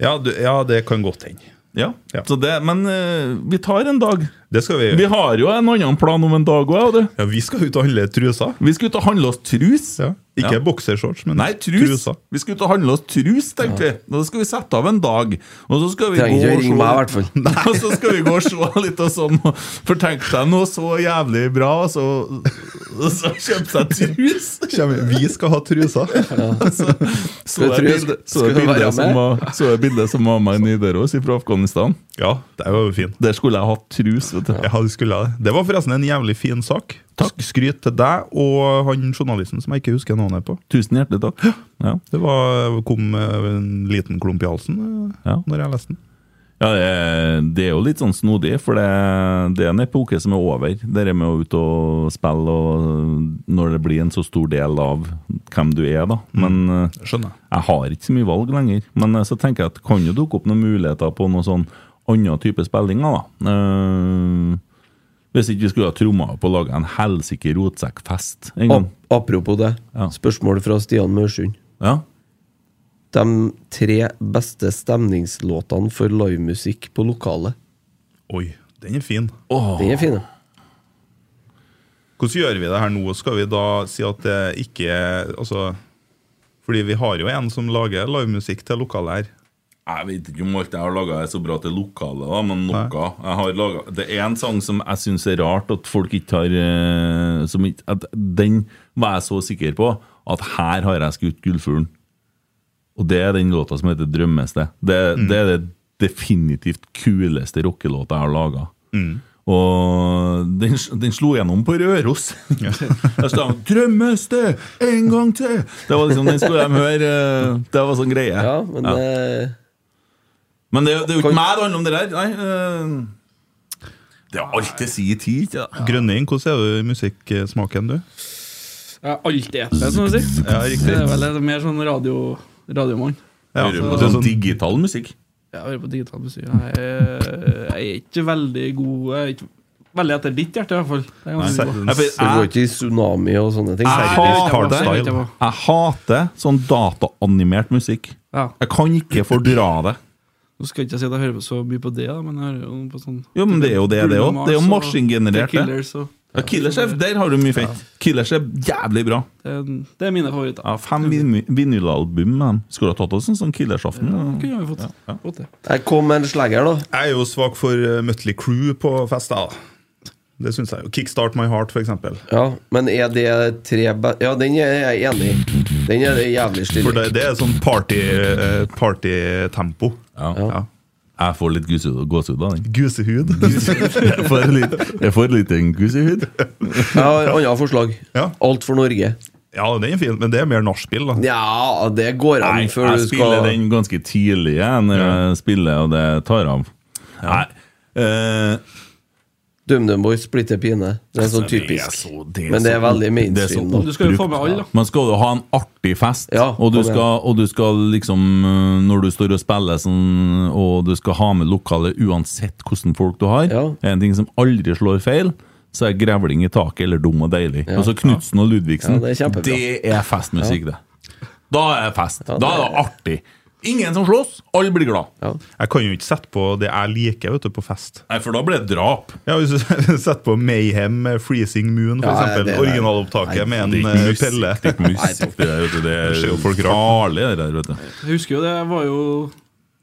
F: Ja, du, ja, det kan godt hende.
C: Ja,
F: Ja.
C: Så det, Men eh, vi tar en dag.
F: Det skal vi
C: Vi
F: gjøre.
C: har jo en annen plan om en dag òg.
F: Ja, vi skal ut og handle truser.
C: Vi skulle ut og handle oss trus.
F: Ja. Ikke
C: Ja.
F: boksershorts, men
C: Nei, trus.
F: truser.
C: Vi skulle ut og handle oss trus, tenkte vi. Da skal vi sette av en dag. Og så skal vi
D: Trenger ikke
C: gå
D: å
C: og
D: ringe
C: se-
D: meg, i hvert fall.
C: Nei, og så skal vi gå og se litt og sånn. og- For tenk deg noe så jævlig bra, og så, og så kjøpe seg trus!
F: Kjem- Vi skal ha truser.
C: Så, så
D: Skal
C: det
D: trus-
C: bildet, så det
D: skal være
C: bildet, som
D: med?
C: var- så det bildet som var med i Nidaros fra Afghanistan.
F: Ja, det var jo fin.
C: Der skulle jeg hatt trus, vet du.
F: Ja, du skulle ha det. Det var forresten en jævlig fin sak. Takk. Skryt til deg og han journalisten som jeg ikke husker navnet på.
C: Tusen hjertelig takk. Ja.
F: Det var, kom eh, en liten klump i halsen eh,
C: Ja.
F: når jeg leste den.
C: Ja, det er, det er jo litt sånn snodig, for det, det er en epoke som er over. Det der med å ut og spille, og når det blir en så stor del av hvem du er, da. Men eh,
F: Skjønner.
C: jeg har ikke så mye valg lenger. Men eh, så tenker jeg at kan jo dukke opp noen muligheter på noen sånn annen type spillinger, da. Eh, hvis ikke vi skulle ha tromma på å lage en helsike rotsekkfest en gang.
D: Apropos det,
C: Ja.
D: spørsmål fra Stian Mørsund.
C: Ja.
D: De tre beste stemningslåtene for livemusikk på lokalet.
F: Oi, den er fin.
D: Den er fin, ja.
F: Hvordan gjør vi det her nå? Skal vi da si at det ikke Altså Fordi vi har jo en som lager livemusikk til lokalet her.
C: Jeg vet ikke om alt jeg har laga er så bra til lokalet, da, men noe.
F: Nei.
C: Jeg har laget, det er en sang som jeg syns er rart at folk ikke har eh, som ikke, at Den var jeg så sikker på at her har jeg skutt gullfuglen. Og det er den låta som heter 'Drømmested'. Det, det er det definitivt kuleste rockelåta jeg har laga. Og den, den slo gjennom på Røros. Der står han 'Drømmested, en gang til'! Det var liksom, Den skulle de høre. eh, Det var sånn greie.
D: Ja, men eh,
C: Men det, er jo- det er jo
D: Kan-
C: ikke meg det handler om det der. Nei, øh, det er alt jeg sier i tid, ikke da?
F: Grønning, hvordan er du i musikksmaken, du?
E: Jeg har alltid ett, som du sier.
F: Ja,
E: Det
F: riktig.
E: er vel en mer sånn radio, radiomann.
F: Ja,
C: Hører på
F: det er
C: sånn
F: sånn-
C: digital musikk.
E: Jeg hører på digital musikk. Jeg, er- jeg er ikke veldig god Jeg er ikke veldig etter ditt hjerte, i hvert fall. Det er ganske bra.
C: Jeg,
D: det går
C: jeg,
D: ikke i tsunami og sånne ting.
C: Jeg
D: Serbisk.
C: hater-
E: Det vet jeg
F: Hardstyle.
E: hva.
C: jeg hater sånn dataanimert musikk.
E: Ja.
C: Jeg kan ikke fordra det.
E: Nå skal ikke jeg si at jeg hører på så mye på det, da, men jeg hører jo på sånn
C: Jo, men det er jo det, det òg. Det er jo maskingenerert,
E: det.
C: det.
E: Killers, og,
C: Ja, Killerchef, der har du mye fett. Killerchef, jævlig bra.
E: det, er, det er mine favoritter.
C: Ja, Fem vin- vinylalbum med dem. Skulle ha tatt oss en sånn Killersaften.
E: Kunne vi fått, fått det.
D: Jeg kom med en slenger, da.
F: Jeg er jo svak for eh, Mötley Crew på fest, jeg, da. Det syns jeg. jo. Kickstart My Heart, for eksempel.
D: Ja, men er det tre be... Ja, den er jeg enig i. Den er jævlig
F: For
D: stilig.
F: det, det er sånn party, eh, partytempo.
C: Ja. Jeg får litt gåsehud gåsehud av den.
F: Gusehud.
C: Jeg får litt, jeg får litt en gåsehud.
D: Jeg har andre forslag.
F: Ja.
D: Alt for Norge.
F: ja, det er en fin, men det er mer nachspiel, da.
D: Ja, det går an
C: Nei, jeg
D: før du
C: spiller
D: skal
C: den ganske tidlig jeg, når jeg spiller, og det tar av. Nei, eh,
D: DumDum Boys splitter pine. Det er sånn typisk.
C: så- Altså, det
D: Men det er
C: så-
D: veldig mainstream,
C: det er så
D: da.
E: Du skal jo få med alle, da.
C: Men skal du ha en artig fest,
D: Ja,
C: og, du
D: kom igjen.
C: skal, og du skal liksom øh, Når du står og spiller sånn, og du skal ha med lokalet uansett hvordan folk du har
D: Ja.
C: En ting som aldri slår feil, så er grevling i taket eller dum og deilig.
D: Ja.
C: Altså Knutsen og Ludvigsen.
D: Ja, det er kjempebra.
C: det er festmusikk, det. Da er det fest.
D: Ja,
C: Da er det artig. Ingen som slåss, alle blir glad.
D: Ja.
F: Jeg kan jo ikke sette på det jeg liker vet du, på fest.
C: Nei, for da blir det drap.
F: Ja, Hvis du setter på Mayhem med Freezing Moon, for
D: Ja,
F: eksempel.
D: det er-
F: Originalopptaket med en eh, Pelle.
C: Det er ikke musikk, det der, vet du. Det
F: Det skjer jo
C: er
F: folk
C: farlig, det der, vet du.
E: Jeg husker jo det, jeg var jo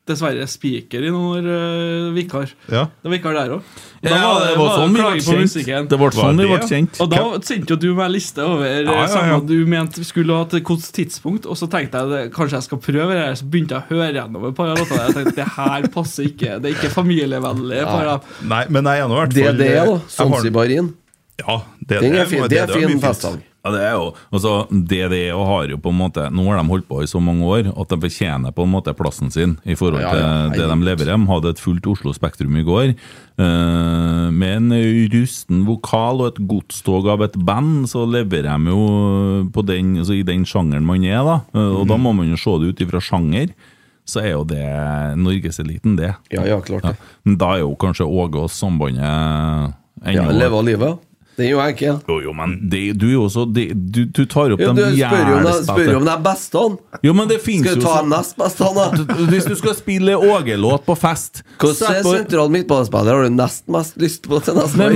E: dessverre spiker i noen år, øh, vikar.
F: Ja.
E: Det var vikar der òg.
C: Ja, det var sånn vi ble kjent. Det var sånn vi
F: det,
C: ble
F: ja?
C: kjent.
E: Og da sendte jo du meg liste over ja,
F: ja, ja.
E: sanger du mente vi skulle ha til hvilket tidspunkt, og så tenkte jeg det, kanskje jeg skal prøve det her, så begynte jeg å høre gjennom et par av låtene. Jeg tenkte det her passer ikke, det er ikke familievennlig. et par av-
F: Nei, men jeg er nå i hvert eh,
D: Det er det,
F: jeg
D: da.
F: har-
D: Zanzibarin.
F: Ja, det,
D: Den
F: det,
D: er fin, det
F: det- det
D: er
F: var mye
D: fin
F: fint.
D: festsang.
C: Ja, det er jo altså, DDE og har jo på en måte Nå har de holdt på i så mange år at de fortjener på en måte plassen sin i forhold
D: Ja,
C: til
D: ja,
C: det de leverer. De hadde et fullt Oslo Spektrum i går, eh, med en rusten vokal og et godstog av et band, så leverer de jo på den, altså, i den sjangeren man er, da. Eh, Og
F: Mm.
C: da må man jo se det ut ifra sjanger. Så er jo det norgeseliten, det.
D: Ja, ja, klart
C: Ja.
D: det.
C: Men da er jo kanskje Åge og Sambandet ennå
D: Ja, Leve av livet. Den er jo enkel.
C: jo, jo, men det, du, er jo så- det, du, du tar opp
D: Ja, du
C: de
D: spør jo om,
C: jævlig
D: de- spør jo om de beste. han.
C: Jo, men det finnes
D: Skal
C: jo
D: du ta
C: sånn-
D: de nest beste, han, da?
C: Hvis du skal spille Åge-låt på fest
D: Hvordan
C: sett på-
D: sentral midtbanespiller har du nest mest lyst på til neste
C: Nei,
D: år?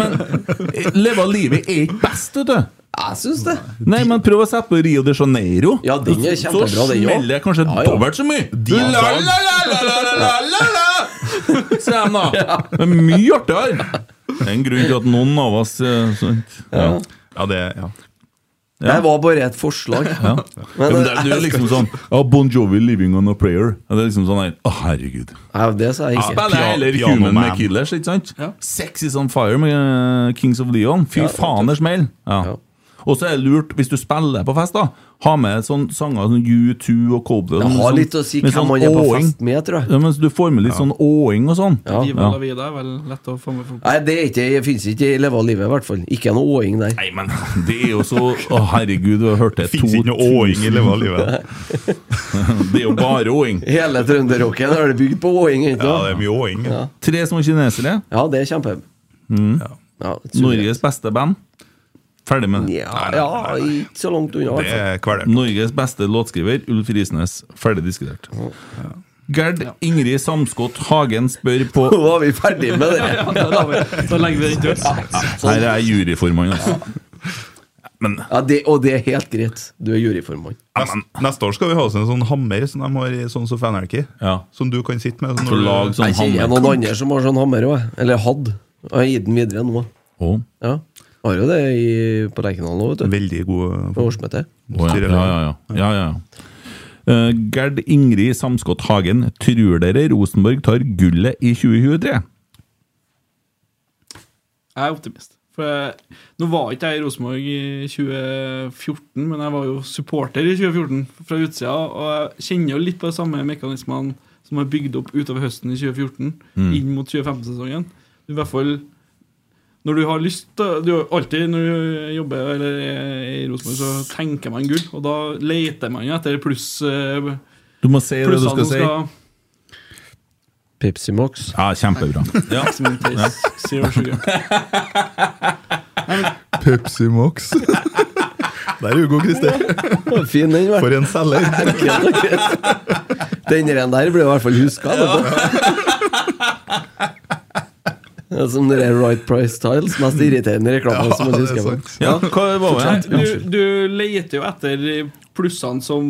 C: men Leve av livet er ikke best, vet du.
D: Jeg syns det.
C: Nei, men prøv å sette på Rio de Janeiro.
D: Ja, den er
C: Så-
D: kjempebra,
C: Så
D: den, ja.
C: smeller jeg kanskje
D: Ja, ja.
C: dobbelt så mye. La, la, la, la, la, la, la, la, la. Sier de da. Det er mye artigere. Det er en grunn til at noen av oss eh, sånt. Ja.
F: Ja, det, ja.
D: Det var bare et forslag.
C: Ja.
D: Men,
C: ja, men det,
D: eh,
C: det er liksom sånn Ja, Bon Jovi, 'Living on a Prayer'. Ja, det er liksom sånn her Å, herregud.
D: Nei, det sa jeg ikke.
C: Spiller
F: Pia-
C: heller
F: Piano
C: Human
F: Man.
C: med Killers, ikke sant?
E: Ja.
C: Sex is on fire med eh, Kings of Leon. Fy
D: Ja,
C: faen, det smeller!
D: Ja.
C: Ja. Og så er det lurt, hvis du spiller på fest, da ha med sånne sanger som U2 og Coldplay.
D: Det
C: med
D: har
C: sånn-
D: litt å si
C: med
D: hvem
C: sånn
D: man er på
C: åing.
D: fest med, tror jeg.
C: Ja, men så Du får med litt sånn åing og sånn.
D: Ja.
E: Viva la vida er vel lett å få med folk
D: Nei, det er ikke, det fins ikke i Leve av livet, i hvert fall. Ikke noe åing der.
C: Nei, men det er jo så Å, herregud, du har hørt det
F: Fins ikke noe åing i
C: 2000.
F: livet av livet.
C: Det er jo bare åing.
D: Hele trønderrocken har det bygd på åing. ikke
F: Ja,
D: sant?
F: det er mye åing. Ja.
C: Tre små kinesere.
D: Ja, det er kjempe...
C: Mm.
D: Ja,
C: Norges beste band. Ferdig med det.
D: Ja, ja, ikke så langt unna. i hvert
F: Det
D: fall.
F: er kveler.
C: Norges beste låtskriver, Ulf Risnes. Ferdig diskutert. Gerd Ingrid Samskott Hagen spør på
D: Nå var vi ferdig med det.
E: Ja, da, har vi- da legger vi den død.
C: Her er jeg juryformann, altså. Men
D: Ja, det, Og det er helt greit. Du er juryformann.
F: Neste, neste år skal vi ha oss en sånn hammer som de har i sånn som Fanarchy.
C: Ja.
F: Som du kan sitte med. Sånn
C: for lag som
D: Jeg kjenner
C: hammer
D: noen andre som har sånn hammer òg. Eller hadde. Jeg har gitt den videre nå.
C: Å,
D: Ja. Har jo det i, på Lerkendal òg, vet du.
F: Veldig god eh,
D: På årsmøtet.
C: å ja, ja, ja, ja. ja, ja, ja. Eh, Gerd Ingrid Samskott Hagen, tror dere Rosenborg tar gullet i 2023?
E: Jeg er optimist. For jeg, nå var ikke jeg i Rosenborg i 2014, men jeg var jo supporter i 2014 fra utsida. Og jeg kjenner jo litt på de samme mekanismene som er bygd opp utover høsten i 2014,
C: Mm.
E: inn mot 2015-sesongen. I hvert fall når du har lyst da- du, har Alltid når du jobber eller er i Rosenborg, så tenker man gull. Og da leter man jo etter pluss, eh,
C: Du må si det du
E: plussene
C: skal
E: som
C: si.
E: skal
D: Pepsi Max.
C: Ja, kjempebra. Ja.
E: Maximum taste, zero sugar.
F: Pepsi Max. Der er Hugo Christer.
D: Fin den, vel.
F: For en selger.
D: Den ren der ble i hvert fall huska. Som det er Right Price Tiles, mest irriterende reklame
F: Ja,
D: som man
F: det er
D: husker. på.
F: sant.
C: Ja, hva var det?
E: Nei, du, du leter jo etter plussene som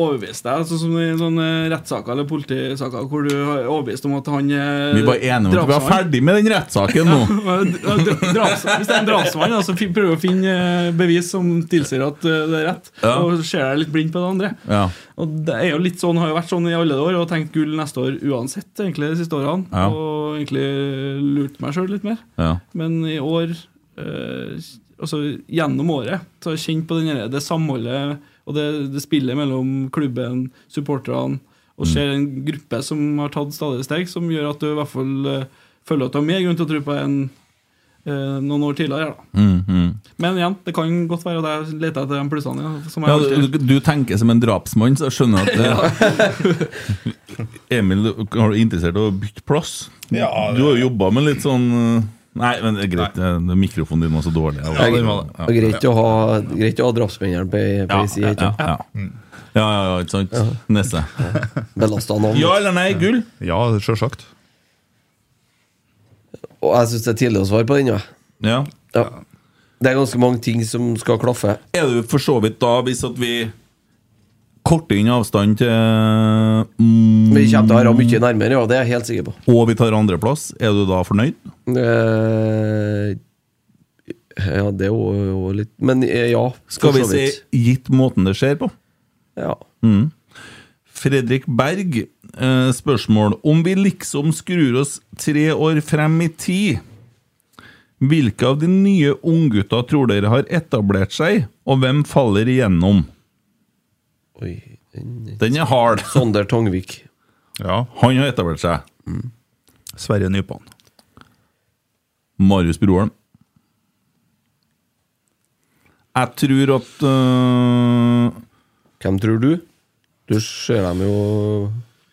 E: overbeviser deg, altså som i sånne rettssaker eller politisaker hvor du er overbevist om at han er
C: Vi var enige om at vi var
E: drapsmann.
C: ferdig med den rettssaken nå.
E: Ja, dra- draps- Hvis det er en drapsmann, da, så fin- prøver du å finne eh, bevis som tilsier at eh, det er rett,
C: Ja.
E: og ser deg litt blind på det andre.
C: Ja.
E: Og det er jo litt sånn, har jo vært sånn i alle år, og tenkt gull neste år uansett, egentlig, de siste årene.
C: Ja.
E: Og egentlig lurt meg sjøl litt mer.
C: Ja.
E: Men i år, eh, altså gjennom året, så har jeg kjent på den her, det samholdet og det, det spillet mellom klubben, supporterne, og
C: Mm.
E: ser en gruppe som har tatt stadig steg, som gjør at du i hvert fall eh, føler at du har mer grunn til å tro på en eh, noen år tidligere. her, Da.
C: Mm, mm.
E: Men igjen, det kan godt være at jeg leter etter de plussene. ja, Som jeg
C: Ja,
E: alltid
C: du,
E: gjør.
C: du tenker som en drapsmann, så jeg skjønner at eh, Emil, du- har du interessert i å bytte plass?
F: Ja, det-
C: du har jo jobba med litt sånn eh, Nei, men det er greit. eh, Mikrofonen din var så dårlig.
F: Ja, den var det.
D: Og greit å ha, greit å ha drapsmennene på ei side.
C: ja, ja. ja, ja, ja, ikke sant? Nesse.
D: Belasta navn.
C: Ja eller nei, gull?
F: Ja, sjølsagt.
D: Og jeg syns det er tidlig å svare på den. Ja.
C: Ja.
D: Ja. Det er ganske mange ting som skal klaffe.
C: Er du for så vidt da, hvis at vi korter inn avstand til mm,
D: Vi kommer til å ha mye nærmere, ja, det er jeg helt sikker på.
C: Og vi tar andreplass, er du da fornøyd?
D: Eh, ja, det er jo litt Men eh, ja,
C: Skal
D: for
C: vi
D: så
C: si
D: vidt.
C: gitt måten det skjer på?
D: Ja.
C: Fredrik Berg, eh, spørsmål. Om vi liksom skrur oss tre år frem i tid, hvilke av de nye unggutta tror dere har etablert seg, og hvem faller igjennom?
D: Oi. den-
C: Den er hard.
D: Sander Tongvik.
F: Ja. Mm.
C: Han har etablert seg.
F: Sverre Nypan.
C: Marius Broholm. Jeg tror at eh,
D: Hvem tror du? Du ser dem jo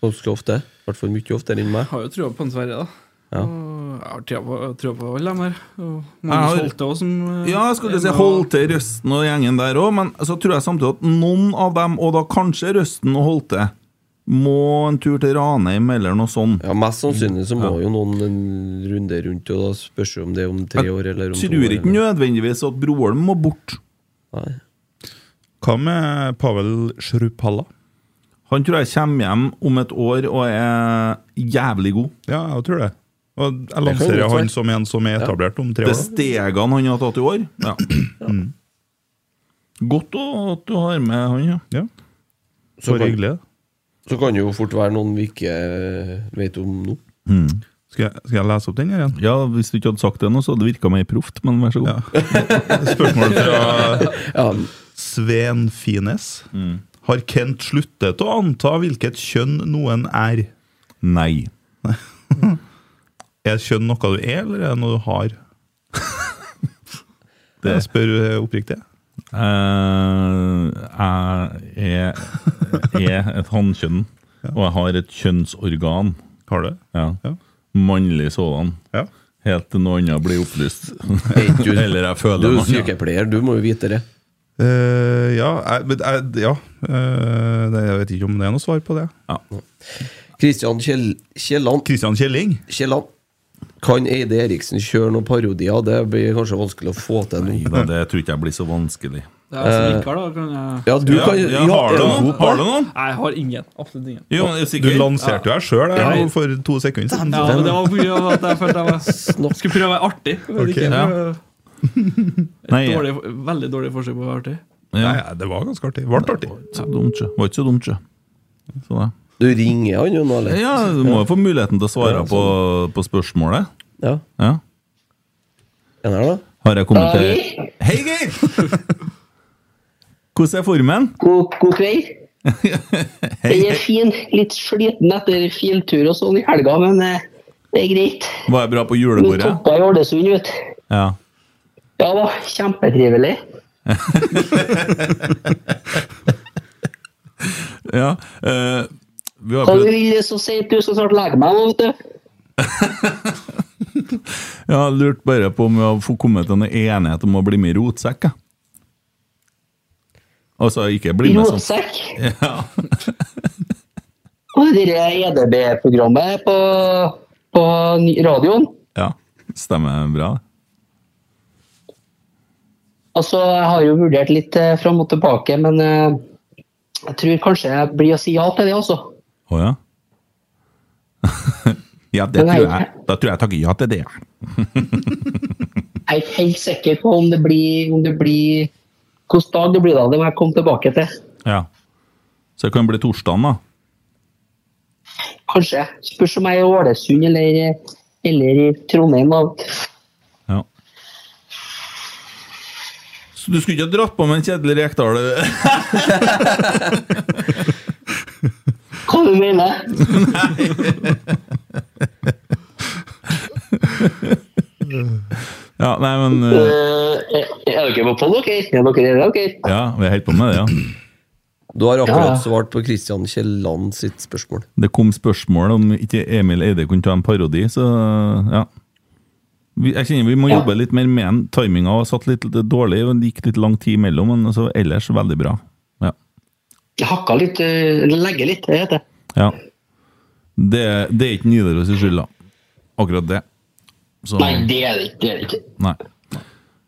D: ganske ofte. I hvert fall mye oftere enn meg.
E: Jeg har jo trua på en Sverre, da.
D: Ja.
E: Og jeg har trua på, trua på alle dem her. Og
C: Jeg
E: Magnus
C: har-
E: Holte også, som eh,
C: Ja, jeg skulle
E: er
C: si
E: med
C: Holte, Røsten og gjengen der òg, men så tror jeg samtidig at noen av dem, og da kanskje Røsten og Holte, må en tur til Ranheim eller noe sånt.
D: Ja, Mest sannsynlig så må jo noen en runde rundt, og da spørs det om det er om tre år eller om to
C: Tror
D: år.
C: ikke
D: eller-
C: nødvendigvis at Broholm må bort.
D: Nei.
F: Hva med Pavel Shrupalla?
C: Han tror jeg kommer hjem om et år og er jævlig god.
F: Ja, jeg tror det. Og jeg
D: godt være.
F: lanserer han som en som er etablert om tre
C: Det
F: år. da.
C: stegene han har tatt i år. Ja. Mm. Godt å, at du har med han, ja.
F: Ja,
D: Så,
F: Bare
D: kan,
F: hyggelig. det.
D: så kan det jo fort være noen vi ikke eh, vet om nå.
F: Skal jeg, skal jeg lese opp den her igjen?
C: ja. Hvis du ikke hadde sagt det nå, så hadde det virka mer proft, men vær så god.
F: Spørsmål fra
D: Ja,
F: Sven Fines.
E: Mm.
F: Har Kent sluttet å anta hvilket kjønn noen er?
C: Nei.
F: Er kjønn noe du er, eller er det noe du har? Det jeg spør eh, oppriktig.
C: Eh, jeg er, er et hannkjønn, og jeg har et kjønnsorgan.
F: Har du det?
C: Ja.
F: Ja.
C: Mannlig sådan.
F: Ja.
C: Helt til noe annet blir opplyst.
D: Vet du-
C: Eller jeg føler
D: Du er jo
C: noe annet.
D: sykepleier, du må jo vite det.
F: Eh, ja, jeg, men jeg, ja. eh, det- jeg vet ikke om det er noe svar på det.
D: Kristian Kjell, Kielland
F: Kristian Kjelling.
D: Kielland. Kan Eide Eriksen kjøre noen parodier? Det blir kanskje vanskelig å få til nå.
C: Nei, det tror ikke jeg blir så vanskelig.
E: Det er
C: Eh.
E: jeg som ikke har, da. Kan jeg...
D: Ja, du kan
C: ja, har,
D: er
C: du
D: god
C: noen?
D: på
C: har du
D: det?
C: noen?
E: Nei, jeg har ingen. Absolutt ingen.
C: Jo, er
F: Du
C: sikker?
F: lanserte jo deg sjøl
D: Ja.
F: for to sekunder siden.
E: Ja, men det var pga. at jeg følte jeg var
D: Snakk.
E: skulle prøve å være artig. men
F: Ok,
E: ikke,
C: ja.
E: øh,
C: Nei,
E: dårlig, veldig dårlig forsøk på å være artig.
C: ja.
F: Nei, det var ganske artig. Vart artig.
C: Så dumt, sjø. var ikke så dumt, sjø. Så da.
D: Du ringer han jo nå, eller?
C: Ja, du må jo få muligheten til å svare
D: Ja,
C: på, på spørsmålet.
D: Ja.
C: Ja.
D: Er han her, da?
C: Har jeg kommet til Hei, Geir! Hvordan er formen?
H: God, god kveld.
C: Hei,
H: Den er fin. Litt sliten etter fjelltur og sånn i helga, men eh, det er greit.
C: Var jeg bra på
H: Du
C: julebordet?
H: toppa i Ålesund, vet du.
C: Ja.
H: Ja da, kjempetrivelig.
C: ja. eh, vi har
H: Hva du
C: prøvd
H: vil så si at du skal snart legge meg nå, vet du.
C: Ja, lurt bare på om vi har fått kommet til en enighet om å bli med i rotsekk. jeg. Altså, ikke bli med sånn.
H: Rotsekk.
C: Ja.
H: Og det der EDB-programmet på, på ny- radioen.
C: ja. Stemmer bra.
H: Altså, jeg har jo vurdert litt eh, fram og tilbake, men eh, jeg tror kanskje jeg blir å si ja til det altså. også.
C: Å ja? ja, det
H: Men
C: tror
H: nei.
C: jeg. Da tror jeg jeg takker ja til det.
H: Jeg er ikke helt sikker på om det blir, om det blir Hvilken dag det blir da, det må jeg komme tilbake til.
C: Ja. Så det kan bli torsdagen, da.
H: Kanskje. Spørs om jeg er i Ålesund eller, eller i Trondheim. Da.
C: Ja. Så du skulle ikke ha dratt på med en Kjetil Rekdal? eh?
H: Hva du mener du?
C: ja, nei, men eh,
H: er er dere på pod, dere? Er dere er dere?
C: Ja, vi er helt på med det, ja.
D: Du har
H: Ja.
D: akkurat svart på Kristian Kielland sitt spørsmål.
C: Det kom spørsmål om ikke Emil Eide kunne ta en parodi, så ja. Vi, jeg kjenner Vi må
H: Ja.
C: jobbe litt mer med den. Timinga var satt litt dårlig, og det gikk litt lang tid imellom, men altså, ellers veldig bra. Ja.
H: Jeg hakka litt, eh, legge litt, det heter det.
C: ja. Det, det er ikke Nidaros' skyld, da. Akkurat det. Så,
H: Nei, det er det ikke. Det er det ikke.
C: Nei. Nei,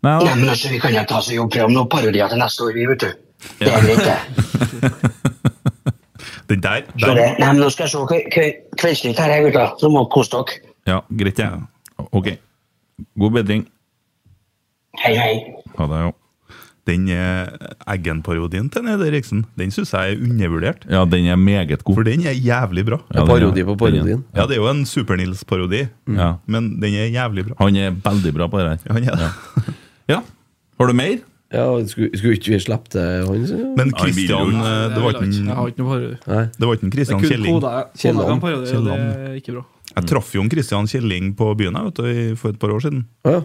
H: Nei,
C: da.
H: men altså, vi kan jo ta oss og jobbe fram noen parodier til neste år, vi, vet du. Det er greit, det.
F: Den der,
H: Så
F: der
H: det- Nei, men nå skal jeg se kve- kve- Kveldsnytt her, jeg, gutter. Så må dere kose dere.
C: Ja, greit, det. Ja. Ok. God bedring.
H: Hei, hei.
C: Ha det, jo.
F: Den eh, Eggen-parodien til Nede Eriksen, den syns jeg er undervurdert.
C: Ja, den er meget god.
F: For den er jævlig bra.
C: Ja, den er-
D: parodi på parodien.
F: Ja, det er jo en Super-Nils-parodi,
C: Ja.
F: men den er jævlig bra.
C: Han er veldig bra på det her.
F: Ja, han er det.
C: Ja. Har du mer?
D: Ja, skulle, skulle ikke vi slippe til han? så?
C: Ja, jeg
F: Men
C: vil
F: Christian,
C: jo-
F: eh,
E: Jeg
F: det var
E: vil
F: ikke
E: ikke- Jeg
F: en-
E: har ikke noe parodi.
D: Nei.
F: det var ikke en
E: Det
F: Christian
E: er kun
F: Kjelling.
E: koda
D: Kielland.
E: kan parodi, og det er ikke bra.
F: Jeg traff jo en Christian Kjelling på byen her, vet du, i- for et par år siden.
D: Ja.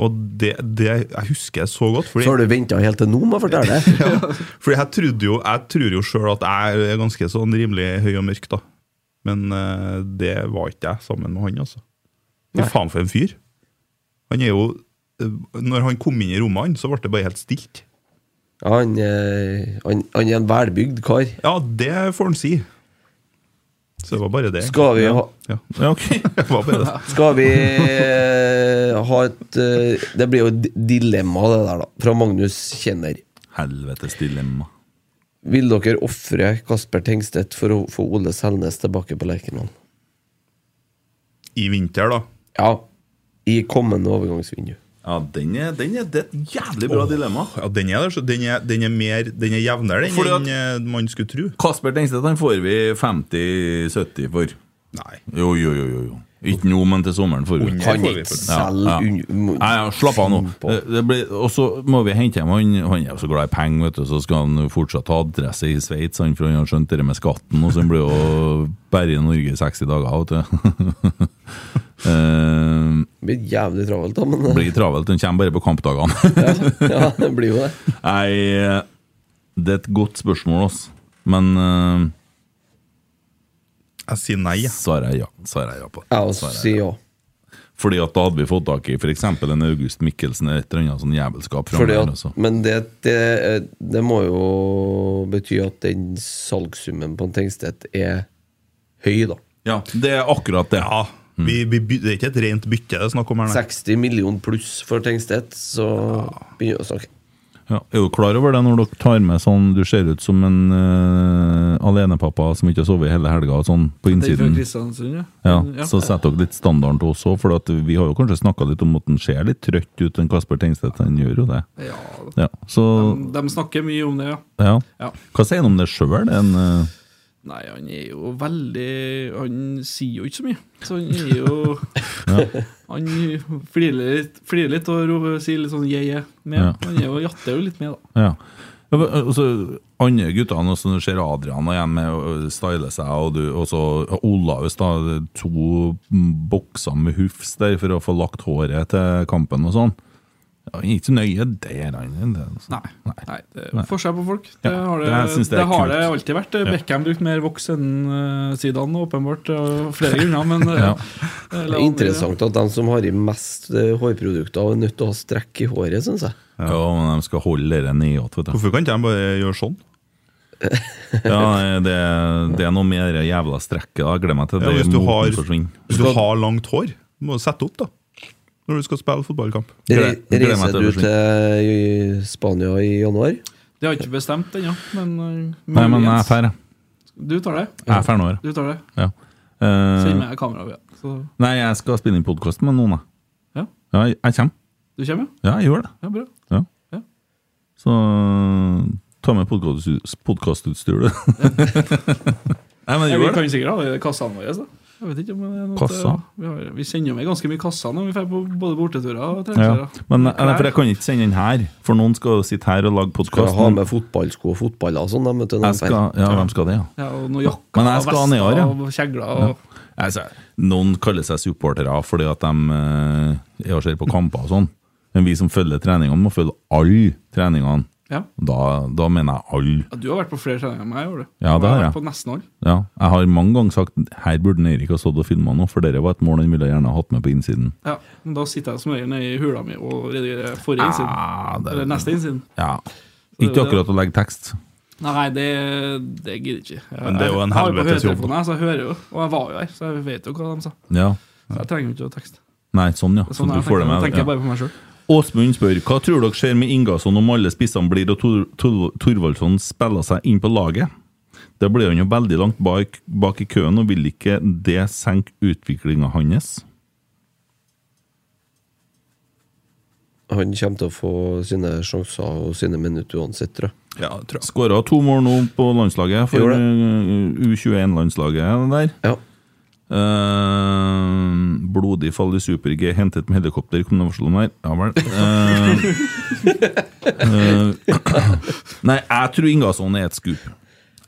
F: Og det, det jeg husker jeg så godt. Fordi,
D: Så har du venta helt til nå med å fortelle det?
F: ja, fordi jeg trodde jo Jeg tror jo sjøl at jeg er ganske sånn rimelig høy og mørk, da. Men eh, det var ikke jeg sammen med han, altså. Fy faen for en fyr. Han er jo eh, Når han kom inn i rommet, han, så ble det bare helt stilt.
D: Ja, han, eh, han, han er en velbygd kar.
F: Ja, det får han si. Så det var bare det.
D: Skal vi ha
F: Ja,
C: Ja, ok.
F: det var bare det.
D: Skal vi eh, ha et eh, Det blir jo et dilemma, det der, da. Fra Magnus Kjenner.
C: Helvetes dilemma.
D: Vil dere ofre Kasper Tengstedt for å få Ole Selnes tilbake på Lerkendal?
F: I vinter, da.
D: Ja. I kommende overgangsvindu.
C: Ja, den er, den er det er et jævlig bra dilemma.
F: Ja, den er der, så den er, den er, mer, den er jevnere den,
C: Fordi at-
F: enn eh, man skulle tro.
C: Kasper Tengstedt han får vi 50-70 for.
F: Nei.
C: Jo, jo, jo. jo, jo. Ikke nå, men til sommeren får vi.
F: Under.
D: Kan
F: får vi
D: ikke
F: for det.
D: selge
C: Ja, ja.
D: un-
C: Nei, ja, slapp av nå. Eh,
D: på.
C: Det- det blir- Og så må vi hente hjem han. Han er jo så glad i penger, vet du. Så skal han jo fortsatt ha adresse i Sveits, han, for han har skjønt det med skatten. Og så han blir jo bare i Norge i 60 dager, vet du. Eh,
D: Det blir jævlig travelt, da, men eh,
C: blir travelt. Han kommer bare på kampdagene.
D: ja, det blir jo det.
C: Nei, eh, det er et godt spørsmål, ass. Men eh,
F: Jeg sier nei. jeg.
C: svarer jeg ja. Svarer jeg ja på det.
D: Jeg også
C: Svarer jeg.
D: sier ja.
C: Fordi at da hadde vi fått tak i f.eks. en August Mikkelsen eller et eller annet sånn jævelskap. framme
D: Fordi
C: der,
D: at,
C: altså.
D: men det, det, det må jo bety at den salgssummen på en Tengstedt er høy, da.
C: Ja, det er akkurat det.
F: Ja, vi, vi, by- det er ikke et rent bytte det er snakk om her. nei.
D: 60 millioner pluss for Tengstedt, så begynner vi å snakke.
C: Ja, er du klar over det når dere tar med sånn du ser ut som en eh, alenepappa som ikke har sovet hele helga, og sånn på
E: Det er fra
C: innsiden?
E: Kristiansund, ja.
C: Ja,
E: Ja.
C: Så setter dere litt standarden til oss òg, for at vi har jo kanskje snakka litt om at han ser litt trøtt ut, den Kasper Tengstedt. Han gjør jo det.
E: ja da.
C: Ja, så
E: de snakker mye om det, ja.
C: ja.
E: ja.
C: Hva sier han om det sjøl? En eh,
E: Nei, han er jo veldig Han sier jo ikke så mye. Så han er jo Han flirer litt, flirer litt og ro- sier litt sånn je-je med.
C: Ja.
E: Han er jo, jatter jo litt med, da.
C: Ja. Ja, men, Altså, andre guttene også, når du ser Adrian og igjen med å style seg, og du og så Olaus, da. To bokser med hufs der for å få lagt håret til kampen og sånn. Ja, Han er ikke så nøye der, han. Det, altså.
E: Nei. Nei, det er forskjell på folk. Det
C: Ja,
E: har det,
C: det
E: det,
C: synes jeg er
E: har
C: kult.
E: det alltid vært. Beckham brukte mer voks enn eh, Zidane, åpenbart. Av flere grunner, men eh,
C: Ja.
E: eh,
D: Det
E: la
D: er
E: han-
D: interessant at de som har i mest eh, hårprodukter, er nødt til å ha strekk i håret, syns jeg.
C: Ja, men de skal holde det nede igjen, vet du.
F: Hvorfor kan ikke de bare gjøre sånn?
C: Ja, det, det er noe med det jævla strekket. da. Jeg gleder meg til
F: Ja,
C: det
F: hvis, du har,
C: moten forsvinner.
F: hvis du har langt hår, må du sette opp da når du skal spille fotballkamp.
D: Re-
C: Gleder- gleder meg
D: Reiser
C: til
D: du
C: det
D: til i Spania i januar?
E: Det har ikke bestemt ennå, men eh,
C: Nei, men jeg
E: muligens.
C: er ferdig.
E: Du tar det.
C: Jeg er ferdig nå. her.
E: Du tar det.
C: Ja.
E: Send
C: Eh,
E: meg kameraet. Ja. Så
C: nei, jeg skal spille inn podkast med noen,
E: Ja.
C: jeg. Ja, jeg jeg kommer.
E: du kommer, ja?
C: Ja, jeg gjør det.
E: Ja, bra.
C: Så ta med podkastutstyr, du. Nei, men
E: Ja,
C: jeg
E: vi
C: gjør det.
E: kan sikkert ha det i kassene våre. Da. Jeg vet ikke om det er noe
C: Kassa?
E: Vi, har, vi sender jo med ganske mye kasser når vi drar på både borteturer og
C: Ja.
E: treningsturer.
C: Men eh, nei, for jeg kan ikke sende den her, for noen skal jo sitte her og lage
D: Skal jeg ha
C: podkast.
D: med fotballsko og fotballer og sånn? da, vet du, når
C: Jeg
D: de drar.
C: skal, ja, hvem skal det, ja?
E: Ja, og noen jakker
C: Men jeg skal ha
E: og
C: nedover,
E: vester
C: ja.
E: og kjegler. Og,
C: Altså, noen kaller seg supportere fordi at de eh, er og ser på kamper og sånn. Men vi som følger treningene, må følge alle treningene.
E: ja.
C: Da, da mener jeg alle.
E: Ja, Du har vært på flere treninger enn meg, har du?
C: Ja,
E: Og
C: det har
E: jeg.
C: jeg.
E: vært På nesten alle.
C: Ja, jeg har mange ganger sagt her burde Eirik ha stått og filma nå, for dere var et mål han ville gjerne ha hatt med på innsiden.
E: Ja, men da sitter jeg som regel nede i hula mi og redigerer
C: Ah.
E: forrige innsiden.
C: Ja,
E: Eller
C: det,
E: neste innsiden.
C: ja. Ikke akkurat å legge tekst.
E: Nei, det, det gidder jeg ikke. Jeg,
F: Men det er jo en
E: jeg har på
F: helvetes jobb.
E: høretelefonen her, Så jeg hører jo, og jeg var jo her, så jeg vet jo hva de sa.
C: Ja.
E: Så jeg trenger jo ikke å tekste.
C: Nei, sånn, ja. Så
E: Sånn
C: du
E: er jeg
C: får
E: tenker,
C: det
E: jeg
C: med.
E: tenker
C: Ja.
E: jeg bare på meg sjøl.
C: Åsmund spør hva tror dere skjer med Ingasson om alle spissene blir og Tor- Tor- Thorvaldsson spiller seg inn på laget? Da blir han jo veldig langt bak, bak i køen, og vil ikke det senke utviklinga hans?
D: Han kommer til å få sine sjanser og sine minutter uansett, tror jeg.
F: Ja, tror jeg.
C: Skåra to mål nå på landslaget, for
D: Gjorde det.
C: eh, U21-landslaget der.
D: Ja.
C: Eh, blodig fall i Super-G, hentet med helikopter, kom det varsel om der? Ja vel. Eh, eh, nei, jeg tror Ingasson er et skup.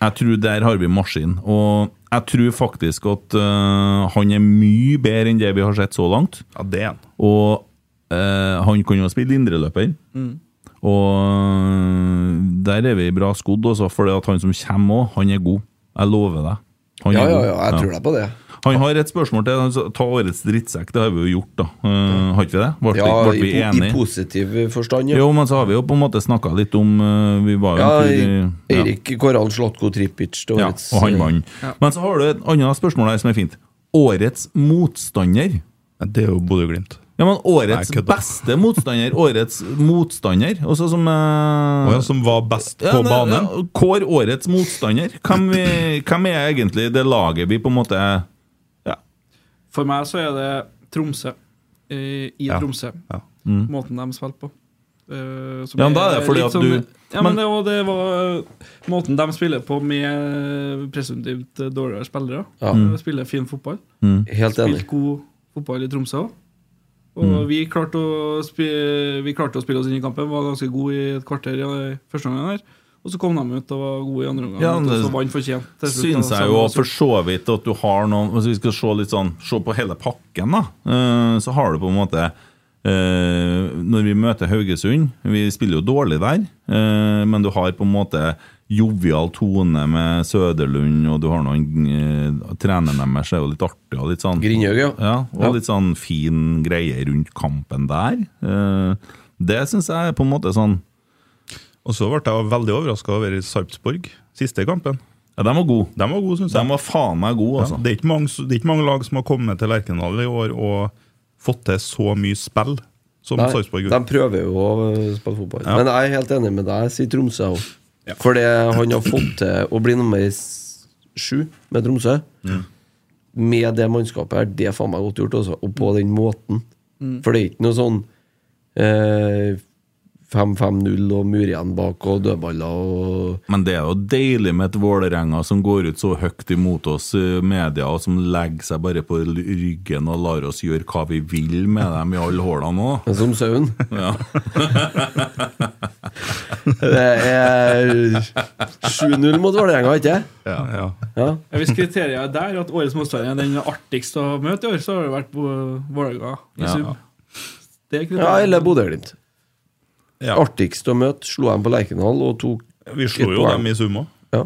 C: Jeg tror der har vi maskin. Og jeg tror faktisk at eh, han er mye bedre enn det vi har sett så langt.
F: Ja, det er han.
C: Og eh, han kan jo spille indreløper.
D: Mm.
C: Og der er vi bra skodd, også, for det at han som kommer òg, han er god. Jeg lover deg. Han
D: Ja,
C: er
D: ja,
C: god.
D: ja, jeg tror deg på det.
C: Han har et spørsmål til. altså, Ta årets drittsekk. Det har vi jo gjort, da. Eh, har ikke vi det? Ble,
D: Ja,
C: ble
D: i,
C: vi
D: po- i
C: enige?
D: positiv forstand, ja.
C: Jo, men så har vi jo på en måte snakka litt om eh, Vi var jo
D: ja
C: en tur i-
D: i-
C: ja.
D: Eirik Koran Slatko Tripic til
C: Ja,
D: årets
C: og han
D: eh,
C: vant. Men så har du et annet spørsmål her som er fint. Årets motstander.
F: Ja, det er jo Bodø-Glimt.
C: Ja, men årets
F: Nei, kødda.
C: beste motstander. Årets motstander. Også som eh,
F: Og han som var best på
C: Ja, nei,
F: banen.
C: ja, Kår årets motstander. Hvem, vi, hvem er egentlig det laget vi på en måte
E: For meg så er det Tromsø. eh, I
F: Ja.
E: Tromsø.
F: Ja.
E: Måten de spilte på. Eh, som
C: Mm. Ja, men da er det fordi
E: litt sånn-
C: at du-
E: Ja, men,
C: men-
E: det, var- det var måten de spiller på med presumptivt dårligere spillere.
D: Ja.
F: Mm.
E: Eh, Spiller fin fotball.
D: Helt enig.
E: Spilt god fotball i Tromsø òg. Og
C: Mm.
E: vi, klarte å spi- vi klarte å spille oss inn i kampen, var ganske gode i et kvarter i første omgang. her Og så kom de ut og var gode i andre omgang.
C: Ja,
E: og
C: det
E: så vant fortjent. til slutt,
C: Syns
E: da, sammen
C: jeg jo
E: med
C: for så vidt at du har noen Hvis vi skal se litt sånn Se på hele pakken, da. eh, Så har du på en måte eh, Når vi møter Haugesund Vi spiller jo dårlig der, eh, men du har på en måte jovial tone med Søderlund, og du har noen eh, Treneren deres er jo litt artig og litt sånn
D: Grindhaug, ja.
C: Ja, og
D: Ja.
C: litt sånn fin greie rundt kampen der. Eh, Det syns jeg er på en måte sånn
F: Og så ble jeg veldig overraska over Sarpsborg, siste kampen.
C: Ja, de var gode.
F: De var gode, syns
C: De
F: jeg.
C: var faen meg gode,
F: Ja,
C: altså.
F: det, er ikke mange, det er ikke mange lag som har kommet til Lerkendal i år og fått til så mye spill som
D: Nei,
F: Sarpsborg
D: de
F: gjorde.
D: prøver jo å eh, spille fotball. Men jeg er helt enig med deg, sier Tromsø òg. For det han har fått til å bli nummer s- sju med Tromsø, med det mannskapet her, det er faen meg godt gjort, altså. Og på den måten. For det er ikke noe sånn eh, 5-5-0 og mur igjen bak og dødballer og
C: Men det er jo deilig med et Vålerenga som går ut så høyt imot oss eh, media, og som legger seg bare på l- ryggen og lar oss gjøre hva vi vil med dem i alle håla nå.
D: Men som sauen.
C: Ja.
D: Det er 7-0 mot Vålerenga, ikke det?
F: Ja, ja.
D: Ja.
E: Ja, Hvis kriteriet er der at årets motstander er den artigste å møte i år, så har det vært Bo- Vålerenga i
C: Ja.
E: sum. Det er
D: ja,
E: kriteriet.
D: eller Bodø-Glimt.
F: Ja.
D: Artigst å møte. Slo dem på Lerkendal og tok
F: Vi slo
D: et
F: jo
D: poeng.
F: dem i sum òg.
D: Ja.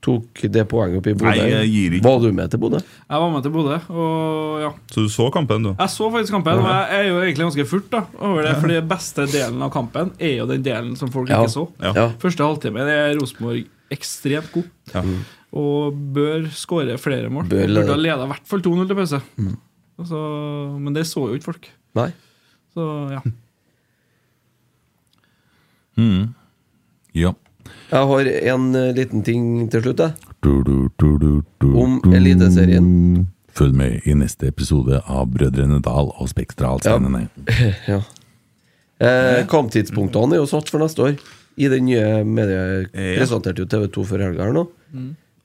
D: Tok det poenget opp i Bodø.
C: Mm. Nei, jeg gir ikke.
D: Var du med til Bodø?
E: Jeg var med til Bodø, og ja.
F: Så du så kampen, du?
E: Jeg så faktisk kampen, og jeg er jo egentlig ganske furt da over det. Fordi beste delen av kampen er jo den delen som folk
D: Ja.
E: ikke så.
F: Ja.
D: Ja.
E: Første halvtime er Rosenborg ekstremt god.
F: Ja.
E: Og bør skåre flere mål.
D: Mm. Bør
E: Bør
D: lede. Mm.
E: Burde ha leda i hvert fall 2-0 til pause. Og så- men det så jo ikke folk.
D: Nei.
E: Så ja.
C: Ja.
D: Jeg har en eh, liten ting til slutt, jeg.
C: Du, du, du, du, du,
D: Om
C: du.
D: Eliteserien.
C: Følg med i neste episode av Brødrene Dal og Spektralsteinene.
D: Ja. Eh, kamptidspunktene er jo satt for neste år. I den nye mediet
F: Ja.
D: presenterte jo TV2 før helga her nå.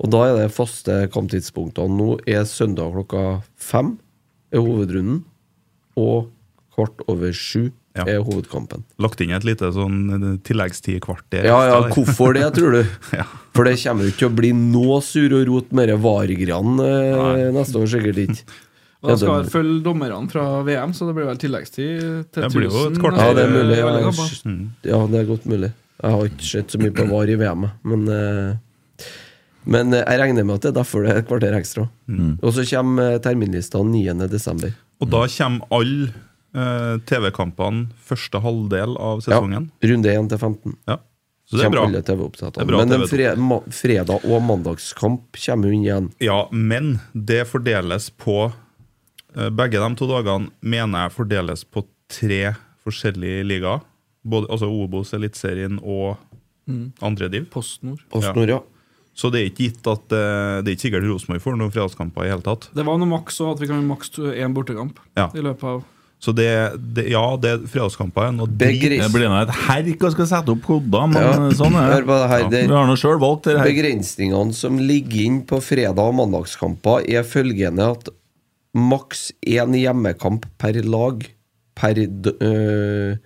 D: Og da er det faste kamptidspunktene nå er søndag klokka fem er hovedrunden. Og kvart over sju
F: Ja.
D: er hovedkampen.
F: Lagt inn et lite sånn tilleggstid kvarter.
D: Ja, ja,
F: ekstra der.
D: hvorfor det, tror du?
F: Ja.
D: For det kommer jo ikke til å bli noe sur og rot med de VAR-greiene eh, neste år, sikkert ikke.
E: Og da
D: Ja,
E: skal
D: det-
E: følge dommerne fra VM, så det blir vel tilleggstid til eh,
F: Det blir jo et
E: 1000
F: kvarter.
D: Ja, det er
E: neste
D: mulig. Jeg,
E: kamp, da.
D: har- ja, det er godt mulig. Jeg har ikke sett så mye på VAR i VM, jeg. men eh, men eh, jeg regner med at det er derfor det er et kvarter ekstra.
F: Mm.
D: Og så kommer eh, terminlistene 9.12.
F: Og da kommer alle eh, TV-kampene første halvdel av
D: Ja,
F: sesongen.
D: runde 1 til 15.
F: Ja. Så det er
D: Kommer
F: bra.
D: alle
F: Det
D: TV-oppsettene.
F: er bra
D: Men en
F: TV2.
D: fre ma fredag- og mandagskamp kommer hun igjen.
F: Ja, men det fordeles på eh, Begge de to dagene mener jeg fordeles på tre forskjellige ligaer. Både, altså Obos, Eliteserien og
D: Mm.
F: andre div.
E: PostNord.
D: Og
F: Ja.
D: Snorre,
F: Så det er ikke gitt at eh, det er ikke sikkert Rosenborg får noen fredagskamper i hele tatt.
E: Det var noe maks òg, at vi kan maks én bortekamp
F: Ja.
E: i løpet av
F: Så det, det ja, det er fredagskamper er noe drit.
D: Begri-
C: Det blir nå et herk å skal sette opp koder, men
D: Ja.
C: sånn er
D: Hør på det her. Det-
C: Vi har nå sjøl valgt det her.
D: Begrensningene som ligger inn på fredag- og mandagskamper, er følgende at maks én hjemmekamp per lag per, d- øh,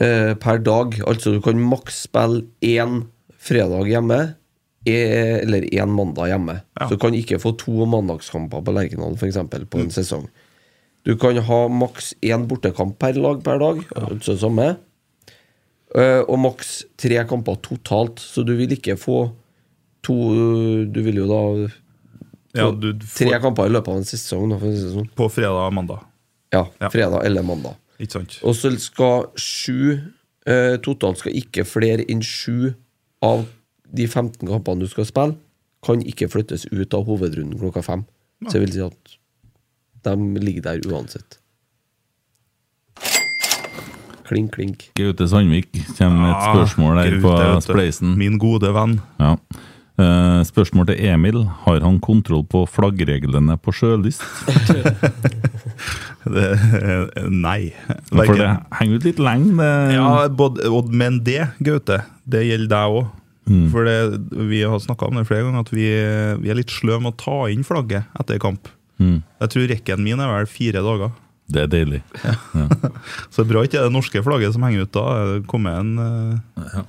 D: øh, per dag. Altså du kan maks spille én fredag hjemme e- eller én mandag hjemme. Så du kan ikke få to mandagskamper på Lerkendal for eksempel, på en
C: Mm.
D: sesong. Du kan ha maks én bortekamp per lag per dag, altså samme. Eh, og maks tre kamper totalt, så du vil ikke få to Du vil jo da
F: Ja, du
D: tre
F: får
D: kamper i løpet av en sesong. Da, for å si det sånn.
F: på fredag og mandag.
D: ja,
F: Ja.
D: Fredag eller mandag.
F: Ikke sant?
D: Og så skal sju eh, Totalt skal ikke flere enn sju av de 15 kampene du skal spille, kan ikke flyttes ut av hovedrunden klokka fem. Så det vil si at de ligger der uansett. Klink, klink.
C: Gaute Sandvik kommer med et
F: Ah,
C: spørsmål der
F: Gaute,
C: på
F: vet du.
C: Spleisen.
F: Min gode venn.
C: Ja. Eh, spørsmål til Emil. Har han kontroll på flaggreglene på sjølyst?
F: Det, nei.
C: For det
F: Verken-
C: henger ut litt lenge. Det.
F: Ja, både, og, men det, Gaute, det gjelder deg òg.
C: Mm.
F: For det, vi har snakka om det flere ganger, at vi, vi er litt sløve med å ta inn flagget etter kamp.
C: Mm.
F: Jeg tror rekken min er vel fire dager.
C: det er deilig.
F: Så det er bra ikke det er det norske flagget som henger ut da. Det kommer en eh,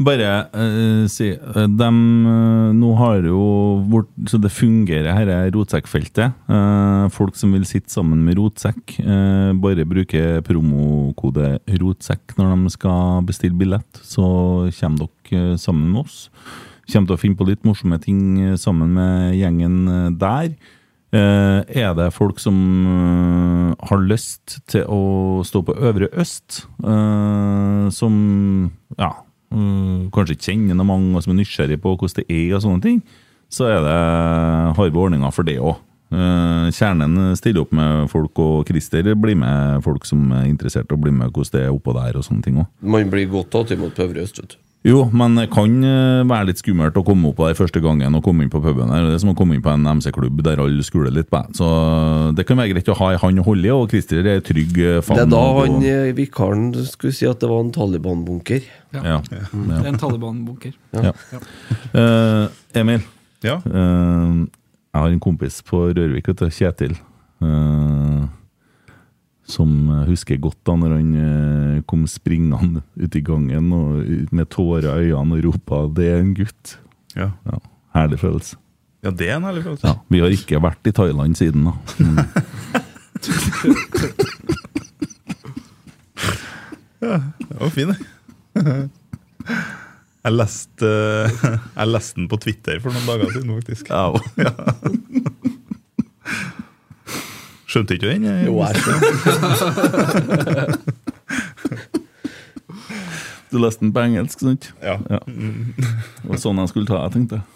C: Bare eh, si eh, dem, eh, Nå har jo vårt, Så det fungerer dette rotsekkfeltet. Eh, folk som vil sitte sammen med rotsekk, eh, bare bruker promokode 'rotsekk' når de skal bestille billett, så kommer dere eh, sammen med oss. Kommer til å finne på litt morsomme ting eh, sammen med gjengen eh, der. Eh, er det folk som eh, har lyst til å stå på Øvre Øst, eh, som ja, mm, kanskje ikke kjenner noe mange, og som er nysgjerrig på hvordan det er og sånne ting, så er det, eh, har vi ordninger for det òg. kjernen stiller opp med folk, og Christer blir med folk som er interessert, og blir med hvordan det er oppå der og sånne ting òg.
D: Man blir godt tatt imot på Øvre Øst, vet du.
C: Jo, men det kan eh, være litt skummelt å komme opp der første gangen og komme inn på puben der. Det er som å komme inn på en MC-klubb der alle skuler litt. på en. Så det kan være greit å ha en hånd å holde i, og Christer er trygg eh,
D: Det
C: faen.
D: er da
C: og-
D: han eh, vikaren skulle si at det var en Taliban-bunker.
C: ja.
E: Det er en Taliban-bunker.
C: Ja. Eh, Emil,
F: Ja.
C: eh, jeg har en kompis på Rørvik, vet du, Kjetil, eh, som husker godt da når han eh, kom springende ut i gangen og ut med tårer i øynene og ropa 'det er en gutt'.
F: ja.
C: Ja, herlig følelse.
F: ja, det er en ærlig følelse.
C: Ja, vi har ikke vært i Thailand siden da. Mm.
F: fin, jeg. Jeg leste, eh, jeg leste den på Twitter for noen dager siden, faktisk. Ja. Skjønte ikke den? eh? jeg?
D: Jo, jeg skjønner.
C: Du leste den på engelsk, sant?
F: Ja. Mm.
C: Det var sånn jeg skulle ta jeg tenkte jeg.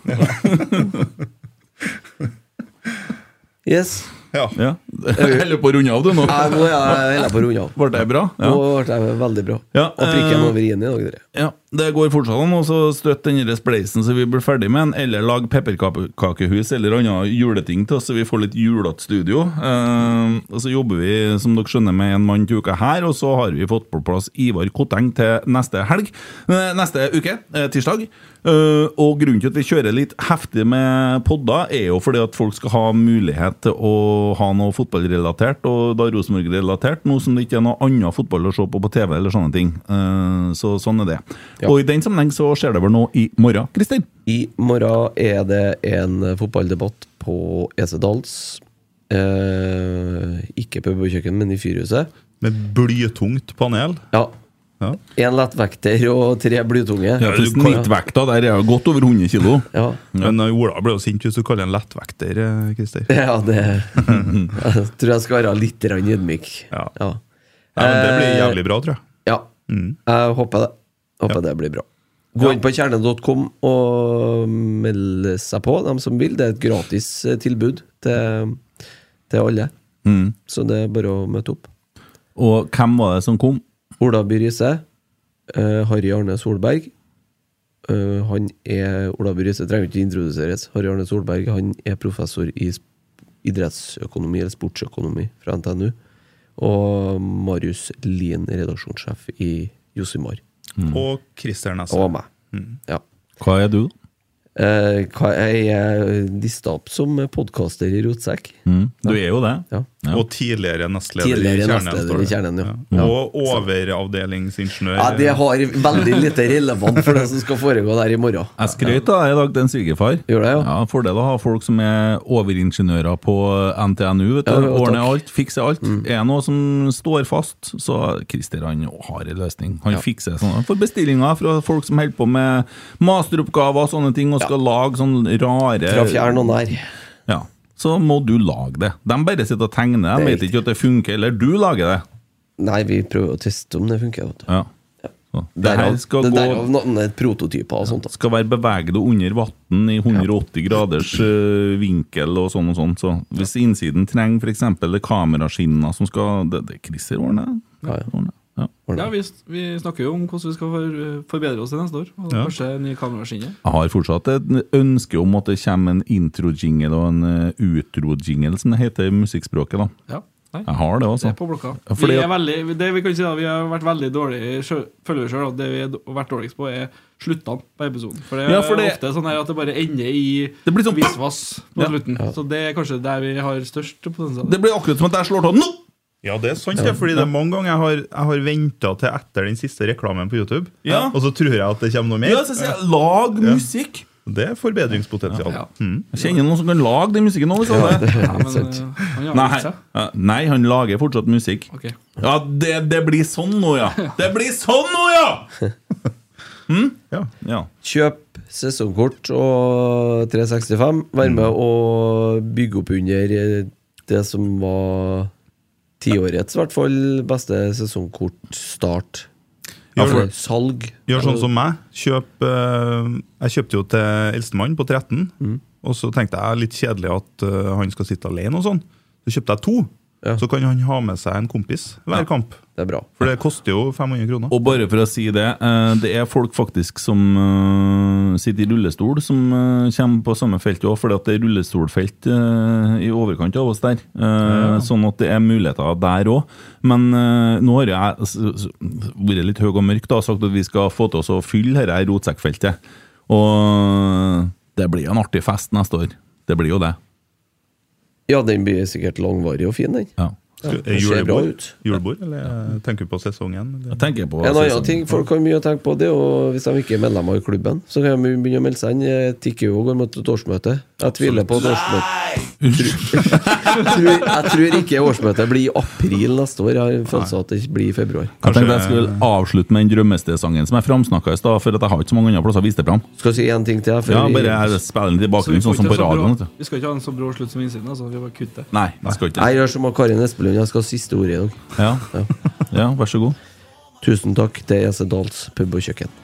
D: Yes.
F: Ja.
C: Ja. Jeg holder på å runde av, du, nå.
D: Jeg, nå er jeg helt på å runde av.
C: Ble det bra?
D: Nå ble jeg veldig bra.
C: Ja,
D: og prikken
C: eh,
D: over i-en i dag, dere.
C: Ja, det går fortsatt an å så støtte den der spleisen så vi blir ferdig med den, eller lag pepperkakehus eller andre juleting til oss, så vi får litt julete studio. Eh, og så jobber vi, som dere skjønner, med en mann til uka her, og så har vi fått på plass Ivar Kotteng til neste helg. eh, neste uke, eh, tirsdag. Eh, og grunnen til at vi kjører litt heftig med podder, er jo fordi at folk skal ha mulighet til å ha noe fotballrelatert, og da Rosenborg-relatert, nå som det ikke er noe annen fotball å se på på TV eller sånne ting. Eh, så sånn er det.
D: Ja.
C: Og i den sammenheng så skjer det vel noe i morgen, Kristin?
D: I morgen er det en fotballdebatt på Esedals. Eh, ikke pub og kjøkken, men i Fyrhuset.
F: Med blytungt panel.
D: Ja.
F: Ja.
D: Én lettvekter og tre blytunge.
C: Ja, Snittvekta der er jo godt over 100 kilo.
D: Ja.
F: Men uh, Ola ble jo sint hvis du kaller en lettvekter, eh, Christer.
D: ja, det Jeg tror jeg skal være litt grann ydmyk.
F: Ja.
D: Ja.
F: Nei, men det blir
D: Eh,
F: jævlig bra, tror jeg.
D: Ja. Jeg håper det. Håper det blir bra. Gå inn på kjerne.com og meld seg på, dem som vil. Det er et gratis eh, tilbud til, til alle. Så det er bare å møte opp.
C: Mm. Og hvem var det som kom?
D: Ola By Riise. eh, Harry Arne Solberg. Eh, han er Ola By Riise trenger ikke introduseres. Harry Arne Solberg han er professor i sp- idrettsøkonomi eller sportsøkonomi fra NTNU. Og Marius Lien, redaksjonssjef i Josimar.
C: Mm.
F: Og Christer Nesse.
D: Og meg. Ja.
C: Hva er du?
D: Eh, hva, jeg er lista opp som podkaster i Rotsekk.
C: Mm. Du er jo det.
D: Ja.
F: Og tidligere nestleder
D: Tidligere
F: i Kjernen.
D: nestleder i
F: står det.
D: Kjernen, ja.
F: Ja. Og overavdelingsingeniør.
D: ja. Det har veldig lite relevant for det som skal foregå der i morgen.
C: Jeg skrøt av deg i dag til en svigerfar.
D: Gjorde det, ja.
C: Fordel å ha folk som er overingeniører på NTNU. Vet du.
D: Ja, ja,
C: Ordner
D: takk. Mm.
C: alt, fikser alt. Er det noe som står fast, så Christer han har en løsning. Han fikser sånn. Han får bestillinger fra folk som holder på med masteroppgaver og sånne ting, og skal lage sånne rare
D: Fra fjern og nær.
C: Ja. Så må du lage det. De bare sitter og tegner,
D: Det
C: de
D: er
C: vet ikke at det funker, eller du lager det.
D: Nei, vi prøver å teste om det funker. Vet du.
C: Ja. Så, det her
D: Derav,
C: skal
D: det
C: gå
D: derav navnet prototyper og sånt. da.
C: skal være bevegd og under vann i 180 graders ø, vinkel og sånn og sånn. Så hvis innsiden trenger f.eks. kameraskinner som skal Det, det Christer ordner.
D: Ja, ja.
C: Ordner. Ja.
E: Ja, vi, vi snakker jo om hvordan vi skal for, forbedre oss til neste år. Og
F: Ja.
E: Kanskje nye kameraskinner.
C: Jeg har fortsatt et ønske om at det kommer en intro-jingle og en ø, utro-jingle, som det heter i musikkspråket. da.
E: Ja. Nei,
C: Jeg har det,
E: det
C: altså.
E: er på blokka.
C: Ja, fordi
E: vi, er
C: at-
E: veldig, det vi, kan si da, vi har vært veldig dårlige sjø- føler vi selv, at Det vi har vært dårligst på, er sluttene på episoden. For det er
C: Ja, for det-
E: ofte sånn her at det bare ender i
C: Det blir sånn-
E: visvas på
C: Ja.
E: slutten. Så det er kanskje der vi har størst potensial.
C: Det blir akkurat som at jeg slår av nå!
F: Ja, det er sant, ja. fordi det er mange ganger jeg har, jeg har venta til etter den siste reklamen på YouTube,
C: Ja.
F: og så tror jeg at det kommer noe mer.
C: Ja, så sier jeg, Lag musikk!
F: Det er forbedringspotensial. Mm.
E: Ja.
C: Jeg kjenner noen som kan lage den musikken òg, hvis alle
E: Ja, men, eh, han har
C: Nei,
E: gitt seg.
C: ja, nei, han lager fortsatt musikk.
E: Ok.
C: Ja, det, det blir sånn nå, ja! Det blir sånn nå, ja!
F: Ja.
C: Mm? Ja.
D: Kjøp sesongkort og 365. Vær med
C: Mm.
D: og bygge opp under eh, det som var tiårets, i hvert fall, beste sesongkortstart.
F: Ja, for-
D: Eller salg.
F: Gjør sånn som meg. Kjøp, eh, jeg kjøpte jo til eldstemann på 13, og så tenkte jeg litt kjedelig at eh, han skal sitte alene og sånn. Så kjøpte jeg to.
D: Ja.
F: Så kan han ha med seg en kompis hver kamp.
D: Det er bra.
F: For det koster jo 500 kroner.
C: Og bare for å si det, eh, det er folk faktisk som eh, sitter i rullestol, som eh, kommer på samme felt òg, fordi at det er rullestolfelt eh, i overkant av oss der. Eh, Sånn at det er muligheter der òg. Men eh, nå har jeg s- s- vært litt høy og mørk da, og sagt at vi skal få til oss å fylle dette her rotsekkfeltet. Og eh, det blir en artig fest neste år. Det blir jo det.
D: Ja, den blir sikkert langvarig og fin, den.
C: Ja.
F: Er
D: ser bra
F: Julebord,
D: ut.
F: julebord eller tenker du på sesongen?
C: Jeg tenker på altså,
D: En annen
C: sesongen.
D: ting folk har mye å tenke på, det er jo hvis de ikke er medlemmer i klubben. Så kan de begynne å melde seg inn. Det tikker jo og går mot et årsmøte. Jeg tviler på at årsmøtet tror, Jeg tror ikke årsmøtet blir i april neste år. Jeg har en følelse av at det ikke blir i februar.
C: Jeg tenkte jeg
F: Kanskje-
C: skulle avslutte med den drømmestesangen som jeg framsnakka i stad, for at jeg har ikke så mange andre plasser å vise det fram.
D: Skal jeg si én ting til? jeg, før
C: Ja,
D: vi-
C: bare jeg spiller
E: Så
C: den i
E: vi
C: bakgrunnen,
E: får
C: sånn som
E: ikke
C: på
E: så bra-
C: radioen. vet du.
E: Vi skal ikke ha en så brå slutt som innsiden, altså. Vi bare kutter.
C: Nei, jeg skal ikke
D: Jeg gjør som Karin Espelund, jeg skal ha siste ordet i dag.
C: Ja, ja vær så god.
D: Tusen takk til EC E Dahls pub og kjøkken.